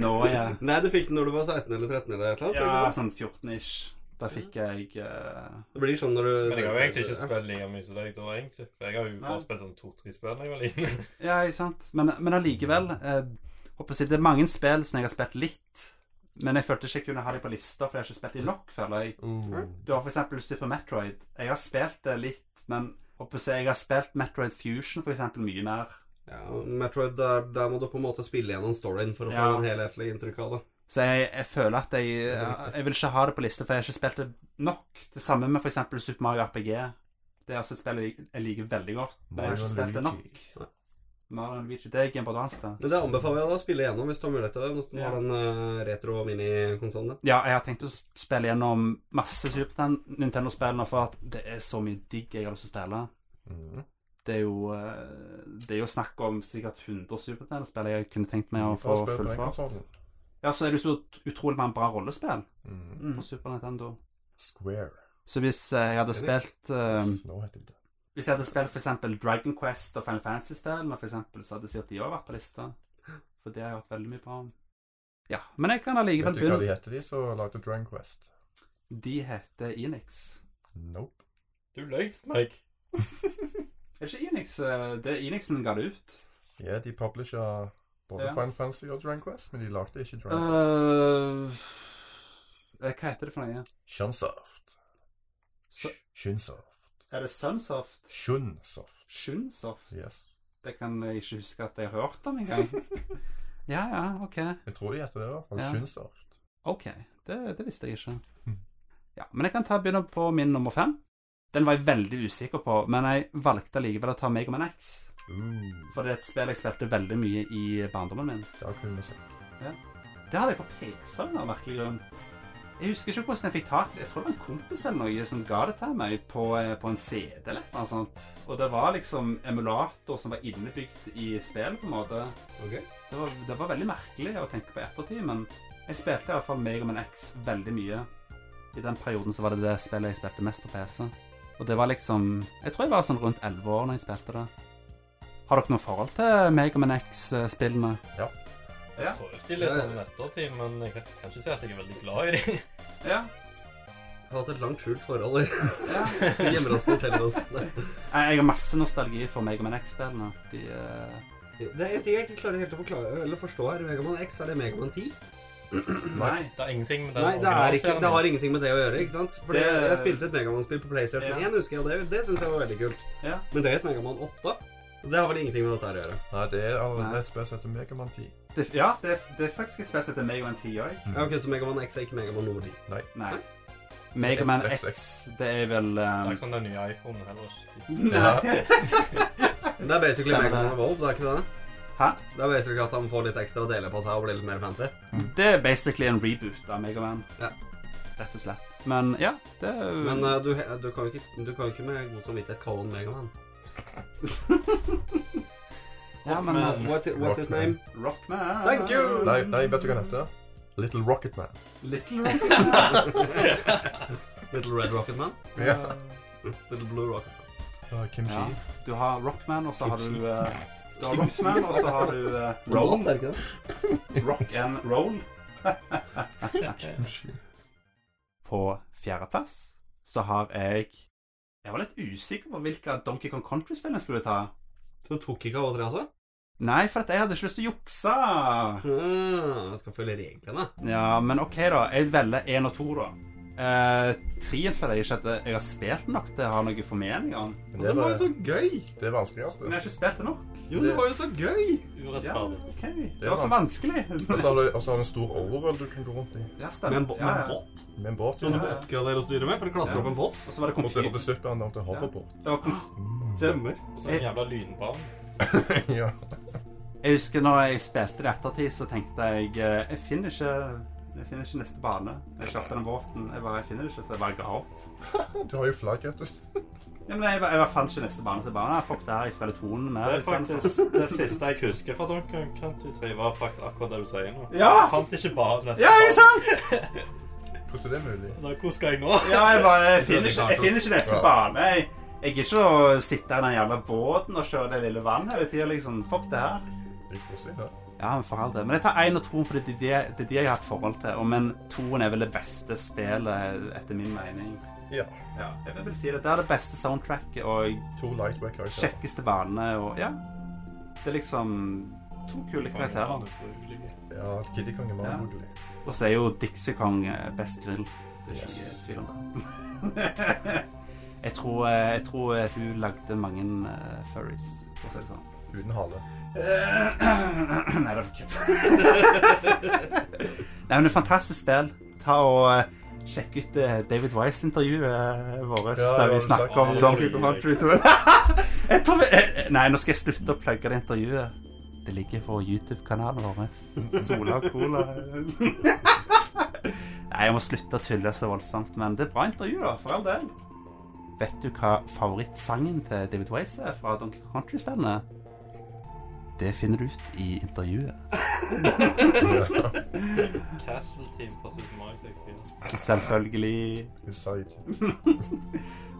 S1: Nå er jeg
S3: Nei, du fikk den når du var 16 eller 13 eller et eller annet.
S1: ja,
S3: ikke sant?
S1: sånn 14-ish. Da fikk jeg eh,
S3: Det blir sånn når du
S4: Men jeg har jo egentlig ikke spilt like mye som deg da, egentlig. For jeg har jo
S1: Nei.
S4: bare spilt sånn to-tre spill da jeg var liten.
S1: Ja, ikke sant. Men, men allikevel eh, håper jeg å si, Det er mange spill som jeg har spilt litt, men jeg følte ikke jeg kunne ha dem på lista, for jeg har ikke spilt dem nok, føler jeg.
S3: Uh.
S1: Du har for eksempel Super Metroid. Jeg har spilt det litt, men håper jeg, å si, jeg har spilt Metroid Fusion for eksempel mye mer.
S3: Ja, Metroid, der, der må du på en måte spille gjennom storyen for å
S1: Ja.
S3: få en helhetlig inntrykk av det.
S1: Så jeg, jeg føler at jeg, jeg vil ikke ha det på lista, for jeg har ikke spilt det nok. Det samme med f.eks. Super Mario RPG. Det er også et spill jeg, lik- jeg liker veldig godt, men jeg har ikke spilt det nok. Mario og Luigi, det er Game Boy Advance, det.
S3: Men det anbefaler jeg deg å spille gjennom hvis du har mulighet til det. Hvis du
S1: Ja.
S3: har den eh, retro minikonsollen din.
S1: Ja, jeg har tenkt å spille gjennom masse Super Nin- Nintendo-spill nå, for at det er så mye digg jeg har lyst til å spille.
S2: Mhm.
S1: Det er jo, eh, det er jo snakk om sikkert 100 Super Nintendo-spill jeg kunne tenkt meg å
S2: Vi får
S1: få
S2: spille på den
S1: fullført.
S2: konsollen.
S1: Ja, så er det jo så utrolig mange bra rollespill
S2: Mhm.
S1: på Super Nintendo.
S2: Square.
S1: Så hvis eh, jeg hadde
S3: Phoenix.
S1: spilt eh,
S2: Nå heter det det.
S1: Hvis jeg hadde spilt for eksempel Dragon Quest og Final Fantasy-spillene, for eksempel, så hadde jeg sikkert de også vært på lista. For det har jeg hørt veldig mye bra om. Ja, men jeg kan allikevel
S2: Vet du hva de
S1: begynne.
S2: heter, de som lagde Dragon Quest?
S1: De heter Enix.
S2: Nope.
S4: Du løy til meg.
S1: Er ikke Enix eh, det Enixen ga det ut?
S2: Ja, de publisher både
S1: Ja. Eh,
S2: Final Fantasy og Dragon Quest, men de lagde ikke Dragon Quest.
S1: Uh, hva heter det for noe?
S2: Shunsoft.
S1: Så-
S2: Shunsoft.
S1: Er det Sunsoft?
S2: Shunsoft.
S1: Shunsoft?
S2: Yes.
S1: Det kan jeg ikke huske at jeg har hørt om engang. ja, ja, OK.
S2: Jeg tror de heter det, i hvert fall.
S1: Ja.
S2: Shunsoft.
S1: Ok, det, det visste jeg ikke. Ja, Men jeg kan ta begynne på min nummer fem. Den var jeg veldig usikker på, men jeg valgte likevel å ta Mega Man X.
S2: Uh,
S1: For det er et spill jeg spilte veldig mye i barndommen min.
S2: det er kul musikk.
S1: Det hadde jeg på PC av en eller annen merkelig grunn. Jeg husker ikke hvordan jeg fikk tak Jeg tror det var en kompis eller noe som ga det til meg på, eh, på en CD eller et eller annet sånt. Og det var liksom emulator som var innebygd i spillet, på en måte.
S3: Ok.
S1: Det var, det var veldig merkelig å tenke på i ettertid, men jeg spilte i hvert fall Mega Man X veldig mye. I den perioden så var det det spillet jeg spilte mest på PC. Og det var liksom Jeg tror jeg var sånn rundt 11 år når jeg spilte det. Har dere noe forhold til Mega Man X-spillene? Ja.
S4: Jeg prøvde litt sånn ettertid, men jeg kan kan ikke si at jeg er veldig glad i dem.
S1: Ja.
S3: Jeg har hatt et langt skjult forhold.
S1: ja.
S3: Vi Gjemmer oss på hotellet og sånn.
S1: Jeg jeg har masse nostalgi for Mega Man X-spillene. De eh,
S3: Det er en ting jeg ikke klarer helt å forklare eller forstå her. Megaman X, er det Megaman 10?
S1: Nei.
S4: Det er ingenting med den
S3: Nei, det, er ikke,
S4: originalserien.
S3: det har ingenting med det å gjøre. ikke sant? For
S1: Det-
S3: jeg spilte et Megaman-spill på PlayStation
S1: Ja.
S3: 1, husker jeg, og det, det syns jeg var veldig kult.
S1: Ja.
S3: Men det er et Megaman 8. Og det har vel ingenting med dette her å
S1: Mm.
S3: gjøre.
S2: Nei, det er
S1: Nei.
S2: allerede et spill som heter Megaman 10.
S1: Det, ja, det, det er faktisk et spill som heter Mega Man 10 òg.
S3: Ja, ok, Så Megaman X er ikke Megaman Nord 10.
S2: Nei.
S1: Nei. Mega Man
S2: X, X,
S1: X, det er vel
S4: Det er
S1: eh,
S4: ikke sånn den nye iPhonen heller. ikke.
S1: Nei.
S3: Men Det er basically
S1: Stemmer
S3: Megaman
S1: det.
S3: Evolve, det er ikke det?
S1: Hæ?
S3: Det er basically at han får litt ekstra deler på seg og blir litt mer fancy.
S1: Det er basically en reboot av Megaman.
S3: Ja.
S1: Rett og slett. Men ja, det er jo
S3: Men eh, du, he- du kan jo ikke, du kan jo ikke med god samvittighet kalle han Megaman.
S1: ja, men, eh,
S4: Rockman.
S3: uh, What's, it, what's his name?
S2: Rockman.
S1: Rockman.
S3: Thank you!
S2: Nei, nei, vet du hva den heter? Little Rocket Man.
S1: Little Rockman.
S3: Little Red Rocket Man?
S2: Ja.
S3: Little Blue Rocket Man.
S2: Ah, Kim
S1: ja.
S2: Shi.
S1: Du har Rockman, og så har du eh, Du har Rockman, og så har du eh, Roll.
S3: Roland, er det ikke det?
S1: Rock and Roll.
S2: Kim Shi.
S1: På fjerdeplass så har jeg Jeg var litt usikker på hvilke Donkey Kong Country-spill jeg skulle ta.
S3: Du tok ikke alle tre, altså?
S1: Nei, for at jeg hadde ikke lyst til å jukse.
S3: Ah, jeg skal følge reglene.
S1: Ja, men OK, da. Jeg velger én og to, da. Eh, Trien føler jeg ikke at jeg har spilt nok til å ha noe formening om.
S2: Men
S3: Det
S2: det
S3: var jo
S2: var altså.
S3: så gøy!
S2: det vanskeligste.
S1: Men jeg har ikke spilt det nok.
S3: Jo, det var jo så gøy!
S1: Ja,
S4: Urettferdig.
S1: OK. Det var så vanskelig.
S2: Og så har du- og så har du en stor overall du kan gå rundt i.
S1: Ja,
S3: Med
S1: stemmer.
S3: en, bo
S1: Ja,
S3: med en
S1: ja.
S3: båt
S2: Med en båt.
S3: som du
S2: Ja.
S4: Sånn-
S3: må oppgradere og styre med for å klatre
S1: Ja.
S3: opp en foss.
S1: Og så var det
S2: Og til- og
S1: komfyr.
S2: til slutt ble han om til hoverboard.
S1: Det var komfyr.
S3: Stemmer.
S4: Og så en jævla lynbarn.
S2: ja.
S1: Jeg husker når jeg spilte det i ettertid, så tenkte jeg eh, Jeg finner ikke jeg finner ikke neste bane. Jeg klarte den båten. Jeg bare, jeg finner det ikke, så jeg bare ga opp.
S2: Du har jo flagg, vet du.
S1: Ja, men jeg, bare- jeg bare fant ikke neste bane, så jeg bare Nei, fuck det her. Jeg spiller tonen mer.
S4: Det er
S1: i stedet for.
S4: faktisk det siste jeg husker fra Donkey Kong Country 3, var faktisk akkurat det du sier nå.
S1: Ja!
S4: Jeg fant ikke bare nesten
S1: Ja, ikke sant?
S2: Hvordan er det mulig?
S4: bare- Da, Hvor skal jeg nå?
S1: Ja, jeg bare jeg finner ikke, jeg finner ikke neste bane. Jeg, jeg gidder ikke å sitte i den jævla båten og kjøre det lille vannet hele tida, liksom. Fuck det her.
S2: Det er koselig, ja.
S1: Ja, men for all del. Men jeg tar én og toen, for det er de, det er de jeg har hatt forhold til. Og men toen er vel det beste spillet, etter min mening.
S2: Ja.
S1: Ja, jeg vil si det. Det er det beste soundtracket og
S2: To lightweight karakterer.
S1: kjekkeste banene og Ja. Det er liksom to kule karakterer.
S2: Ja, Kiddikongen var
S1: Ja.
S2: brukelig.
S1: Og så er jo Dixie Kong eh, best grill. Det er ikke
S2: Yes.
S1: tvil om det. jeg, tror, eh, jeg tror eh, hun lagde mange eh, furries, for å si det sånn.
S2: Uten hale.
S1: Eh, Nei, det var kutt. Nei, men det er et fantastisk spill. Ta og eh, Sjekk ut eh, David Wise-intervjuet eh, vårt
S2: Ja,
S1: der
S2: ja,
S1: vi
S2: du
S1: snakker
S2: sa-
S1: om
S4: Ja,
S1: Donkey
S4: det
S1: Kong
S4: var
S1: Country 2. Jeg tror vi- eh, Nei, nå skal jeg slutte å plugge det intervjuet. Det ligger på YouTube-kanalen vår. Sola og Cola. Nei, jeg må slutte å tulle så voldsomt, men det er bra intervju, da. For all del. Vet du hva favorittsangen til David Wise er fra Donkey Kong Country-spillene? Det finner du ut i intervjuet.
S4: Castle Team fra Super Mario 64.
S1: Selvfølgelig.
S2: Inside.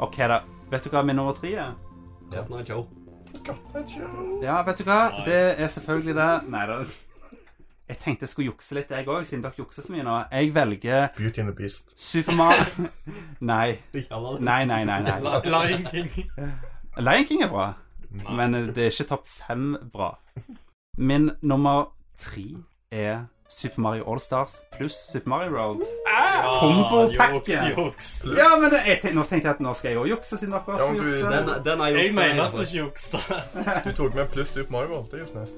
S1: OK, da. Vet du hva min nummer tre er?
S3: Resten er show.
S1: Ja, vet du hva? Det er selvfølgelig det. Nei da. Jeg tenkte jeg skulle jukse litt, jeg òg, siden dere jukser så mye nå. Jeg velger
S2: Beauty and the Beast.
S1: Super Mario Nei. Nei, nei, nei. nei.
S4: Li- Lion King.
S1: Lion King er bra, men det er ikke topp fem bra. Min nummer tre er Super Mario All-Stars pluss Super Mario Road.
S4: Ah,
S1: Kombopakke!
S4: Juks, juks.
S1: Ja, men det- jeg tenkte, nå tenkte jeg at nå skal jeg òg jukse, siden dere
S2: Ja,
S1: også
S2: men du,
S1: jukser.
S3: Den, den er altså.
S4: Jeg
S3: juks. den er
S4: mener at
S3: juks.
S4: det ikke jukser.
S2: Du tok med pluss Super Mario World. Det er jo SNES.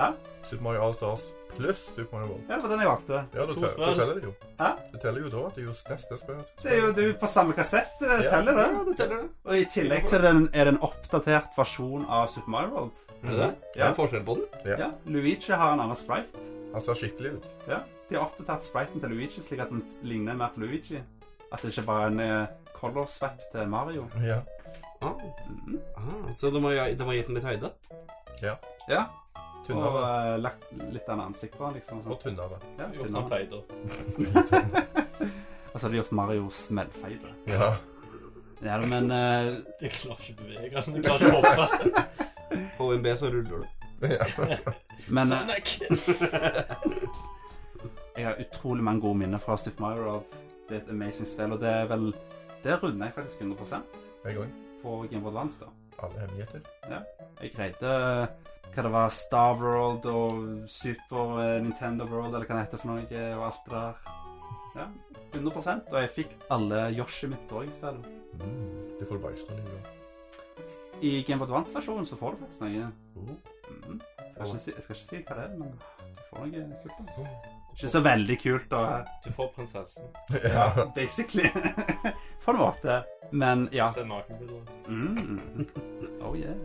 S1: Hæ?
S2: Super Mario All-Stars pluss Super Mario World.
S1: Ja, det var den jeg valgte.
S2: Ja, du,
S4: To
S2: tell, du
S4: feil.
S2: teller det jo.
S1: Hæ?
S2: Du teller jo da at det er jo SNES det spillet.
S1: Det er jo du på samme kassett. Det
S2: Ja.
S1: teller det.
S3: Ja, det teller det.
S1: Og i tillegg så er det, en, er det en oppdatert versjon av Super Mario World.
S3: Er det det? Det
S1: Ja.
S3: er forskjell på Mm. den.
S1: Ja, Luigi har en annen sprite.
S2: Han ser skikkelig ut.
S1: Ja, De har oppdatert spriten til Luigi slik at den ligner mer på Luigi. At det ikke bare er en eh, color swap til Mario.
S2: Ja.
S3: Ah. Ah, så de har, de har gitt den litt høyde?
S2: Ja.
S3: Ja.
S1: Og
S2: Tynnere.
S1: eh, lagt litt annet ansikt på han, liksom.
S2: Og
S1: Sånn.
S2: tynnere.
S1: Ja,
S4: Gjort han
S1: tynne.
S4: feil, da.
S1: og så har de gjort Mario smellfeite.
S2: Ja.
S1: Ja, men eh,
S4: Jeg klarer ikke å bevege den. Jeg klarer ikke å hoppe.
S3: På OMB så ruller du.
S1: Men
S3: Sånn,
S1: eh,
S4: Sonic.
S1: jeg har utrolig mange gode minner fra Super Mario World. Det er et amazing spill, og det er vel Det runder jeg faktisk 100
S2: En gang.
S1: for Game Boy Advance, da.
S2: Alle hemmeligheter.
S1: Jeg greide eh, hva det var, Star World og Super eh, Nintendo World, eller hva det heter for noe, eh, og alt det der. Ja, 100 Og jeg fikk alle Yoshi mitt òg, spill. Mm.
S2: Du får bæsj når du gjør
S1: I Game of Advance-versjonen så får du faktisk noe.
S2: Oh.
S1: Mhm. Jeg, skal ikke si, jeg skal ikke si hva det er, men du får noe kult. da. Ikke så veldig kult, da.
S4: Du får prinsessen.
S2: Ja.
S1: Basically. På en måte. Men ja.
S4: Se nakenbilder.
S1: Mm. Oh yeah.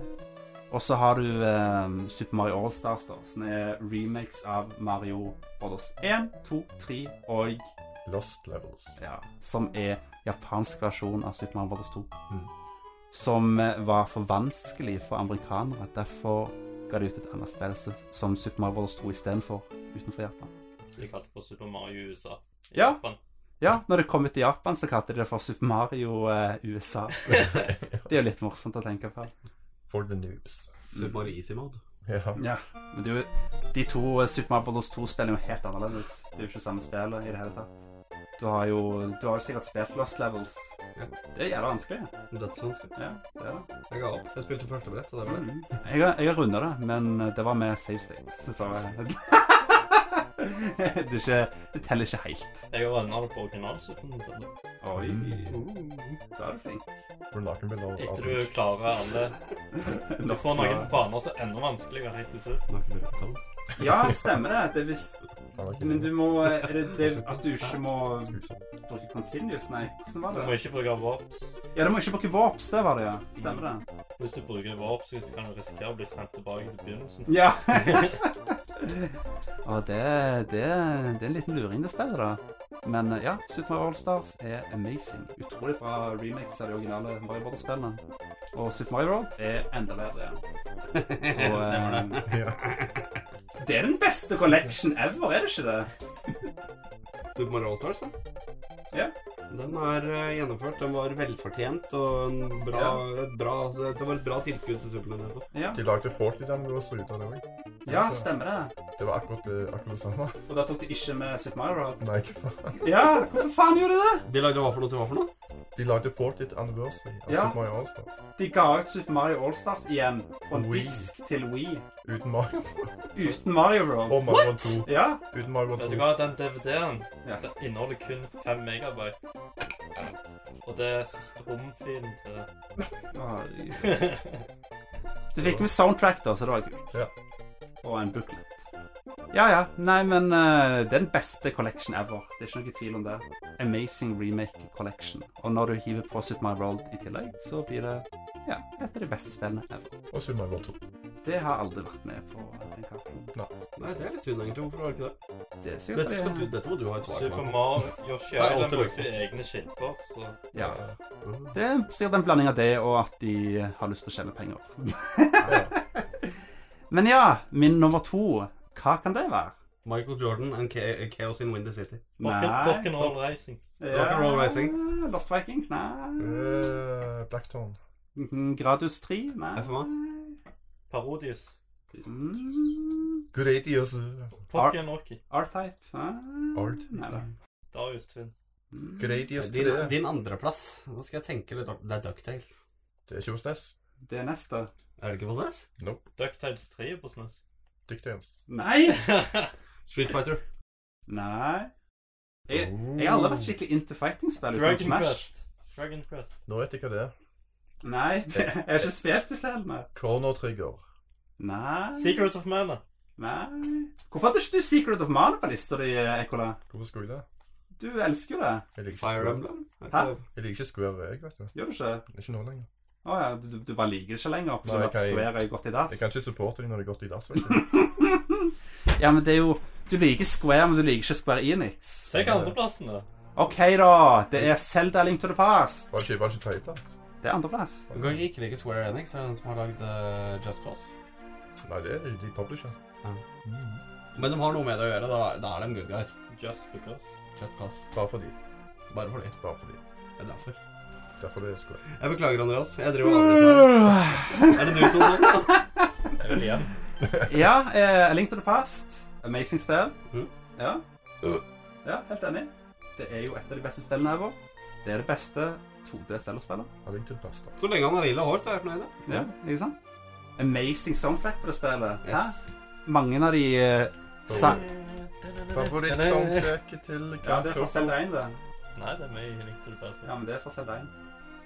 S1: Og så har du eh, Super Mario All-Stars, da, som er remakes av Mario Brothers 1, 2, 3 og
S2: Lost levels.
S1: ja, Som er japansk versjon av Super Mario Brothers 2.
S2: Mm.
S1: Som eh, var for vanskelig for amerikanere. Derfor ga de ut et annet spill som- som Super Mario Brothers 2 istedenfor, utenfor Japan.
S4: De kalte for Super Mario USA. I
S1: Ja.
S4: Japan.
S1: Ja, når det kom ut i Japan, så kalte de det for Super Mario eh, USA. Det er jo litt morsomt å tenke på.
S2: For the noobs.
S3: Super Mario Easy Mode.
S2: Ja.
S1: Ja, men det er jo- de to eh, Super Mario Bros. 2 spiller jo helt annerledes. Det er jo ikke samme spillet i det hele tatt. Du har jo, du har jo sikkert spilt Lost Levels. Det er jævla vanskelig.
S3: Dødsvanskelig.
S1: Ja, det er det.
S3: Jeg ga opp. Jeg spilte første brett, og det ble det.
S1: Mm. Jeg har, jeg har runda det, men det var med save states, så jeg. det, er ikke, det teller ikke helt.
S4: Jeg har runda det på original Super Nintendo.
S1: Oi, Mm, da er du flink.
S2: For nakenbilder av
S4: Etter du klarer alle Du får noen baner som er enda vanskeligere helt til slutt.
S1: Ja, stemmer det. Det er hvis Men du må Er det, det er at du ikke må
S2: Tusen.
S1: bruke continuous? Nei, hvordan var
S4: Du må
S1: det?
S4: ikke bruke warps.
S1: Ja, du må ikke bruke warps, det var det, ja. Stemmer det.
S4: Hvis du bruker warps, så kan du risikere å bli sendt tilbake til begynnelsen.
S1: Ja. Og det, det, det er en liten luring, det spillet, da. Men eh, ja, Super Mario All-Stars er amazing. Utrolig bra remix av de originale Mario Brothers-spillene. Og Super Mario World er enda bedre. Ja. Så eh,
S2: Ja.
S1: det er den beste collection ever, er det ikke det?
S3: Super Mario All-Stars, da.
S1: Ja.
S3: Den er eh, gjennomført. Den var velfortjent og en bra, et bra, altså, det var et bra tilskudd til Super Nintendo.
S1: Ja,
S2: De lagde Forty Demos ut av det òg.
S1: ja stemmer det.
S2: Det var akkurat det, akkurat det samme.
S1: Og da tok de ikke med Super Mario World.
S2: Nei, hva faen.
S1: Ja, hvorfor faen gjorde de det?
S3: De lagde hva for noe til hva for noe?
S2: De lagde Forty Anniversary av
S1: Ja.
S2: Super Mario All-Stars.
S1: De ga ut Super Mario All-Stars igjen på en
S2: Wii.
S1: disk til Wii
S2: Uten Mario.
S1: uten Mario World.
S2: Og Mario 2.
S1: Ja.
S2: Uten Mario
S4: Vet
S2: 2.
S4: du hva, den DVD-en
S1: Ja.
S4: den inneholder kun 5 megabyte. Og det er s- romfilen til
S1: Du fikk med soundtrack, da, så det var kult.
S2: Ja.
S1: Og en booklet. Ja ja. Nei, men eh, det er den beste collection ever. Det er ikke noe tvil om det. Amazing remake collection. Og når du hiver på Super Mario World i tillegg, så blir det ja, et av de beste spillene ever.
S2: Og Super Mario 2.
S1: Det har aldri vært med på eh, den karten.
S3: Nei, det er litt synd, egentlig. Hvorfor var det ikke det?
S1: Det er sikkert
S3: Dette, skal du,
S1: fordi-
S3: dette må du ha et svar
S4: Super
S3: på.
S4: Mario Yoshi
S3: Det er alt
S4: Island
S3: det
S4: brukte egne skilper, så
S1: Ja.
S3: Mhm.
S1: Det er sikkert en blanding av det og at de har lyst til å tjene penger. Men ja, min nummer to. Hva kan det være?
S3: Michael Jordan and Cha- Chaos in Windy City.
S4: Rock'n'roll Racing.
S3: Rock'n'Roll Racing.
S1: Ja, Lost Vikings? Nei.
S2: Uh, Blackthorn.
S1: Mhm, Gradus 3? Nei.
S3: FMA?
S4: Parodius.
S1: Mm.
S2: Good ideas.
S4: Pocky and Rocky.
S1: R-Type? Nei.
S2: Art.
S1: Nei da.
S4: Darius Twin.
S1: Mm.
S2: Good ideas til
S3: Din,
S2: det.
S3: din andreplass. Nå skal jeg tenke litt opp. Det er Ducktales.
S2: Det er ikke hos Ness.
S1: Det er neste.
S3: Er det ikke på SNES?
S2: Nope.
S4: E Ducktails 3 er på SNES.
S2: Dyktigans.
S1: Nei!
S3: Street Fighter.
S1: Nei. Jeg, jeg har aldri vært skikkelig into fighting-spill utenom
S4: Dragon
S1: Smash.
S4: Quest. Dragon Quest.
S2: Nå vet jeg hva det er.
S1: Nei, det, jeg har ikke spilt de spillene.
S2: Chrono Trigger.
S1: Nei.
S4: Secrets of Mana.
S1: Nei. Hvorfor hadde ikke du Secret of Mana på lista di, Ekola?
S2: Hvorfor skulle jeg det?
S1: Du elsker jo det.
S2: Jeg liker ikke
S3: Fire
S2: Square,
S3: Emblem? Er
S1: Hæ?
S3: ikke det-
S2: jeg, liker ikke Square jeg vet du.
S1: Gjør du ikke?
S2: Ikke nå lenger.
S1: Å ja, du, du- du bare liker det ikke lenger. Så
S2: Nei,
S1: Nei,
S2: jeg-
S1: Square er gått i dass.
S2: Jeg kan ikke supporte dem når det er gått i dass. vet du.
S1: Ja, men det er jo Du liker Square, men du liker ikke Square Enix.
S4: Se hva andreplassen er.
S1: OK, da. Det er Zelda Link to the Past.
S2: Var det ikke, var det ikke tredjeplass?
S1: Det er andreplass.
S3: Du kan ikke ikke like Square Enix, det er den som har lagd eh, Just Cause.
S2: Nei, det er det ikke. de publisher.
S3: Men de har noe med det å gjøre. Da, da er de good guys.
S4: Just because.
S3: Just Cause.
S2: Bare fordi.
S3: Bare for det.
S2: Bare fordi.
S3: Det er derfor.
S2: Derfor det er Square.
S3: Jeg beklager, Andreas. Jeg driver og avbryter. deg. Er det du som sånn? da?
S4: Jeg vil igjen.
S1: Ja, eh, Link to the Past. Amazing spill.
S3: Mhm.
S1: Ja. ja, helt enig. Det er jo et av de beste spillene ever. Det er det beste 2D-cellerspillet.
S2: Har link til pasta.
S3: Så lenge han har lilla hår, så er jeg fornøyd. jeg.
S1: Ja, ikke sant? Amazing soundtrack på det spillet. Hæ?
S3: Yes.
S1: Mange av de eh, sang...
S2: Favoritt-soundtracket til
S1: Ja, det er fra
S2: Grand Theft Auto.
S1: Zelda 1, det.
S4: Nei, det er meg jeg likte det best.
S1: Ja, men det er fra Zelda 1.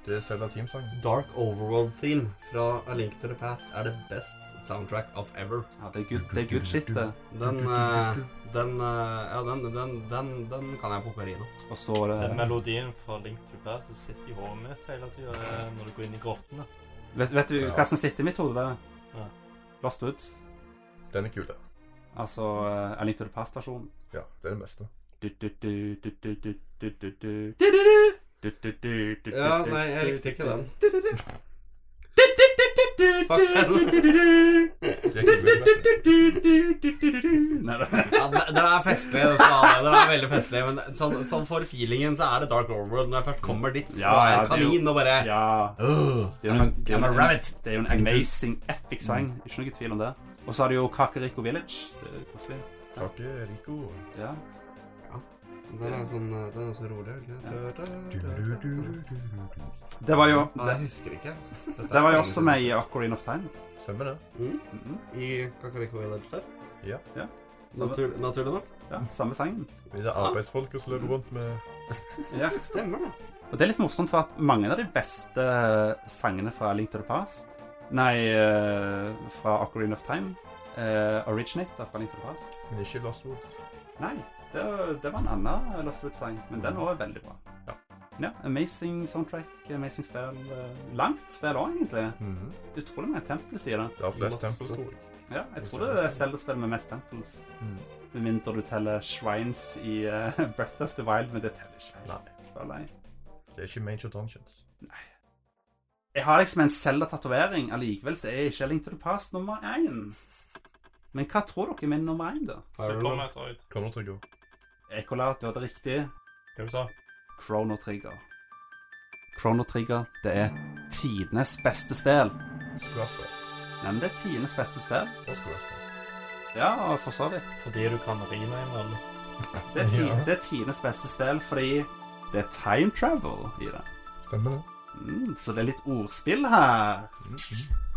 S2: Det er Zelda Team-sangen.
S3: Dark Overworld Theme fra A Link to the Past er det best soundtrack of ever.
S1: Ja, det er good, det er good shit, det.
S3: Den eh, Den eh, Ja, den, den, den, den kan jeg på operina.
S1: Og så er
S4: Den
S1: det
S4: melodien fra Link to the Past som sitter i hodet mitt hele tida når du går inn i grottene.
S1: Vet, vet du hva som sitter i mitt hode? det?
S4: Ja.
S1: Lost Woods.
S2: Den er kul, det.
S1: Altså eh, A Link to the Past-stasjonen.
S2: Ja, det er det beste.
S3: Ja,
S1: Ja,
S3: nei, jeg likte ikke den. Fuck
S1: den.
S2: Det er ikke veldig bra.
S1: Nei da.
S3: Ja, den den er festlig, det skal jeg ha. Den er veldig festlig, men sånn, sånn for feelingen så er det Dark Overworld. Når jeg først kommer dit, så
S1: Ja,
S3: er jeg
S1: ja, det
S3: en
S1: er jo-
S3: kanin og bare
S1: Ja. Det
S3: «Åh,
S1: er jo en, det er jo
S3: I'm a
S1: en,
S3: rabbit.
S1: det er jo en amazing epic sang. Ikke noe tvil om det. Og så har du jo Kakeriko Village. Det er koselig.
S2: Kake Rico.
S1: Ja.
S3: Den er sånn eh, Den er så rolig.
S2: Du-du-du-du-du-du.
S1: Det var jo
S3: Jeg
S1: det,
S3: husker ikke. altså. Mm. Dette
S1: det var
S3: er
S1: jo også med i Ocarina of Time.
S2: Stemmer det.
S1: Mhm.
S3: I Kakariko Village der.
S2: Ja.
S1: Ja.
S3: Natur, naturlig nok.
S1: Ja, samme sangen.
S2: Det er arbeidsfolket som løper rundt med
S1: Ja.
S3: Stemmer det.
S1: Og det er litt morsomt for at mange av de beste eh, sangene fra Link to the Past Nei, eh, fra Ocarina of Time uh, originater fra Link to the Past.
S2: Men ikke Lost Woods.
S1: Nei, det, var- det var en annen Lost Woods-sang, men den var veldig bra.
S2: Ja.
S1: Ja, Amazing soundtrack, amazing spill. eh, langt spill òg, egentlig. Utrolig mange temples i det.
S2: Det har flest
S3: Masse.
S2: tempels, tror jeg. Mm.
S1: Ja, jeg tror det er Zelda-spill med mest temples. Med mindre du teller shrines i eh, Breath of the Wild, men det teller ikke. helt. Føler jeg.
S2: Det er ikke Major Dungeons.
S1: Jeg har liksom en Zelda-tatovering, allikevel så er jeg ikke Link to the Past nummer én. Men hva tror dere er min nummer én, da?
S4: Så kommer Metroid.
S2: Kommer til å gå.
S1: Ekola, du hadde riktig.
S4: Hva du sa
S1: Chrono Trigger. Chrono Trigger, det er tidenes beste spill.
S2: Squarespace.
S1: Nei, men det er tidenes beste spill.
S2: Og Squarespace.
S1: Ja, for så vidt.
S4: Fordi du kan remame alle.
S1: Det er, ti
S2: Ja.
S1: det er tidenes beste spill fordi det er time travel i det.
S2: Stemmer det.
S1: Mm, så det er litt ordspill her.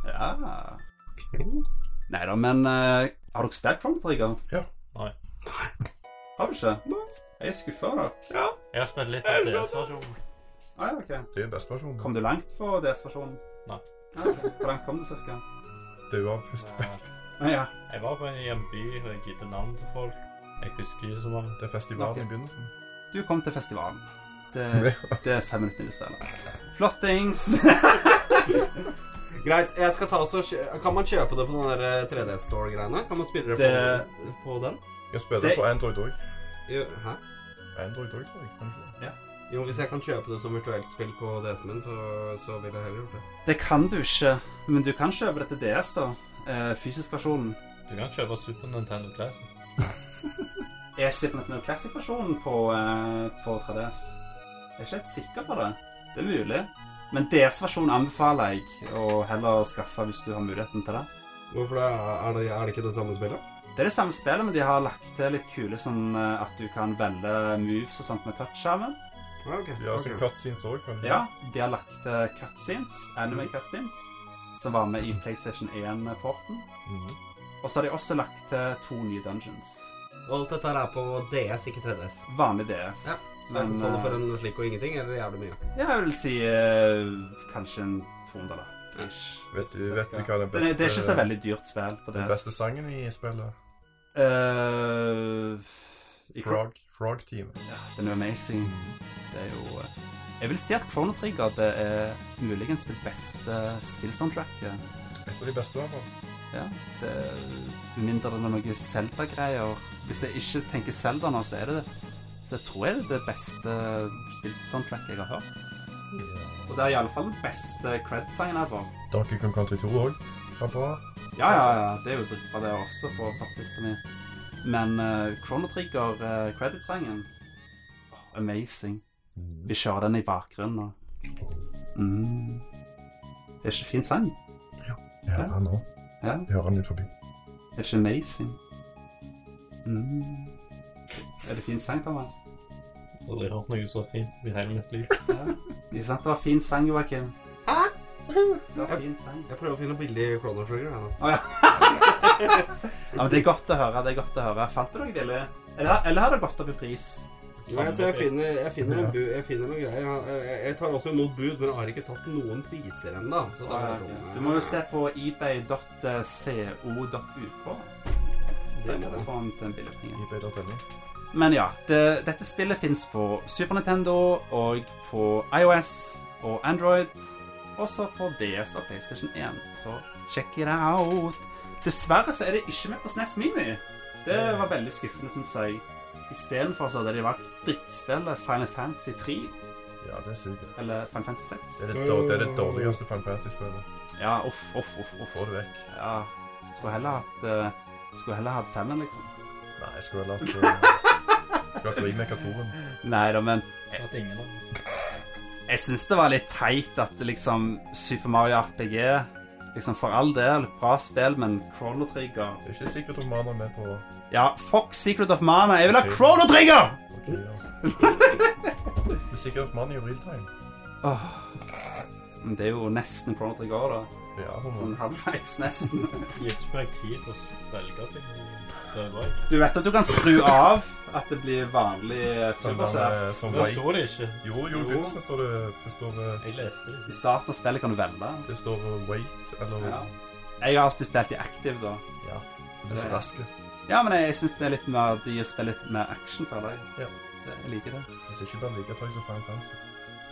S1: Ja. Nei da, men eh, har dere spilt Chrono Trigger?
S2: Ja.
S4: Nei.
S1: Har du ikke? Jeg er skuffa over deg. Ja.
S4: Jeg har spilt litt av DS-versjonen.
S1: Ah, ja, ok.
S2: Det er beste versjonen.
S1: Kom du langt på DS-versjonen?
S4: Nei.
S1: Ah, ok. Hvor langt kom du cirka?
S2: Det var første band.
S1: Ah, ja.
S4: Jeg var på en i en by og jeg gitte navn til folk. Jeg husker ikke så mange.
S2: Det er festivalen
S1: Ok.
S2: i begynnelsen.
S1: Du kom til festivalen. Det,
S2: Det
S1: det er fem minutter i stedet. Flottings!
S3: Greit. jeg skal ta også, kjø- Kan man kjøpe det på den der 3D-store-greiene? Kan man spille det,
S1: Det-
S3: På, på den?
S2: Jeg spiller
S1: Det-
S2: på Android òg.
S3: Jo, hæ?
S2: Android òg, tror jeg. Kanskje.
S3: Jo, Hvis jeg kan kjøpe det som virtuelt spill på DS-en min, så, så vil jeg heller gjort det.
S1: Det kan du ikke, men du kan kjøpe det til DS, da. Eh, fysisk versjonen.
S4: Du kan kjøpe Super Nintendo Classic.
S1: Er Shipment med Classic-versjonen på, eh, på 3DS? Jeg er ikke helt sikker på det. Det er mulig. Men DS-versjonen anbefaler jeg å heller skaffe hvis du har muligheten til det.
S3: Hvorfor det? Er det, er det ikke det samme spillet?
S1: Det er det samme spillet, men de har lagt til litt kule sånn eh, at du kan velge moves og sånt med touch-skjermen.
S3: Ja, Ah, ok.
S2: Ja, så
S3: ok.
S2: cutscenes òg, kanskje.
S1: Ja, de har lagt til cutscenes, anime cutscenes, som var med i PlayStation 1-porten.
S2: Mhm.
S1: Og så har de også lagt til to nye dungeons.
S3: Og alt dette her er på DS, ikke 3DS.
S1: Vanlig DS.
S3: Ja, Så jeg anbefaler sånn for en slik og ingenting, eller jævlig mye.
S1: eh, ja, jeg vil si eh, kanskje en 200 da. Ish.
S2: Vet du, vet du hva den
S1: Det,
S2: beste
S1: det er ikke så veldig dyrt spill på
S2: Den
S1: DS.
S2: beste sangen i spillet?
S1: Eh, i-
S2: Frog, Frog Team.
S1: Ja, den er amazing. Det er jo eh, Jeg vil si at Chrono Trigger det er muligens det beste spillsoundtracket.
S2: Et av de beste, i hvert fall.
S1: Ja, det er mindre det er noen Zelda-greier. Hvis jeg ikke tenker Zelda nå, så er det det. Så jeg tror det er det beste spillsoundtracket jeg har hørt. Og det er iallfall den beste cred-sangen ever.
S2: Donkey Kong Country 2 òg. Var bra.
S1: Ja, ja, ja. Det er jo dritbra, det også, på topplista mi. Men eh, Chrono Trigger, eh, credit-sangen Åh, Amazing. Vi kjører den i bakgrunnen nå. Mm. Det er ikke fin sang.
S2: Ja,
S1: Ja.
S2: nå.
S1: Ja.
S2: Hører han litt forbi.
S1: Det er ikke amazing. Mm. Er det fin sang, Thomas?
S4: Aldri hørt noe så fint i hele mitt liv.
S1: Ikke sant? Det var fin sang, Joakim. Hæ? Det var fin sang.
S3: Jeg prøver å finne billig Chrono Trigger. her nå.
S1: Ja, men Det er godt å høre. det er godt å høre. Fant du noe, Ville? Eller, eller har det gått opp i pris?
S3: Nei, så altså, jeg finner, jeg finner, noen, bu, jeg finner noen greier. Jeg- Jeg, jeg tar også imot bud, men jeg har ikke satt noen priser ennå. Så da er det sånn
S1: Du må jo se på eh, ebay.co.uk. Der
S3: Det må
S1: må du
S3: jeg.
S1: få den til en billig penge.
S2: eBay.no.
S1: Men ja, det, dette spillet fins på Super Nintendo og på iOS og Android. Også på DS og PlayStation 1. Så check it out. Dessverre så er det ikke med på SNES Mini. Det var veldig skuffende, syns jeg. Istedenfor så hadde de valgt drittspillet Final Fantasy 3
S2: Ja, det suger.
S1: eller Final Fantasy 6.
S2: Det er det, dår, det, er det dårligste Final Fantasy-spillet.
S1: Ja, uff, uff, uff. uff.
S2: Få det vekk.
S1: Ja, skulle heller hatt uh, Skulle heller hatt femmen, liksom.
S2: Nei, jeg skulle vel hatt eh, Skulle hatt remake av toren.
S1: Nei da, men
S4: Så at ingen av
S1: Jeg syns det var litt teit at liksom Super Mario RPG Liksom For all del, bra spill, men Chrono Trigger
S2: Det er ikke sikkert om mannen er med på
S1: Ja, fuck Secret of Mana. Jeg vil ha Chrono Trigger!
S2: Ok, ja. Men sikkert at mannen er i real time.
S1: Men det er jo nesten Chrono Trigger, da.
S2: Det er han.
S1: Sånn halvveis, nesten.
S4: de gir ikke meg tid til å velge ting. Det er bra.
S1: Du vet at du kan skru av at det blir vanlig
S2: Som han eh,
S1: turbasert.
S2: som
S4: Det
S2: var i-
S4: står det ikke.
S2: Jo, jo, i begynnelsen står det Det står, eh,
S4: Jeg leste det.
S1: I starten av spillet kan du velge.
S2: det står eh, wait, eller
S1: Ja. Jeg har alltid spilt i active, da.
S2: Ja. Det er så raske.
S1: Ja, men jeg, jeg syns det er litt mer de spiller litt mer action, føler jeg.
S2: Ja.
S1: Så jeg liker det.
S2: Hvis ikke bare like tøy som Final Fantasy.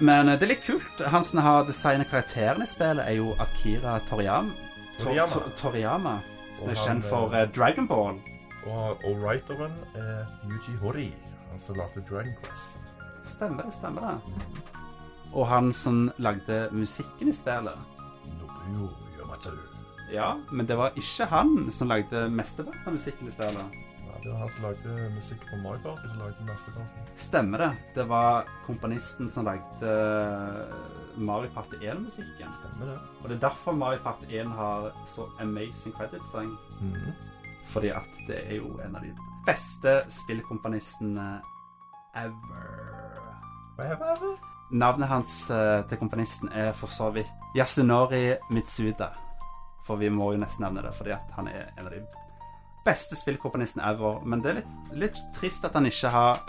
S1: Men eh, det er litt kult. Han som har designet karakterene i spillet, er jo Akira Toriyama. Tor-
S2: Toriyama.
S1: Tor- Toriyama som
S2: Og
S1: er
S2: han,
S1: kjent for
S2: eh,
S1: eh, Dragon Ball.
S2: Og all-writeren er Yuji Hori, han som lagde Dragon Quest.
S1: Stemmer det, stemmer det. Og han som lagde musikken i spillet.
S2: Nobuo Yamatsu.
S1: Ja, men det var ikke han som lagde mesteparten av musikken i spillet.
S2: Ja, det var han som lagde musikk på Mario Party, som lagde mesteparten.
S1: Stemmer det. Det var komponisten som lagde eh, Mario Party 1-musikken.
S2: Stemmer det?
S1: Og det er derfor Mario Party 1 har så amazing credit-sang.
S2: Mhm.
S1: Fordi at det er jo en av de beste spillkomponistene ever.
S2: Hva er det?
S1: Navnet hans eh, til komponisten er for så vidt Yasunori Mitsuda. For vi må jo nesten nevne det, fordi at han er en av de beste spillkomponistene ever. Men det er litt, litt trist at han ikke har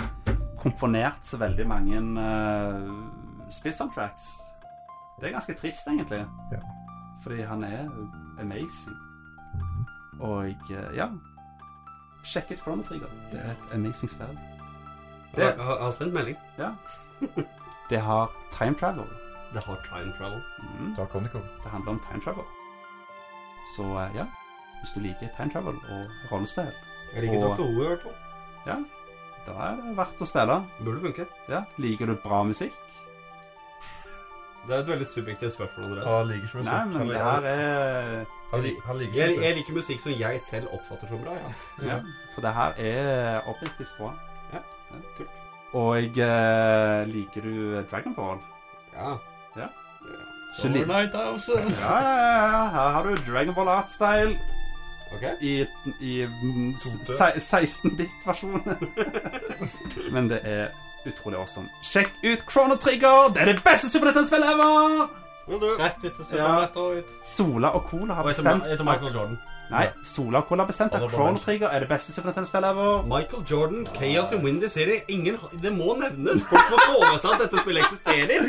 S1: komponert så veldig mange uh, spillsoundtracks. Det er ganske trist, egentlig.
S2: Ja.
S1: Fordi han er amazing. Og eh, ja Sjekk ut Chrono Trigger. Det er et amazing spill. Det-
S3: Jeg har- jeg har sendt melding.
S1: Det har time travel.
S3: Det har time travel.
S1: Mm.
S2: Da kom det kom.
S1: Det handler om time travel. Så eh, ja, hvis du liker time travel og rollespill,
S3: Jeg liker
S1: Og-
S3: Dr. O i hvert fall.
S1: da er det verdt å spille.
S3: Burde funke.
S1: Ja, Liker du bra musikk?
S3: Det er et veldig subjektivt spørsmål,
S2: Han
S3: Andreas.
S2: liker ikke musikk.
S1: Nei, men
S2: han,
S1: det
S2: liker-
S1: her er
S2: han, li- han liker ikke
S3: Jeg,
S2: musikk.
S3: jeg liker musikk som jeg selv oppfatter som bra, ja.
S1: ja, For det her er objektivt bra.
S3: Ja, kult.
S1: Og eh, liker du Dragon Ball?
S3: Ja.
S1: Ja. Så li-
S4: Overnight House.
S1: Ja, ja, ja, ja. Her har du Dragon Ball Artstyle
S3: Ok.
S1: i, i mm, se- 16-bit-versjonen. Men det er utrolig awesome. Sjekk ut Chrono Trigger! Det er det beste Super Nintendo-spillet ever!
S3: Men du
S4: Rett etter Super
S1: Ja.
S4: Metroid.
S1: Sola og Cola har
S3: Og etter,
S1: bestemt
S3: etter Michael Jordan.
S1: Nei, Sola Cola har bestemt at
S4: Han er bare
S1: Chrono
S4: menneske.
S1: Trigger er det beste Super Nintendo-spillet ever.
S3: Michael Jordan, Chaos in Windy City Ingen, Det må nevnes! Folk må få med seg at dette spillet eksisterer.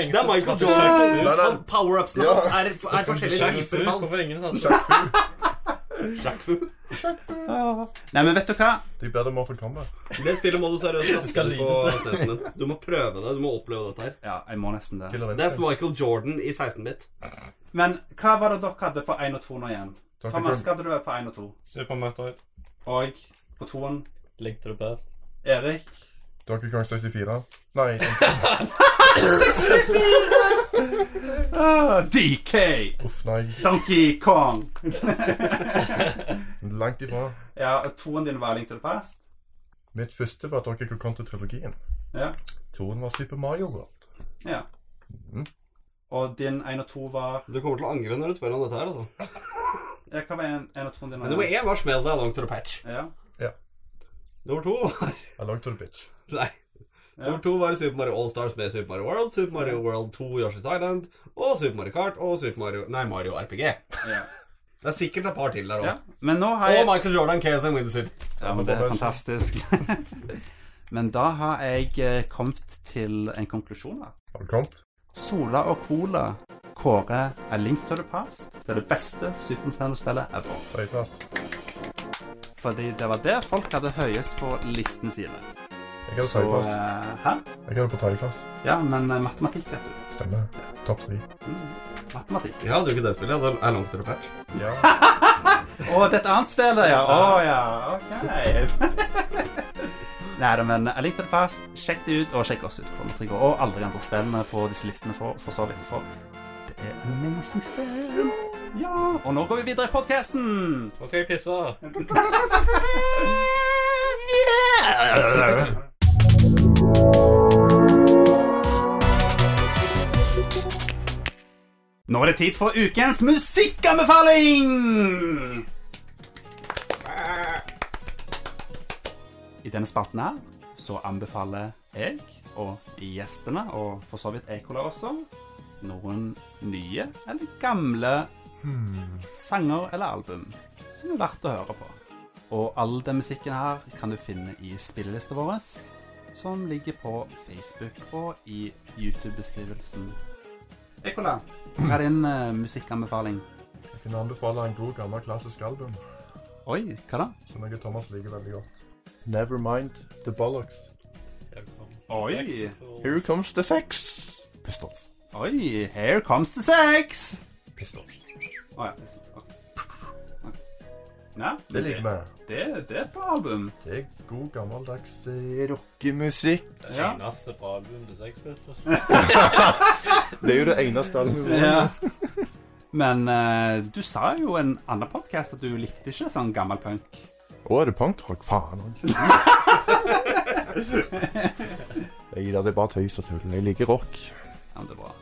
S3: Det
S4: er det
S3: er
S4: ingen
S3: Michael
S4: som har tatt
S3: Jordan.
S4: Jack Fu?
S2: Nei, nei.
S3: og Power-upsene
S2: Ja.
S3: hans er, er forskjellige
S4: Jack Fu?
S3: typer av
S4: Hvorfor er det ingen som har tatt
S2: Jack Fu.
S3: Jack Fu.
S1: Nei, men vet du hva?
S2: De bedre Mortal Kombat.
S3: Det spillet må du seriøst kaste
S4: Skal
S3: ut på stedet din. Du må prøve det. Du må oppleve dette her.
S1: Ja, jeg må nesten det.
S2: Killer
S3: Det er
S2: Instinct.
S3: Michael Jordan i 16-bit.
S1: Men hva var det dere hadde på 1 og 2 nå igjen?
S2: Dr.
S1: Thomas,
S2: Grim.
S1: hva hadde du på 1 og 2?
S4: Super Metroid.
S1: Og på 2-en,
S4: Link to the past.
S1: Erik.
S2: Donkey Kong 64. Nei,
S1: Ah, DK!
S2: uff, nei.
S1: Donkey Kong!
S2: Langt ifra.
S1: ja, og 2-en din var Link to the Past.
S2: Mitt første var Donkey Kong Country-trilogien.
S1: Ja.
S2: Toen var Super Mario World.
S1: ja. Og din 1 og 2 var
S3: Du kommer til å angre når du spør om dette her, altså.
S1: ja, Hva var 1 og 2 din?
S3: Men nummer én var Smell Deg Along to the Patch.
S1: Ja.
S3: Nummer to var
S2: I love to the bitch.
S3: Nei. Nummer to var Super Mario All Stars med Super Mario World, Super Mario World 2 Yoshi's Island, og Super Mario Kart og Super Mario Nei, Mario RPG.
S1: ja.
S3: Det er sikkert et par til der òg.
S1: ja. Men nå har
S3: Og
S1: jeg
S3: Michael Jordan, Chaos and Windy City.
S1: Ja, men det er fantastisk. Men da har jeg eh, kommet til en konklusjon her.
S2: Har du kommet?
S1: Sola og Cola kårer A Link to the Past til det beste Super Nintendo-spillet ever.
S2: Tredjeplass.
S1: Fordi det var det folk hadde høyest på listen sine.
S2: Jeg hadde
S1: Så
S2: tredjeplass.
S1: eh, Hæ?
S2: Jeg hadde på tredjeplass.
S1: Ja, men eh, matematikk, vet du. Mm,
S2: Stemmer. Topp tre.
S1: Matematikk.
S3: Jeg hadde jo ikke det spillet. Det er Long to the Patch.
S2: Ja.
S1: Å, det er et annet spill, ja. Å ja, OK. Nei da, men jeg likte det fast. Sjekk det ut, og sjekk oss ut. Kommer til å gå. Og alle de andre spillene på disse listene, for, for så vidt. For det er amazing spill. Ja. Og nå går vi videre i podkasten.
S4: Nå skal jeg pisse.
S1: Nå er det tid for ukens musikkanbefaling! I denne spalten her så anbefaler jeg og gjestene, og for så vidt Ekola også, noen nye eller gamle sanger eller album som er verdt å høre på. Og all den musikken her kan du finne i spillelista vår, som ligger på Facebook og i YouTube-beskrivelsen. Ekola, hva er din eh, musikkanbefaling?
S2: Jeg kan anbefale en god, gammel klassisk album
S1: Oi, hva da?
S2: som jeg og Thomas liker veldig godt. Nevermind The Bollocks.
S1: Oi.
S2: Here comes the sex. Pistols.
S1: Oi, here comes the sex!
S2: Pistols.
S1: Å ja, det er sant. Ok. Ok. Nei, men
S2: Det
S1: det,
S2: liker vi.
S1: det, det er et bra album.
S2: Det er god, gammeldags eh, rockemusikk.
S1: Ja.
S4: Eneste bra album til sexpistols.
S2: Det er jo det eneste albumet.
S1: Ja. Men eh, du sa jo i en annen podkast at du likte ikke sånn gammel punk.
S2: Å, er det punkrock? Faen òg. Nei da, det er bare tøys og tull. Jeg liker rock.
S1: Ja, men det er bra.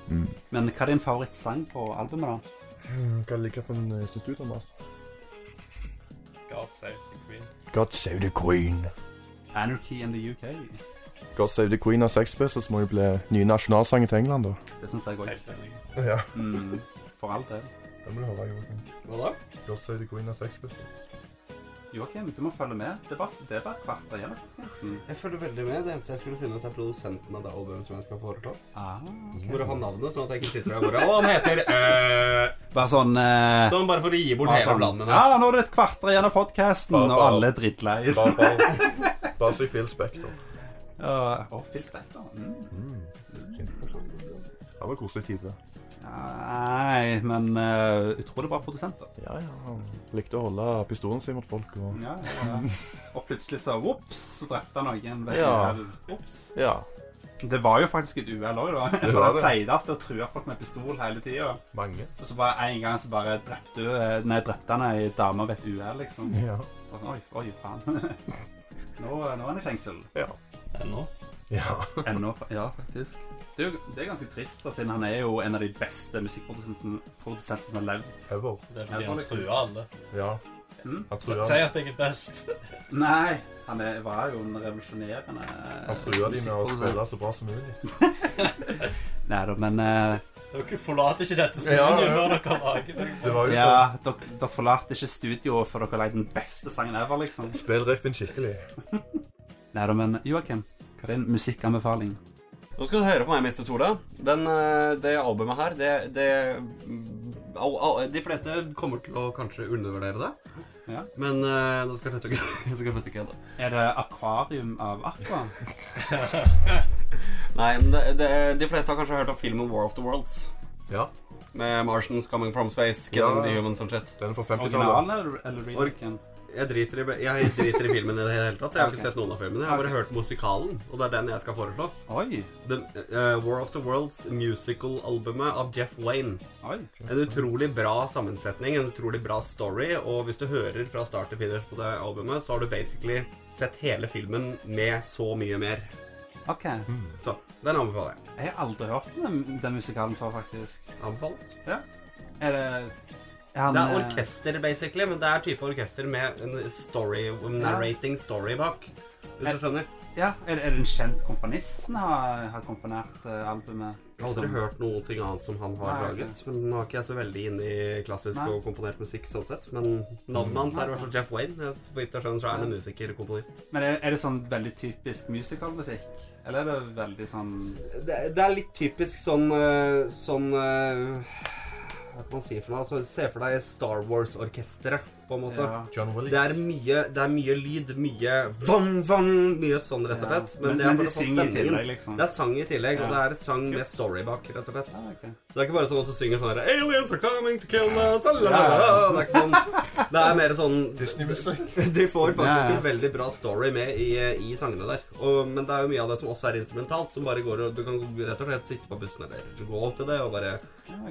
S1: Men hva er din favorittsang på albumet, da?
S2: Mm, Hva liker du for en eh, sitt ut, Thomas?
S4: God saves the queen.
S2: God save the queen.
S1: 'Anarchy in the UK'.
S2: God save the queen av Sex Pistols må jo bli nye nasjonalsangen til England, da.
S1: Det syns jeg òg.
S4: Helt enig.
S2: Ja,
S1: Mm, for all del.
S2: det må du høre, Joakim.
S3: Hva da?
S2: God save the queen av Sex Pistols.
S1: Joakim, du må følge med. Det er bare, det er bare et kvarter igjen av podkasten.
S3: Jeg følger veldig med. Det eneste jeg skulle finne ut, er produsenten av det albumet som jeg skal foreslå.
S1: Ah,
S3: Så må du ha navnet, sånn at jeg ikke sitter der og bare Å, han heter øh.
S1: Bare sånn eh,
S3: Sånn bare for å gi bort
S1: bare
S3: hele
S1: sånn,
S3: blandet.
S1: Ja, nå er det et kvarter igjen av podkasten,
S2: Bare-
S1: og
S2: bare-
S1: alle er drittlei.
S2: Bare, bare, bare si Phil Spector.
S1: Ja, Å, Phil Spector. Mm.
S2: Det var koselig tid, det.
S1: Nei, men eh, utrolig bra produsent, da.
S2: Ja, ja. Han likte å holde pistolen sin mot folk og
S1: Ja, ja. Og plutselig så vops, så drepte han noen. ved
S2: Ja.
S1: et uhell. Vops.
S2: Ja.
S1: Det var jo faktisk et uhell òg, da. For
S2: var
S1: han
S2: det.
S1: pleide alltid å true folk med pistol hele tida.
S2: Mange.
S1: Og så bare en gang så bare drepte, hun- nei, drepte han ei dame ved et uhell, liksom.
S2: Ja.
S1: Og sånn, Oi, oi, faen. Nå, nå er han i fengsel.
S2: Ja.
S4: Ennå.
S2: Ja.
S1: Ennå, ja, faktisk. Det er, jo, det er ganske trist, da, siden han er jo en av de beste musikkprodusentene produsentene som har levd.
S2: Ever.
S4: Det er fordi
S1: Ennå,
S4: han
S1: liksom.
S4: truer alle.
S2: Ja. Han
S4: Si
S2: truer,
S4: at jeg er best.
S1: Nei, han er, var jo en revolusjonerende
S2: han truer de med å
S1: musikkprodusent.
S2: spille så bra som mulig.
S1: Nei da, men eh,
S4: Dere forlater ikke dette
S2: Ja,
S4: studiet
S2: ja.
S4: før dere har laget det.
S2: Det var jo sånn.
S1: Ja, dere, dere forlater ikke studioet for dere har lagd den beste sangen ever, liksom.
S2: Spill riffen skikkelig.
S1: Nei da, men Joakim, hva er din musikkanbefaling?
S3: Nå skal du høre på meg, Mester Sola. Den, eh, det albumet her, det, det mm, au, au, De fleste kommer til å kanskje undervurdere det.
S1: Ja.
S3: Men eh, nå skal jeg slutte å kødde. Jeg skal slutte å kødde.
S1: Er det Akvarium av Aqua?
S3: Nei, men det, det, de fleste har kanskje hørt om filmen War of the Worlds.
S2: Ja,
S3: Med Martians Coming From Space, Killing
S2: Ja.
S3: the Humans and Shit.
S2: den er fra 50-tallet.
S1: Originalen eller, eller remaken?
S3: Jeg driter, i, jeg driter i filmen i det hele tatt. Jeg har ikke
S1: Ok.
S3: sett noen av filmene. Jeg har bare
S1: Ok.
S3: hørt musikalen, og det er den jeg skal foreslå.
S1: Oi,
S3: Den, eh, War of the Worlds musical-albumet av Jeff Wayne.
S1: oi.
S3: En utrolig bra sammensetning, en utrolig bra story, og hvis du hører fra start til finish på det albumet, så har du basically sett hele filmen med så mye mer.
S1: Ok, jeg
S3: Så den anbefaler jeg.
S1: har aldri hørt den, den musikalen før, faktisk.
S3: Anbefales.
S1: Ja. Er det er han,
S3: Det er
S1: eh,
S3: orkester, basically, men det er type orkester med en story, narrating story bak. Hvis du skjønner.
S1: Ja, er, det- er det en kjent komponist som har, har komponert eh, albumet? Liksom-
S3: Jeg har aldri
S1: Som-
S3: hørt noe ting annet som han har
S1: Nei, ok.
S3: laget. Men nå er ikke jeg så veldig inne i klassisk
S1: Nei.
S3: og komponert musikk sånn sett. Men navnet hans er i hvert fall Jeff Wayne. Jeg- Så vidt jeg skjønner, så er han en musiker og komponist.
S1: Men er, er det sånn veldig typisk musicalmusikk? Eller er det veldig sånn
S3: det, det er litt typisk sånn eh, Sånn eh, Hva kan man si for noe? Altså, se for deg Star Wars-orkesteret, på en måte.
S1: Ja.
S2: John
S3: Det er,
S2: Williams.
S3: mye, det er mye lyd, mye vam, vam, mye sånn, rett og
S1: Ja.
S3: slett.
S1: Men-
S3: det er
S1: men
S3: for
S1: de
S3: å få
S1: synger i
S3: stemningen.
S1: tillegg, liksom.
S3: Det er sang i tillegg, og det
S1: Ja.
S3: er sang med story bak, rett og slett.
S1: ah, ok.
S3: Det er ikke bare sånn at du synger sånn her, Aliens are coming to kill us, alalala». Det er ikke sånn. Det er mer sånn
S2: Disney-musikk.
S3: de får faktisk
S1: Ja, ja.
S3: en veldig bra story med i, i sangene der. Og, men det er jo mye av det som også er instrumentalt, som bare går og Du kan rett og slett sitte på bussen eller gå av til det og bare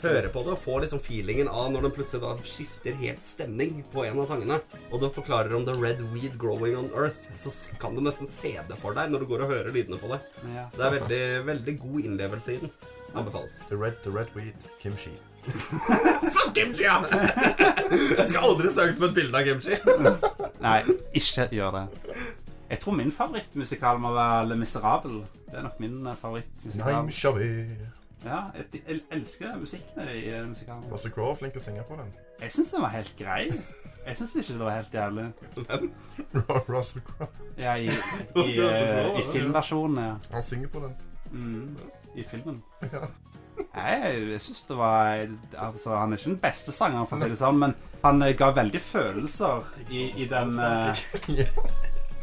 S3: høre på det og få liksom feelingen av når den plutselig da skifter helt stemning på en av sangene, og den forklarer om the red weed growing on earth, så s- kan du nesten se det for deg når du går og hører lydene på det.
S1: Ja.
S3: Det er veldig, veldig god innlevelse i den. Anbefales.
S2: The Red, the Red Weed, Kimchi.
S3: Fuck kimchi! ja! Jeg skal aldri søke på et bilde av kimchi.
S1: Nei, ikke gjør det. Jeg tror min favorittmusikal må være Le Miserable. Det er nok min eh, favorittmusikal.
S2: Neim Shavi.
S1: Ja, jeg, jeg elsker musikken i eh, musikalen.
S2: Russell Crowe er flink til å synge på den.
S1: Jeg syns den var helt grei. Jeg syns ikke det var helt jævlig.
S2: Russell Crowe.
S1: Ja, i, i,
S3: Det er så bra, altså?
S1: eh, i
S3: det, ja.
S1: filmversjonen, ja.
S2: Han synger på den.
S1: Mm, I filmen.
S2: Ja.
S1: Nei, jeg, jeg syns det var Altså, han er ikke den beste sangeren, for å si det sånn, men han eh, ga veldig følelser i, i den eh,
S2: Ja.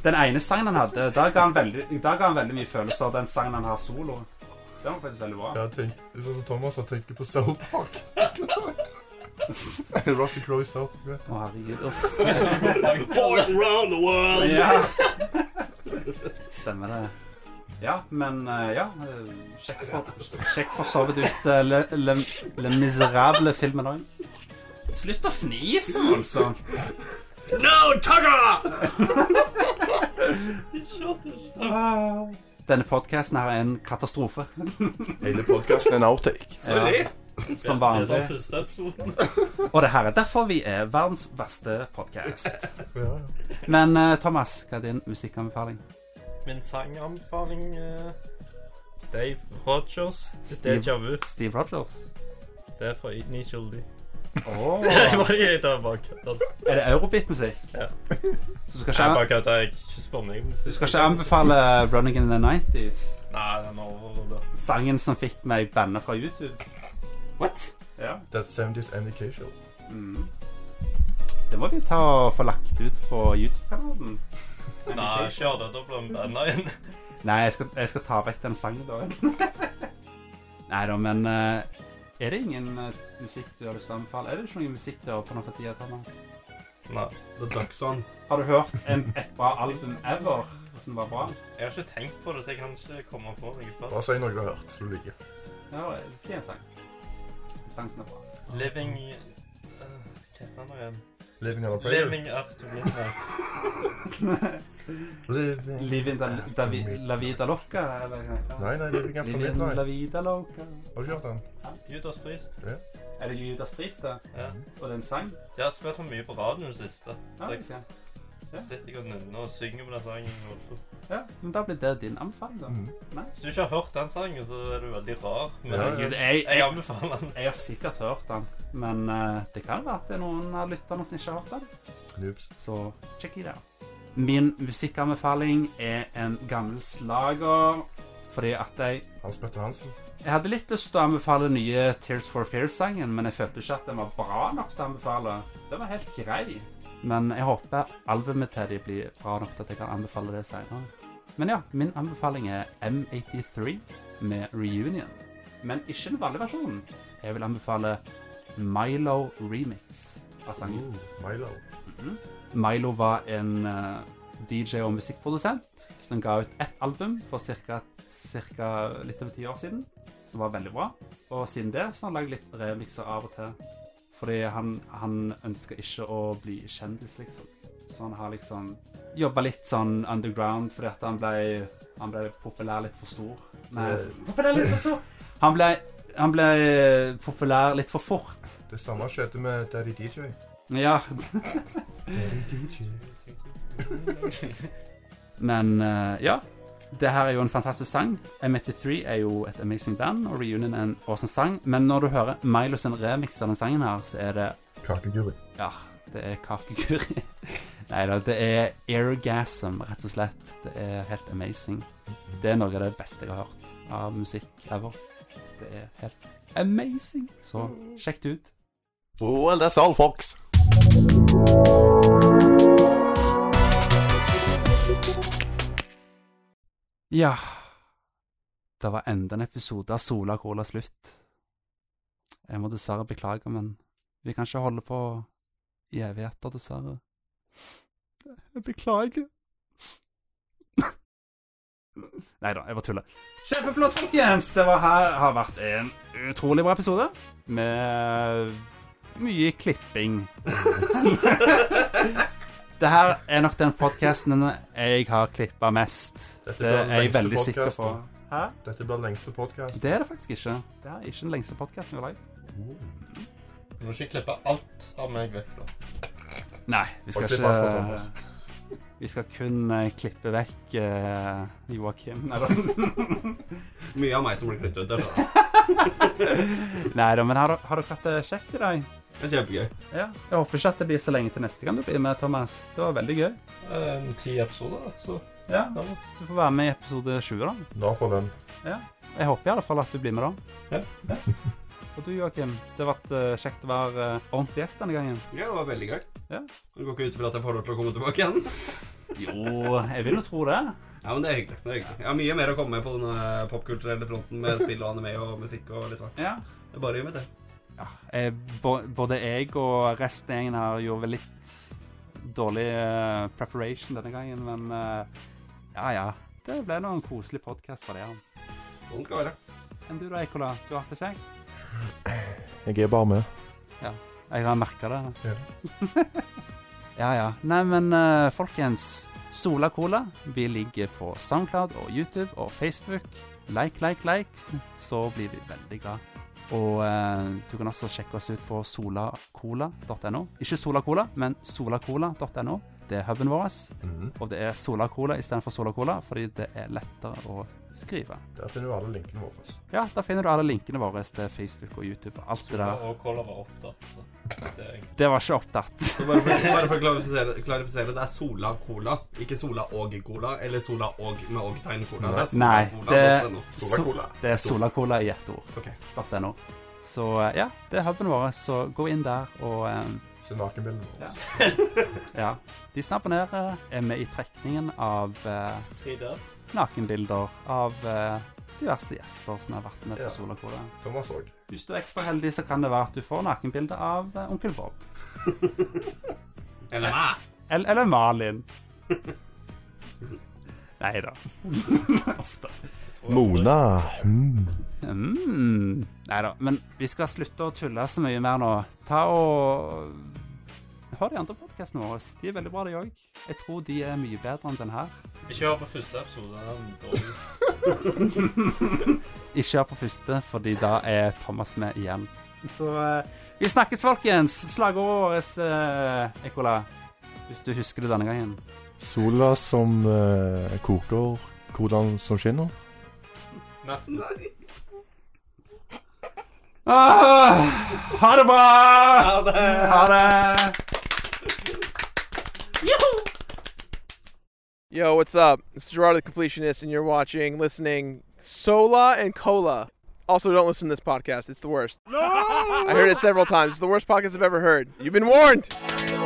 S1: Den ene sangen han hadde, da ga han veldig, da ga han veldig mye følelser, den sangen han har solo. Den var faktisk veldig bra.
S2: Jeg tenker, det er sånn som Thomas har tenkt på South Park. Russell Crowe i South Park.
S1: Å, herregud. Uff.
S3: Born around the world!
S1: Ja. Stemmer det. Ja, men eh, ja eh, Sjekk for, sjekk for så vidt ut eh, Le, Le, Le Miserable-filmen òg. Slutt å fnise, altså.
S3: No, Tugger!
S1: Denne podkasten her er en katastrofe,
S2: Hele podcasten er en outtake.
S1: Sorry. som
S4: Det er
S1: vanlig.
S4: den første episoden.
S1: Og det her er derfor vi er verdens verste podkast.
S2: Ja, ja.
S1: Men eh, Thomas, hva er din musikkanbefaling?
S4: Min sanganbefaling eh, Dave Rogers. Deja vu.
S1: Steve Rogers.
S4: Det er fra Eat Me Childy.
S1: Oh.
S4: Jeg bare jeg tar bak. Jeg
S1: Er det eurobeat-musikk?
S4: Ja.
S1: Så du skal
S4: bare
S1: ikke,
S4: kødder. Jeg ikke spør meg om
S1: du skal ikke anbefale 'Running in the 90s'?
S4: Nei, den er overvurdert.
S1: Sangen som fikk meg bannet fra YouTube?
S3: What?
S1: Ja. mm.
S2: That 70s NK E show.
S1: Det må vi ta og få lagt ut på YouTube-kanalen.
S4: Nei, kjør det. Da blir vi venner igjen.
S1: Nei, jeg skal, jeg skal ta vekk den sangen, da. Nei da, men eh, er det ingen eh, musikk du har lyst til å anbefale? Er det ikke noe musikk du hører på nå for tida, Thomas?
S4: Nei.
S3: The Duck Song.
S1: Har du hørt en, et bra album ever som var bra?
S4: Jeg har ikke tenkt på det, så jeg kan ikke komme på noe. bedre.
S2: Bare si noe du har hørt, så du liker.
S1: Ja, si en sang. En sang som er bra.
S4: Living eh, Hva heter han nå igjen?
S2: Living on a prayer.
S4: Living after midnight.
S2: Living.
S1: Livin da, da, vi- la vida loca, eller hva? heter den?
S2: Nei, nei, Living After
S1: Livin la
S2: Midnight.
S1: vida loca.
S2: Har du ikke hørt den?
S4: Judas Priest.
S1: Er det Judas Priest, da?
S4: Ja.
S1: Og det er en sang?
S4: De har spilt så mye på radioen i det siste.
S1: Ah, Ja,
S4: Så jeg,
S1: ikke sant?
S4: Så sitter jeg og nynner og synger på den sangen. Og så.
S1: Ja, men da blir det din anbefaling, da.
S4: Hvis
S1: Nice.
S4: du ikke har hørt den sangen, så er du veldig rar. Men
S2: Ja,
S1: Herregud,
S4: jeg,
S1: jeg,
S4: jeg
S1: jeg,
S4: anbefaler den.
S1: jeg har sikkert hørt den, men eh, det kan være at det er noen av lytterne som ikke har hørt den.
S2: Noobs.
S1: Så check it out. Min musikkanbefaling er en gammel slager, fordi at jeg
S2: Hans Petter Hansen.
S1: Jeg hadde litt lyst til å anbefale den nye Tears for Fears-sangen, men jeg følte ikke at den var bra nok til å anbefale. Den var helt grei. Men jeg håper albumet til de blir bra nok til at jeg kan anbefale det senere. Men ja, min anbefaling er M83 med Reunion. Men ikke den vanlige versjonen. Jeg vil anbefale Milo Remix av sangen.
S2: Milo.
S1: Milo var en eh, DJ og musikkprodusent som ga ut ett album for cirka, cirka litt over ti år siden, som var veldig bra. Og siden det så har han lagd litt remixer av og til. Fordi han, han ønsker ikke å bli kjendis, liksom. Så han har liksom jobba litt sånn underground fordi at han ble, han ble populær litt for stor. Nei, populær litt for stor! Han ble, han ble populær litt for fort.
S2: Det samme skjedde med Daddy DJ.
S1: Ja,
S2: Daddy DJ.
S1: Men eh, ja, det her er jo en fantastisk sang. M83 er jo et amazing band, og Reunion er en awesome sang. Men når du hører Milo sin remix av den sangen her, så er det
S2: Kakeguri.
S1: Ja, det er kakeguri. Nei da, det er airgasm, rett og slett. Det er helt amazing. Det er noe av det beste jeg har hørt av musikk ever. Det er helt amazing. Så sjekk det ut.
S2: Well, that's all, folks.
S1: Ja Det var enda en episode av Sola Cola slutt. Jeg må dessverre beklage, men vi kan ikke holde på i evigheter, dessverre. Jeg beklager. Nei da, jeg bare tuller. Kjempeflott, folkens! Det var her har vært en utrolig bra episode med mye klipping. det her er nok den podkasten jeg har klippa mest.
S2: Dette
S1: Det
S2: blir den
S1: er jeg
S2: lengste
S1: veldig sikker på.
S2: podcasten.
S1: Hæ?
S2: Dette blir den lengste podkast.
S1: Det er det faktisk ikke. Det er ikke den lengste podkasten vi har lagd.
S4: Du må ikke klippe alt av meg vekk, da.
S1: Nei, vi skal
S2: Og klipp alt fra Thomas.
S1: ikke Vi skal kun eh, klippe vekk eh, Joakim. Nei da.
S3: Mye av meg som blir klippet ut. det er bra.
S1: Nei da, men har, dere- har dere hatt det kjekt i dag?
S3: Det er kjempegøy.
S1: Ja. Jeg håper ikke at det blir så lenge til neste gang du blir med, Thomas. Det var veldig gøy.
S4: Eh, Ti episoder, da, så
S1: Ja.
S4: ja, da.
S1: Du får være med i episode 20, da.
S2: Nå får lønn.
S1: Jeg håper i alle fall at du blir med, da.
S4: Ja.
S1: Og du, Joakim. Det har vært eh, kjekt å være eh, ordentlig gjest denne gangen.
S3: Ja, det var veldig gøy.
S1: Ja.
S3: Du går ikke ut fra at jeg får lov til å komme tilbake igjen?
S1: Jo, jeg vil jo tro det.
S3: Ja, men det er hyggelig. det er hyggelig. Jeg har mye mer å komme med på den eh, popkulturelle fronten med spill og anime og musikk og litt hvert.
S1: Ja.
S3: Det er bare å invitere.
S1: ja, eh, bo- både jeg og resten av gjengen her gjorde vel litt dårlig eh, preparation denne gangen, men eh, ja, ja. Det ble nå en koselig podkast for deg.
S3: Sånn skal det være.
S1: Enn du da, Ekola? Du har hatt det kjekt?
S2: Jeg er bare med.
S1: Jeg har merka det.
S2: Ja.
S1: ja, ja. Nei, men eh, folkens. Sola Cola. Vi ligger på SoundCloud og YouTube og Facebook. Like, like, like. Så blir vi veldig glad. Og eh, du kan også sjekke oss ut på solacola.no. Ikke Sola Cola, men solacola.no. Det er huben vår. Og det er Sola Cola istedenfor Sola Cola, fordi det er lettere å skrive.
S2: Der finner du alle linkene våre. altså.
S1: Ja, der finner du alle linkene våre til Facebook og YouTube og alt det der.
S4: Og Cola var opptatt, så det er egentlig
S1: Det var ikke opptatt.
S3: Så bare for, bare for å klarifisere, klarifisere, det er Sola Cola. Ikke Sola og Cola, eller Sola og med og-tegn Cola. Det er Sola
S1: Nei,
S3: Cola.
S1: det-
S3: .no.
S2: Sola Cola.
S1: Det er Solacola i ett ord.
S3: Ok.
S1: .no. Så eh, ja, det er huben vår, så gå inn der og eh,
S2: Se nakenbildene våre.
S1: Ja. Ja. De snabbonerer er med i trekningen av eh, nakenbilder av eh, diverse gjester som har vært med
S2: Ja.
S1: på Solacola.
S2: Thomas òg.
S1: Hvis du er ekstra heldig, så kan det være at du får nakenbilde av eh, onkel Bob.
S3: Eller meg.
S1: Eller, eller Malin. Nei da. Ofte.
S2: Mona. Mm.
S1: Mm. Nei da. Men vi skal slutte å tulle så mye mer nå. Ta og Hør de andre podkastene våre. De er veldig bra, de òg. Jeg tror de er mye bedre enn den her.
S4: Ikke hør på første episode. Den er dårlig.
S1: Ikke hør på første, fordi da er Thomas med igjen. Så eh, vi snakkes, folkens. Slagordet vårt, eh, Ekola. Hvis du husker det denne gangen.
S2: Sola som eh, koker, hvordan som skinner.
S4: Nesten.
S1: Ah, ha det bra!
S3: Ha det!
S1: Ha det!
S7: Yo, what's up? This is Gerard the Completionist, and you're watching, listening, Sola and Cola. Also, don't listen to this podcast. It's the worst. No! I heard it several times. It's the worst podcast I've ever heard. You've been warned!